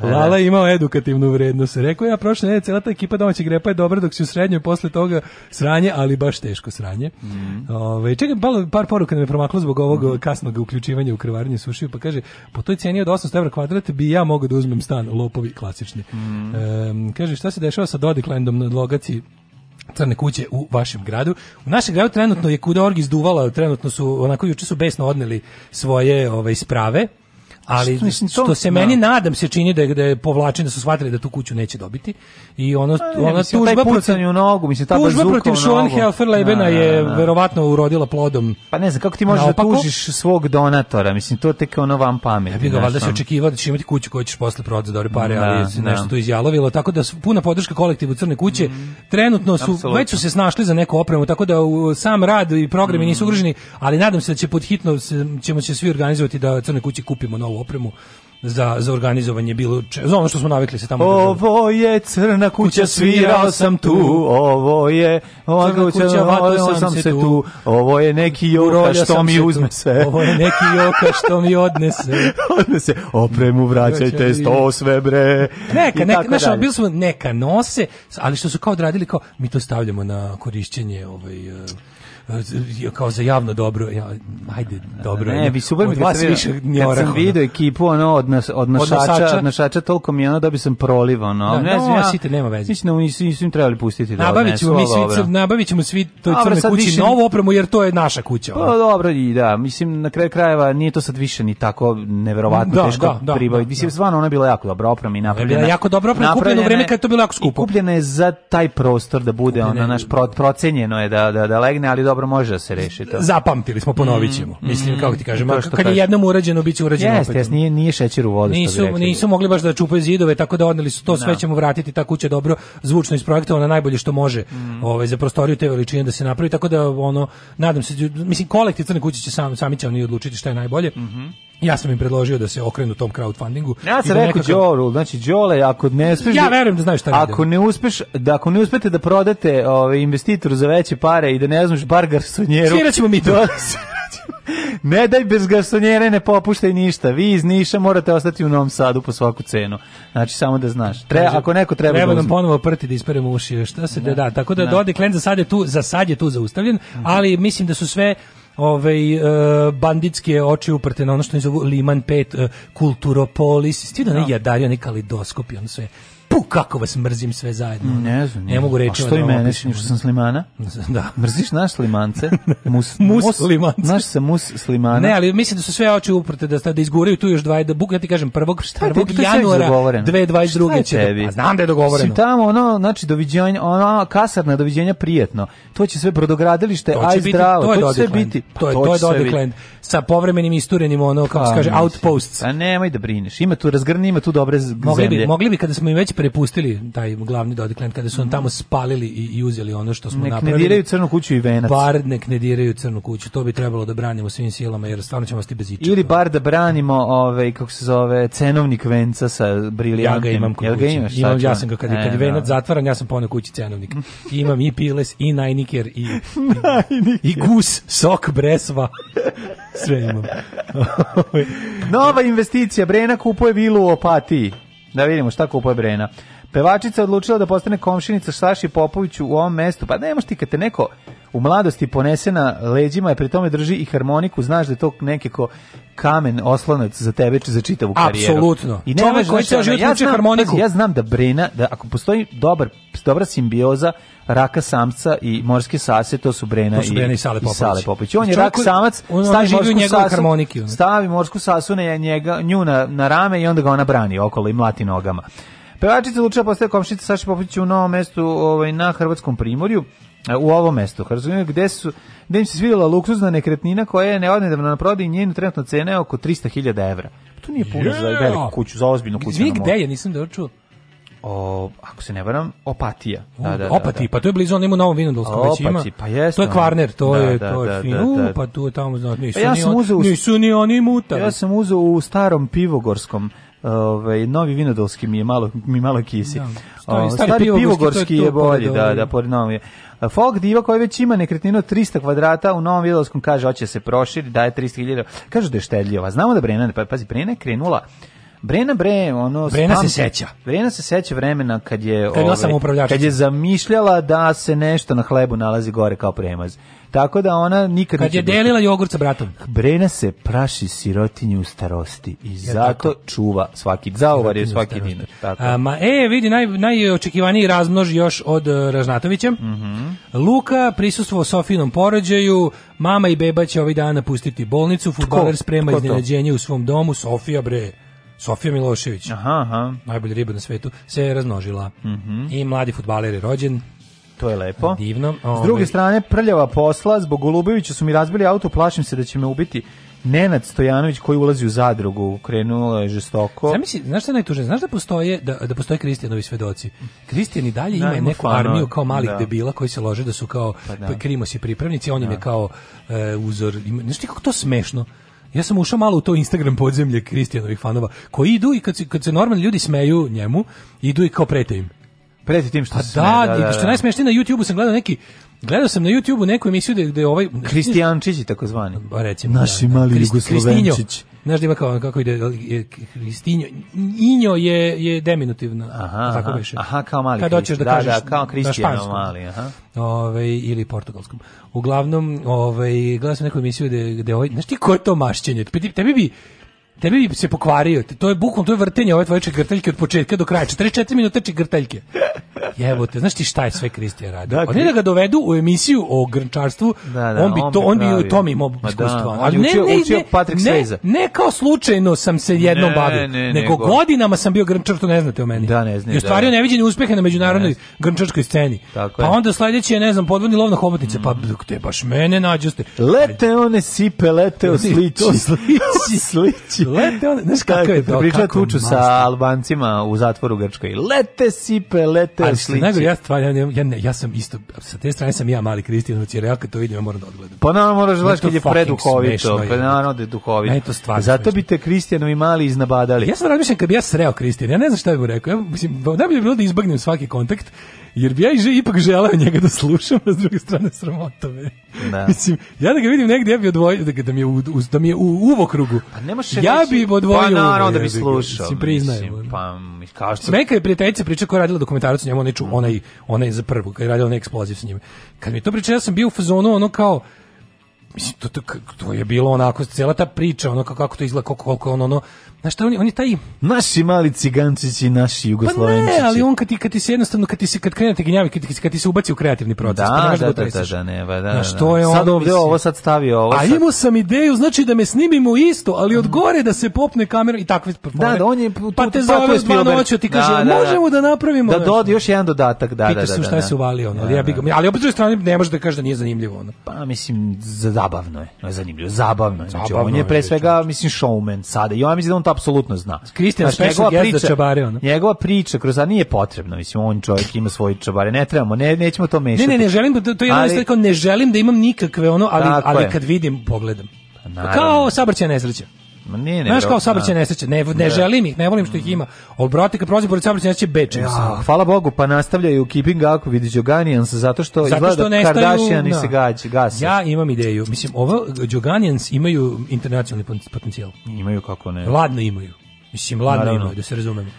Speaker 8: Lala je imao edukativnu vrednost. Rekao je, ja prošle nedelje cela ta ekipa domaćeg repa je dobra dok si u srednjoj posle toga sranje, ali baš teško sranje. Ovaj, čekaj, malo par poruka nam je promaklo zbog ovog kasnog uključivanja u krvarenje sušiju, pa kaže, po toj cijeni od 800 evra kvadrat bi ja mogao da uzmem stan, lopovi klasični. Em, kaže, šta se dešava sa Dodiklandom na logaciji crne kuće u vašem gradu. U našem gradu trenutno je kuda orgi izduvala, trenutno su, onako juče su besno odneli svoje ove, sprave, ali
Speaker 7: Što,
Speaker 8: što,
Speaker 7: mislim, to-
Speaker 8: se meni
Speaker 7: da.
Speaker 8: nadam se čini da je, da je povlačenje, da su shvatili da tu kuću neće dobiti i ono,
Speaker 7: ne,
Speaker 8: ona
Speaker 7: mislim,
Speaker 8: tužba
Speaker 7: taj
Speaker 8: protiv,
Speaker 7: pucanj u nogu, mislim, ta
Speaker 8: tužba
Speaker 7: bazuka
Speaker 8: protiv
Speaker 7: u nogu.
Speaker 8: Schoenhelfer-Leibena
Speaker 7: Da, da,
Speaker 8: je
Speaker 7: da.
Speaker 8: verovatno urodila plodom
Speaker 7: Pa ne znam, kako ti možeš
Speaker 8: Naopako?
Speaker 7: da tužiš svog donatora? Mislim, to tek ono vam pamet.
Speaker 8: Ja bih ga valjda se očekivao da će imati kuću koju ćeš posle prodati za dobre pare, ali
Speaker 7: ono- Da,
Speaker 8: se
Speaker 7: da.
Speaker 8: nešto tu izjalovilo, tako da su puna podrška kolektivu Crne kuće. Trenutno su
Speaker 7: Mm. Apsolutno.
Speaker 8: već su se snašli za neku opremu, tako da u, sam rad i programi
Speaker 7: Mm.
Speaker 8: nisu ugroženi, ali nadam se da će pod hitno se, ćemo se svi organizovati da Crne kući kupimo novu opremu za, za organizovanje bilo če- za ono što smo navikli se tamo. održava.
Speaker 7: Ovo je crna kuća, svirao sam tu, ovo je, ova
Speaker 8: Crna
Speaker 7: kuća,
Speaker 8: kuća, vato
Speaker 7: vato sam se tu, ovo je neki joka
Speaker 8: Urolja
Speaker 7: što
Speaker 8: sam
Speaker 7: mi
Speaker 8: se tu.
Speaker 7: uzme sve.
Speaker 8: Ovo je neki joka što mi odnese.
Speaker 7: Odme se, opremu vraćajte, sto sve bre.
Speaker 8: Neka,
Speaker 7: I
Speaker 8: neka,
Speaker 7: tako
Speaker 8: znaš, ono,
Speaker 7: dalje.
Speaker 8: bili smo neka nose, ali što su kao odradili, kao, mi to stavljamo na korišćenje, ovaj, e, e, kao za javno dobro, ja, ajde, dobro.
Speaker 7: Ne, bi super mi
Speaker 8: Od
Speaker 7: kad
Speaker 8: vas
Speaker 7: sam
Speaker 8: više ono."
Speaker 7: vidio,
Speaker 8: ni
Speaker 7: kad
Speaker 8: oraho,
Speaker 7: sam vidio ekipu ono od nas od našača,
Speaker 8: nosača.
Speaker 7: od našača toliko mi je ono da bi sam prolivao, no.
Speaker 8: Da,
Speaker 7: ne znam,
Speaker 8: nosite, nema veze.
Speaker 7: Mislim da nisu nisu im trebali pustiti da.
Speaker 8: Nabavit ćemo, mi
Speaker 7: odnesu, ali
Speaker 8: svi,
Speaker 7: dobro.
Speaker 8: cr- nabavit ćemo svi toj
Speaker 7: Dobro,
Speaker 8: crnoj
Speaker 7: sad
Speaker 8: kući
Speaker 7: više-
Speaker 8: novu opremu, jer to je naša kuća. ono.
Speaker 7: Pa dobro, i da, mislim na kraju krajeva nije to sad više ni tako neverovatno
Speaker 8: Da,
Speaker 7: teško
Speaker 8: da, da,
Speaker 7: pribaviti.
Speaker 8: da,
Speaker 7: mislim stvarno ona je bila jako dobra oprema i napravljena.
Speaker 8: Bila je jako dobra oprema, kupljena u
Speaker 7: napravljena
Speaker 8: vreme kad je to bilo jako skupo.
Speaker 7: I kupljena je za taj prostor da bude ona naš pro, procenjeno je da, da da legne, ali dobro može da se reši to.
Speaker 8: Zapamtili smo, ponovit ćemo. Mislim, kako ti kažem,
Speaker 7: Mm, to
Speaker 8: a
Speaker 7: što
Speaker 8: kad je
Speaker 7: kažeš.
Speaker 8: jednom urađeno, bit će urađeno
Speaker 7: Jeste,
Speaker 8: opet. ono.
Speaker 7: jes, nije, nije šećer u vodu, što
Speaker 8: Nisu,
Speaker 7: bi rekli.
Speaker 8: nisu mogli baš da čupaju zidove, tako da odneli su to, sve ćemo vratiti, ta kuća je dobro zvučno isprojektovana najbolje što može
Speaker 7: Mm.
Speaker 8: ovaj, za prostoriju te veličine da se napravi, tako da ono, nadam se, mislim, kolektiv Crne kuće će sam, sami će oni odlučiti šta je najbolje. Ja sam im predložio da se okrenu tom crowdfundingu.
Speaker 7: Mhm. Ja
Speaker 8: i
Speaker 7: sam
Speaker 8: da
Speaker 7: rekao
Speaker 8: nekako-
Speaker 7: Đoru, znači Đole, ako ne uspeš
Speaker 8: Ja verujem da znaju šta rade.
Speaker 7: Ako ne uspeš, da ako ne uspete da prodate ovaj investitoru za veće pare i da ne znaš bar garsonjeru.
Speaker 8: Svirat ćemo mi to.
Speaker 7: da- Ne daj bez garsonjere ne popuštaj ništa. Vi iz Niša morate ostati u Novom Sadu po svaku cenu. Znači samo da znaš. Tre, ako neko treba,
Speaker 8: Treba
Speaker 7: da
Speaker 8: nam
Speaker 7: uzme.
Speaker 8: ponovo prti da isperemo uši. Šta se da, da tako da Dodik Land za sad je tu za sad je tu zaustavljen,
Speaker 7: Mhm.
Speaker 8: ali mislim da su sve ovaj e, banditske oči uprte na ono što oni zovu Liman 5 e, Kulturopolis. Stiže da ne jadari, oni kalidoskopi, ono sve pu, kako vas mrzim sve zajedno. ono.
Speaker 7: Ne znam.
Speaker 8: Ne mogu reći.
Speaker 7: A što i mene, što sam slimana?
Speaker 8: Da.
Speaker 7: Mrziš naš slimance? Mus,
Speaker 8: Mus slimance.
Speaker 7: Naš se mus slimana.
Speaker 8: Ne, ali mislim da su sve oči uprte da sta- da izguraju tu još dva da buk, ja ti kažem prvog
Speaker 7: je
Speaker 8: prvog
Speaker 7: tebi? To je sve
Speaker 8: januara
Speaker 7: dogovoreno.
Speaker 8: 2022 će.
Speaker 7: Šta je tebi?
Speaker 8: Da, a znam da je dogovoreno.
Speaker 7: Mislim, tamo ono, znači, doviđenja, ono, kasarna, doviđenja prijetno. To će sve brodogradilište,
Speaker 8: To
Speaker 7: aj
Speaker 8: će biti,
Speaker 7: zdravo,
Speaker 8: to je
Speaker 7: će sve
Speaker 8: Dodikland.
Speaker 7: biti. Pa,
Speaker 8: To je to je
Speaker 7: će sve biti.
Speaker 8: Dodikland. Sa povremenim isturenim ono kako
Speaker 7: Pa,
Speaker 8: se kaže
Speaker 7: mislim.
Speaker 8: outposts.
Speaker 7: A nemoj da brineš, ima tu razgrni, ima tu dobre z-
Speaker 8: Mogli
Speaker 7: zemlje.
Speaker 8: bi, mogli bi kada smo im već prepustili taj glavni Dodikland, kada su nam tamo spalili i, i uzeli ono što smo
Speaker 7: Nek ne
Speaker 8: napravili.
Speaker 7: diraju crnu kuću i venac.
Speaker 8: Bar nek ne diraju crnu kuću, to bi trebalo da branimo svim silama, jer stvarno ćemo ostati bez ičega.
Speaker 7: Ili bar da branimo, ovaj, kako se zove, cenovnik venca sa brilijantnim.
Speaker 8: Ja ga imam kod
Speaker 7: Jel
Speaker 8: kuće.
Speaker 7: ga imaš? Šta
Speaker 8: imam,
Speaker 7: ću
Speaker 8: ja
Speaker 7: vam?
Speaker 8: sam ga kad, kad
Speaker 7: E,
Speaker 8: je venac
Speaker 7: da.
Speaker 8: zatvaran, ja sam poneo kući cenovnik. I imam i piles, i najniker, i, i gus, sok, bresva. Sve imam.
Speaker 7: Nova investicija, Brena kupuje vilu u Opatiji. Da vidimo šta kupuje Brena. Pevačica odlučila da postane komšinica Saši Popoviću u ovom mestu. Pa ne možeš ti kad te neko u mladosti ponese na leđima i pri tome drži i harmoniku, znaš da je to nekako kamen oslonac za tebe za čitavu karijeru.
Speaker 8: Apsolutno.
Speaker 7: I nema
Speaker 8: Čovek
Speaker 7: ko
Speaker 8: koji
Speaker 7: će-
Speaker 8: ceo život
Speaker 7: ja
Speaker 8: vuče
Speaker 7: znam-
Speaker 8: harmoniku.
Speaker 7: pazi, Ja znam da Brena, da ako postoji dobar, dobra simbioza raka samca i morske sase, to su Brena,
Speaker 8: To su Brena i Sale Popović.
Speaker 7: On je
Speaker 8: Čovjek
Speaker 7: rak
Speaker 8: koji-
Speaker 7: samac,
Speaker 8: on- on
Speaker 7: stavi
Speaker 8: živi u
Speaker 7: morsku
Speaker 8: njegovoj
Speaker 7: sasu,
Speaker 8: harmoniki, ono.
Speaker 7: stavi morsku sasu na njega, nju na, na rame i onda ga ona brani okolo i mlati nogama. Pevačica Luča postaje komšnica Saši Popovića u novom mestu ovaj, na Hrvatskom primorju, e, u ovom mestu, Hrvatskom, gde, su, gde im se svidjela luksuzna nekretnina koja je neodnedavno na prodaju i njenu trenutno cena je oko 300.000 evra. Pa to nije puno za
Speaker 8: Yeah!
Speaker 7: veliku kuću, za ozbiljnu kuću.
Speaker 8: Izvini,
Speaker 7: na moru.
Speaker 8: gde je, nisam dobro čuo.
Speaker 7: O, ako se ne varam, Opatija. Da,
Speaker 8: Da,
Speaker 7: da, da,
Speaker 8: Opati,
Speaker 7: da.
Speaker 8: pa to je blizu, on ima u Novom Vinodolskom, već ima.
Speaker 7: Opati, pa jeste
Speaker 8: To je
Speaker 7: ono.
Speaker 8: Kvarner, to
Speaker 7: Da,
Speaker 8: je,
Speaker 7: da,
Speaker 8: to je
Speaker 7: da,
Speaker 8: fin.
Speaker 7: da, da.
Speaker 8: U, pa tu je tamo, znaš, nisu,
Speaker 7: Pa ja
Speaker 8: ni,
Speaker 7: sam
Speaker 8: oni,
Speaker 7: uzeo u-
Speaker 8: nisu ni oni mutali.
Speaker 7: Ja sam uzeo u starom pivogorskom, ovaj novi vinodolski mi je malo mi malo kisi.
Speaker 8: Da, stari-
Speaker 7: O,
Speaker 8: stari
Speaker 7: stari
Speaker 8: Pivogorski, to
Speaker 7: pivogorski
Speaker 8: je tu
Speaker 7: je bolji,
Speaker 8: pored
Speaker 7: da,
Speaker 8: ovog.
Speaker 7: da, pored novog. je. A Folk diva koji već ima nekretninu od 300 kvadrata u Novom Vinodolskom kaže hoće se proširi, daje 300.000. Kažu da je štedljiva. Znamo da Brena, pa pazi, Brena je krenula Brena bre, ono
Speaker 8: Brena se
Speaker 7: pamti-
Speaker 8: seća.
Speaker 7: Brena se seća vremena kad je ovaj,
Speaker 8: Kad je bila samoupravljačica.
Speaker 7: kad je zamišljala da se nešto na hlebu nalazi gore kao premaz. Tako da ona nikad
Speaker 8: Kad
Speaker 7: neće
Speaker 8: je
Speaker 7: biti-
Speaker 8: delila jogurt sa bratom.
Speaker 7: Brena se praši sirotinju u starosti i zato čuva svaki zaovar je svaki dinar. Tako.
Speaker 8: A, ma, e, vidi, naj, najočekivaniji razmnož još od e, Ražnatovića.
Speaker 7: Mhm.
Speaker 8: Luka prisustvo Sofinom porođaju, mama i beba će ovih dana napustiti bolnicu, futbaler sprema
Speaker 7: Tko to?
Speaker 8: iznenađenje u svom domu, Sofija bre, Sofija Milošević,
Speaker 7: Aha, aha,
Speaker 8: najbolja riba na svetu, se je razmnožila.
Speaker 7: Mhm.
Speaker 8: I mladi futbaler je rođen,
Speaker 7: to je lepo.
Speaker 8: divno. ovaj.
Speaker 7: S druge strane, prljava posla, zbog Golubovića su mi razbili auto, plašim se da će me ubiti Nenad Stojanović koji ulazi u zadrugu, krenulo je žestoko.
Speaker 8: Zamisli, znaš šta je najtužnije? Znaš da postoje da, da postoje Kristijanovi svedoci. Kristijan i dalje
Speaker 7: Da,
Speaker 8: ima
Speaker 7: ima
Speaker 8: neku
Speaker 7: fanove.
Speaker 8: armiju kao malih
Speaker 7: Da.
Speaker 8: debila koji se lože da su kao
Speaker 7: da.
Speaker 8: krimosi pripravnici, on im je kao e, uzor. Ima- Znaš ti kako to smešno? Ja sam ušao malo u to Instagram podzemlje Kristijanovih fanova, koji idu i kad se, kad se normalni ljudi smeju njemu, idu i kao prete im.
Speaker 7: Preti tim što
Speaker 8: Pa
Speaker 7: se sme,
Speaker 8: da, i što je najsmešnije na YouTubeu sam gledao neki Gledao sam na YouTubeu neku emisiju gde, gde je ovaj
Speaker 7: Kristijančići takozvani.
Speaker 8: pa recimo.
Speaker 7: Naši mali
Speaker 8: Krist-
Speaker 7: Jugoslovenčić.
Speaker 8: Kristinjo. Znaš da ima kao, kako ide, je Kristinjo, Injo je, je deminutivno,
Speaker 7: Aha,
Speaker 8: tako
Speaker 7: aha,
Speaker 8: beše.
Speaker 7: aha, kao mali
Speaker 8: Kad
Speaker 7: Krist-
Speaker 8: hoćeš da,
Speaker 7: da,
Speaker 8: kažeš
Speaker 7: da, kao
Speaker 8: na
Speaker 7: Kristijanov
Speaker 8: španskom.
Speaker 7: mali, aha.
Speaker 8: Ovaj, ili portugalskom. Uglavnom, ovaj, gledao sam neku emisiju gde, gde ovaj, znaš ti ko je to mašćenje? Te- te- Tebi bi, tebi bi se pokvario. Te- To je bukom, to je vrtenje ove tvoje čegrteljke od početka do kraja. 44 minuta čegrteljke. Jebote, znaš ti šta je sve Kristija radio?
Speaker 7: Da,
Speaker 8: Da, ne
Speaker 7: Kri-
Speaker 8: da ga dovedu u emisiju o grnčarstvu,
Speaker 7: Da, da,
Speaker 8: on bi
Speaker 7: on
Speaker 8: to
Speaker 7: bi
Speaker 8: on bi
Speaker 7: pravi.
Speaker 8: u tom imao
Speaker 7: Ma da,
Speaker 8: iskustva.
Speaker 7: on
Speaker 8: ali
Speaker 7: je
Speaker 8: ne,
Speaker 7: učio-
Speaker 8: ne,
Speaker 7: učio
Speaker 8: ne,
Speaker 7: Patrick
Speaker 8: ne,
Speaker 7: Swayze.
Speaker 8: ne kao slučajno sam se jednom
Speaker 7: Ne,
Speaker 8: bavio,
Speaker 7: ne,
Speaker 8: nego,
Speaker 7: nego-
Speaker 8: godinama sam bio grnčar, to ne znate o meni.
Speaker 7: Da, ne znaju,
Speaker 8: I ostvario
Speaker 7: da.
Speaker 8: neviđene uspehe na međunarodnoj grnčarskoj sceni.
Speaker 7: Tako
Speaker 8: pa
Speaker 7: je. Mm.
Speaker 8: onda sledeći je, ne znam, podvodni lov na hobotnice, pa te baš mene nađoste.
Speaker 7: Lete one sipe, lete o sliči.
Speaker 8: To sliči.
Speaker 7: sliči.
Speaker 8: Lete one, znaš kako je to,
Speaker 7: Pričala
Speaker 8: kako je
Speaker 7: tuču sa
Speaker 8: masno.
Speaker 7: Albancima u zatvoru u Grčkoj. Lete sipe, lete o
Speaker 8: Ali što je
Speaker 7: sliči.
Speaker 8: najgore, ja, stvarno, ja, ne- ja, ne- ja sam isto, sa te strane sam ja mali Kristijanovac, jer ja kad to vidim, ja moram da odgledam.
Speaker 7: Pa naravno moraš da gledaš
Speaker 8: to
Speaker 7: kad je
Speaker 8: fucking smešno,
Speaker 7: preduhovito, pa
Speaker 8: jebote.
Speaker 7: naravno da je duhovito.
Speaker 8: Meni to stvarno
Speaker 7: Zato bi
Speaker 8: smešno.
Speaker 7: te Kristijanovi mali iznabadali.
Speaker 8: E, Ja sam razmišljam kad bi ja sreo Kristijan, ja ne znam šta bih mu rekao. Ja, mislim, najbolje bi bilo da izbagnem svaki kontakt, jer bi ja i že, ipak želeo njega da slušam, a s druge strane sramota me.
Speaker 7: Da.
Speaker 8: Mislim, ja da ga vidim negdje, ja bi odvojio, da, ga- da mi je u, u- da mi je u uvokrugu.
Speaker 7: Pa ne možeš
Speaker 8: ja
Speaker 7: reći-
Speaker 8: bi odvojio.
Speaker 7: Pa naravno
Speaker 8: uvok,
Speaker 7: da bi
Speaker 8: jebi ga.
Speaker 7: slušao.
Speaker 8: Mislim, priznajem.
Speaker 7: mislim,
Speaker 8: ono.
Speaker 7: Pa, mi- kao što...
Speaker 8: Meni kad je prijateljica priča koja je radila dokumentarac o njemu, onaj, ču,
Speaker 7: Mhm.
Speaker 8: onaj, onaj za prvu, kad je radila onaj eksploziv s njime. Kad mi je to priča, ja sam bio u fazonu ono kao, mislim, to, to, to je bilo onako, cijela ta priča, ono kako, kako to izgleda, koliko, koliko on ono, znaš šta, on, je- on je taj...
Speaker 7: Naši mali cigancići, naši
Speaker 8: Pa ne,
Speaker 7: jugoslovenčići.
Speaker 8: ali on kad ti, kad ti se jednostavno, kad ti se, kad krenete gnjavi, kad, ti- kad ti se ubaci u kreativni proces, pa ne
Speaker 7: Da,
Speaker 8: možeš
Speaker 7: da,
Speaker 8: ga
Speaker 7: da, da,
Speaker 8: otreseš.
Speaker 7: da, ne, ba, da,
Speaker 8: Znaš,
Speaker 7: da,
Speaker 8: to je
Speaker 7: da.
Speaker 8: ono,
Speaker 7: sad ovdje
Speaker 8: mislim-
Speaker 7: ovo sad stavio ovo
Speaker 8: A
Speaker 7: sad.
Speaker 8: imao sam ideju, znači da me snimimo isto, ali od gore da se popne kamera i takve performe.
Speaker 7: Da, da, on je
Speaker 8: pa te zove u dva noću, ti kaže, možemo da napravimo.
Speaker 7: Da,
Speaker 8: nešto?"
Speaker 7: dodi još jedan dodatak, da, da, da.
Speaker 8: Pitaš se u šta
Speaker 7: da,
Speaker 8: se uvalio, ono, ali
Speaker 7: Da,
Speaker 8: ja bi ga- ali opet s druge strane ne možeš da kažeš da nije zanimljivo ono.
Speaker 7: Pa mislim zabavno je, no, zanimljivo, zabavno je. Znači,
Speaker 8: Zabavno
Speaker 7: on
Speaker 8: je,
Speaker 7: je pre svega mislim showman sada. I ja mislim da on to apsolutno zna.
Speaker 8: Christian
Speaker 7: Znači,
Speaker 8: Special
Speaker 7: njegova
Speaker 8: guest za čabare, ono.
Speaker 7: Njegova priča kroz a nije potrebna, mislim on čovjek ima svoje čabare. Ne trebamo, ne nećemo to
Speaker 8: Ne,
Speaker 7: mešati.
Speaker 8: ne, ne želim, to, to je
Speaker 7: Ali-
Speaker 8: jednostavno kao ne želim da imam nikakve ono, ali,
Speaker 7: Tako
Speaker 8: ali
Speaker 7: je. Pa
Speaker 8: kad vidim, pogledam.
Speaker 7: naravno.
Speaker 8: Kao saobraćaj nesreća.
Speaker 7: Ma nije, ne,
Speaker 8: Znaš kao
Speaker 7: bro,
Speaker 8: saobraćaj
Speaker 7: da.
Speaker 8: nesreća, ne, ne
Speaker 7: Da.
Speaker 8: želim ih, ne volim što ih ima. Ali brate, kad prolazim pored saobraćaj nesreće, bečim se. ono.
Speaker 7: Ja, hvala Bogu, pa nastavljaju Keeping Up with the Joganians zato što,
Speaker 8: Zato
Speaker 7: izgleda
Speaker 8: što
Speaker 7: da
Speaker 8: nestaju...
Speaker 7: Kardashian i
Speaker 8: da.
Speaker 7: se gađi, gasi.
Speaker 8: Ja imam ideju. Mislim, ovo, Joganians imaju internacionalni pot- potencijal.
Speaker 7: Imaju kako ne.
Speaker 8: Ladno imaju. Mislim, ladno
Speaker 7: Naravno.
Speaker 8: imaju, da se razumemo.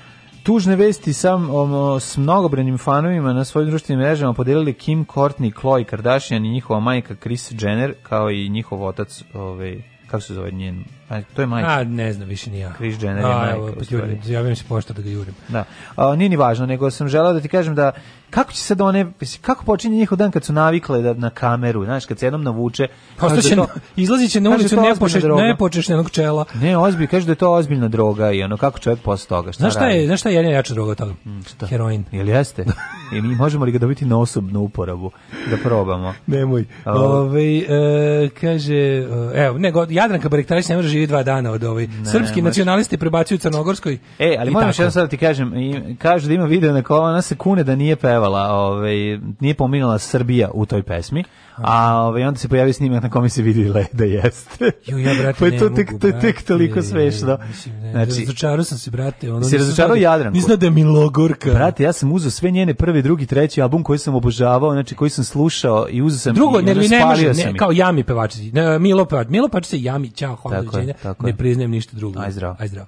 Speaker 7: Tužne vesti sam om, s mnogobrojnim fanovima na svojim društvenim mrežama podelili Kim Courtney, Khloe Kardashian i njihova majka Kris Jenner, kao i njihov otac, ovaj, kako se zove njen, a, to je majka.
Speaker 8: A, ne znam, više ni ja.
Speaker 7: Kris Jenner je
Speaker 8: A,
Speaker 7: majka,
Speaker 8: evo,
Speaker 7: u
Speaker 8: pa
Speaker 7: stvari.
Speaker 8: jurim, javim se pošto da ga jurim.
Speaker 7: Da. A, nije ni važno, nego sam želeo da ti kažem da kako će sad one, mislim, kako počinje njihov dan kad su navikle da, na kameru, znaš, kad se jednom navuče.
Speaker 8: Pa Ostaće,
Speaker 7: kažu da
Speaker 8: na-
Speaker 7: je to-
Speaker 8: izlazit će na
Speaker 7: kažu da je
Speaker 8: ulicu
Speaker 7: to
Speaker 8: nepočeš,
Speaker 7: ozbiljna droga.
Speaker 8: nepočešnenog čela.
Speaker 7: Ne, ozbiljno, kažu da je to ozbiljna droga i ono, kako čovjek posle toga, šta
Speaker 8: Znaš šta
Speaker 7: radi?
Speaker 8: je, znaš šta je jedina jača droga od toga?
Speaker 7: Mm,
Speaker 8: Heroin.
Speaker 7: Jel jeste? I mi možemo li ga dobiti na osobnu uporabu? Da probamo.
Speaker 8: Nemoj.
Speaker 7: Alo.
Speaker 8: Ovaj e, kaže, e, evo, nego Jadranka Barektarević ne može živjeti dva dana od ovaj. Srpski
Speaker 7: može.
Speaker 8: nacionalisti prebacuju Crnogorskoj.
Speaker 7: E, ali
Speaker 8: i
Speaker 7: moram
Speaker 8: tako.
Speaker 7: još jedan sad da ti kažem, i, kažu da ima video na kola, ona se kune da nije pevala, ovaj, nije pominjala Srbija u toj pesmi, a ovaj, onda se pojavi snimak na kome se vidi le- da jeste.
Speaker 8: Ju, ja, brate,
Speaker 7: pa je
Speaker 8: ne
Speaker 7: to
Speaker 8: mogu,
Speaker 7: tek, to je tek
Speaker 8: brate,
Speaker 7: toliko smešno.
Speaker 8: Mislim, ne,
Speaker 7: Znači,
Speaker 8: razočarao sam se, brate. Ono,
Speaker 7: si razočarao Jadranku?
Speaker 8: Nisam da je Milogorka.
Speaker 7: Brate, ja sam uzeo sve njene prvi, drugi, treći album koji sam obožavao, znači koji sam slušao i uzeo sam
Speaker 8: Drugo,
Speaker 7: i
Speaker 8: ne,
Speaker 7: ono,
Speaker 8: ne, ne
Speaker 7: spalio
Speaker 8: može,
Speaker 7: sam
Speaker 8: ne,
Speaker 7: ih.
Speaker 8: kao jami pevačici. Ne, Milo pevač, Milo pevač se jami, ćao, hvala,
Speaker 7: Tako je,
Speaker 8: doviđenja.
Speaker 7: tako
Speaker 8: Ne
Speaker 7: je.
Speaker 8: priznajem ništa drugo.
Speaker 7: Aj, zdravo.
Speaker 8: Aj zdravo.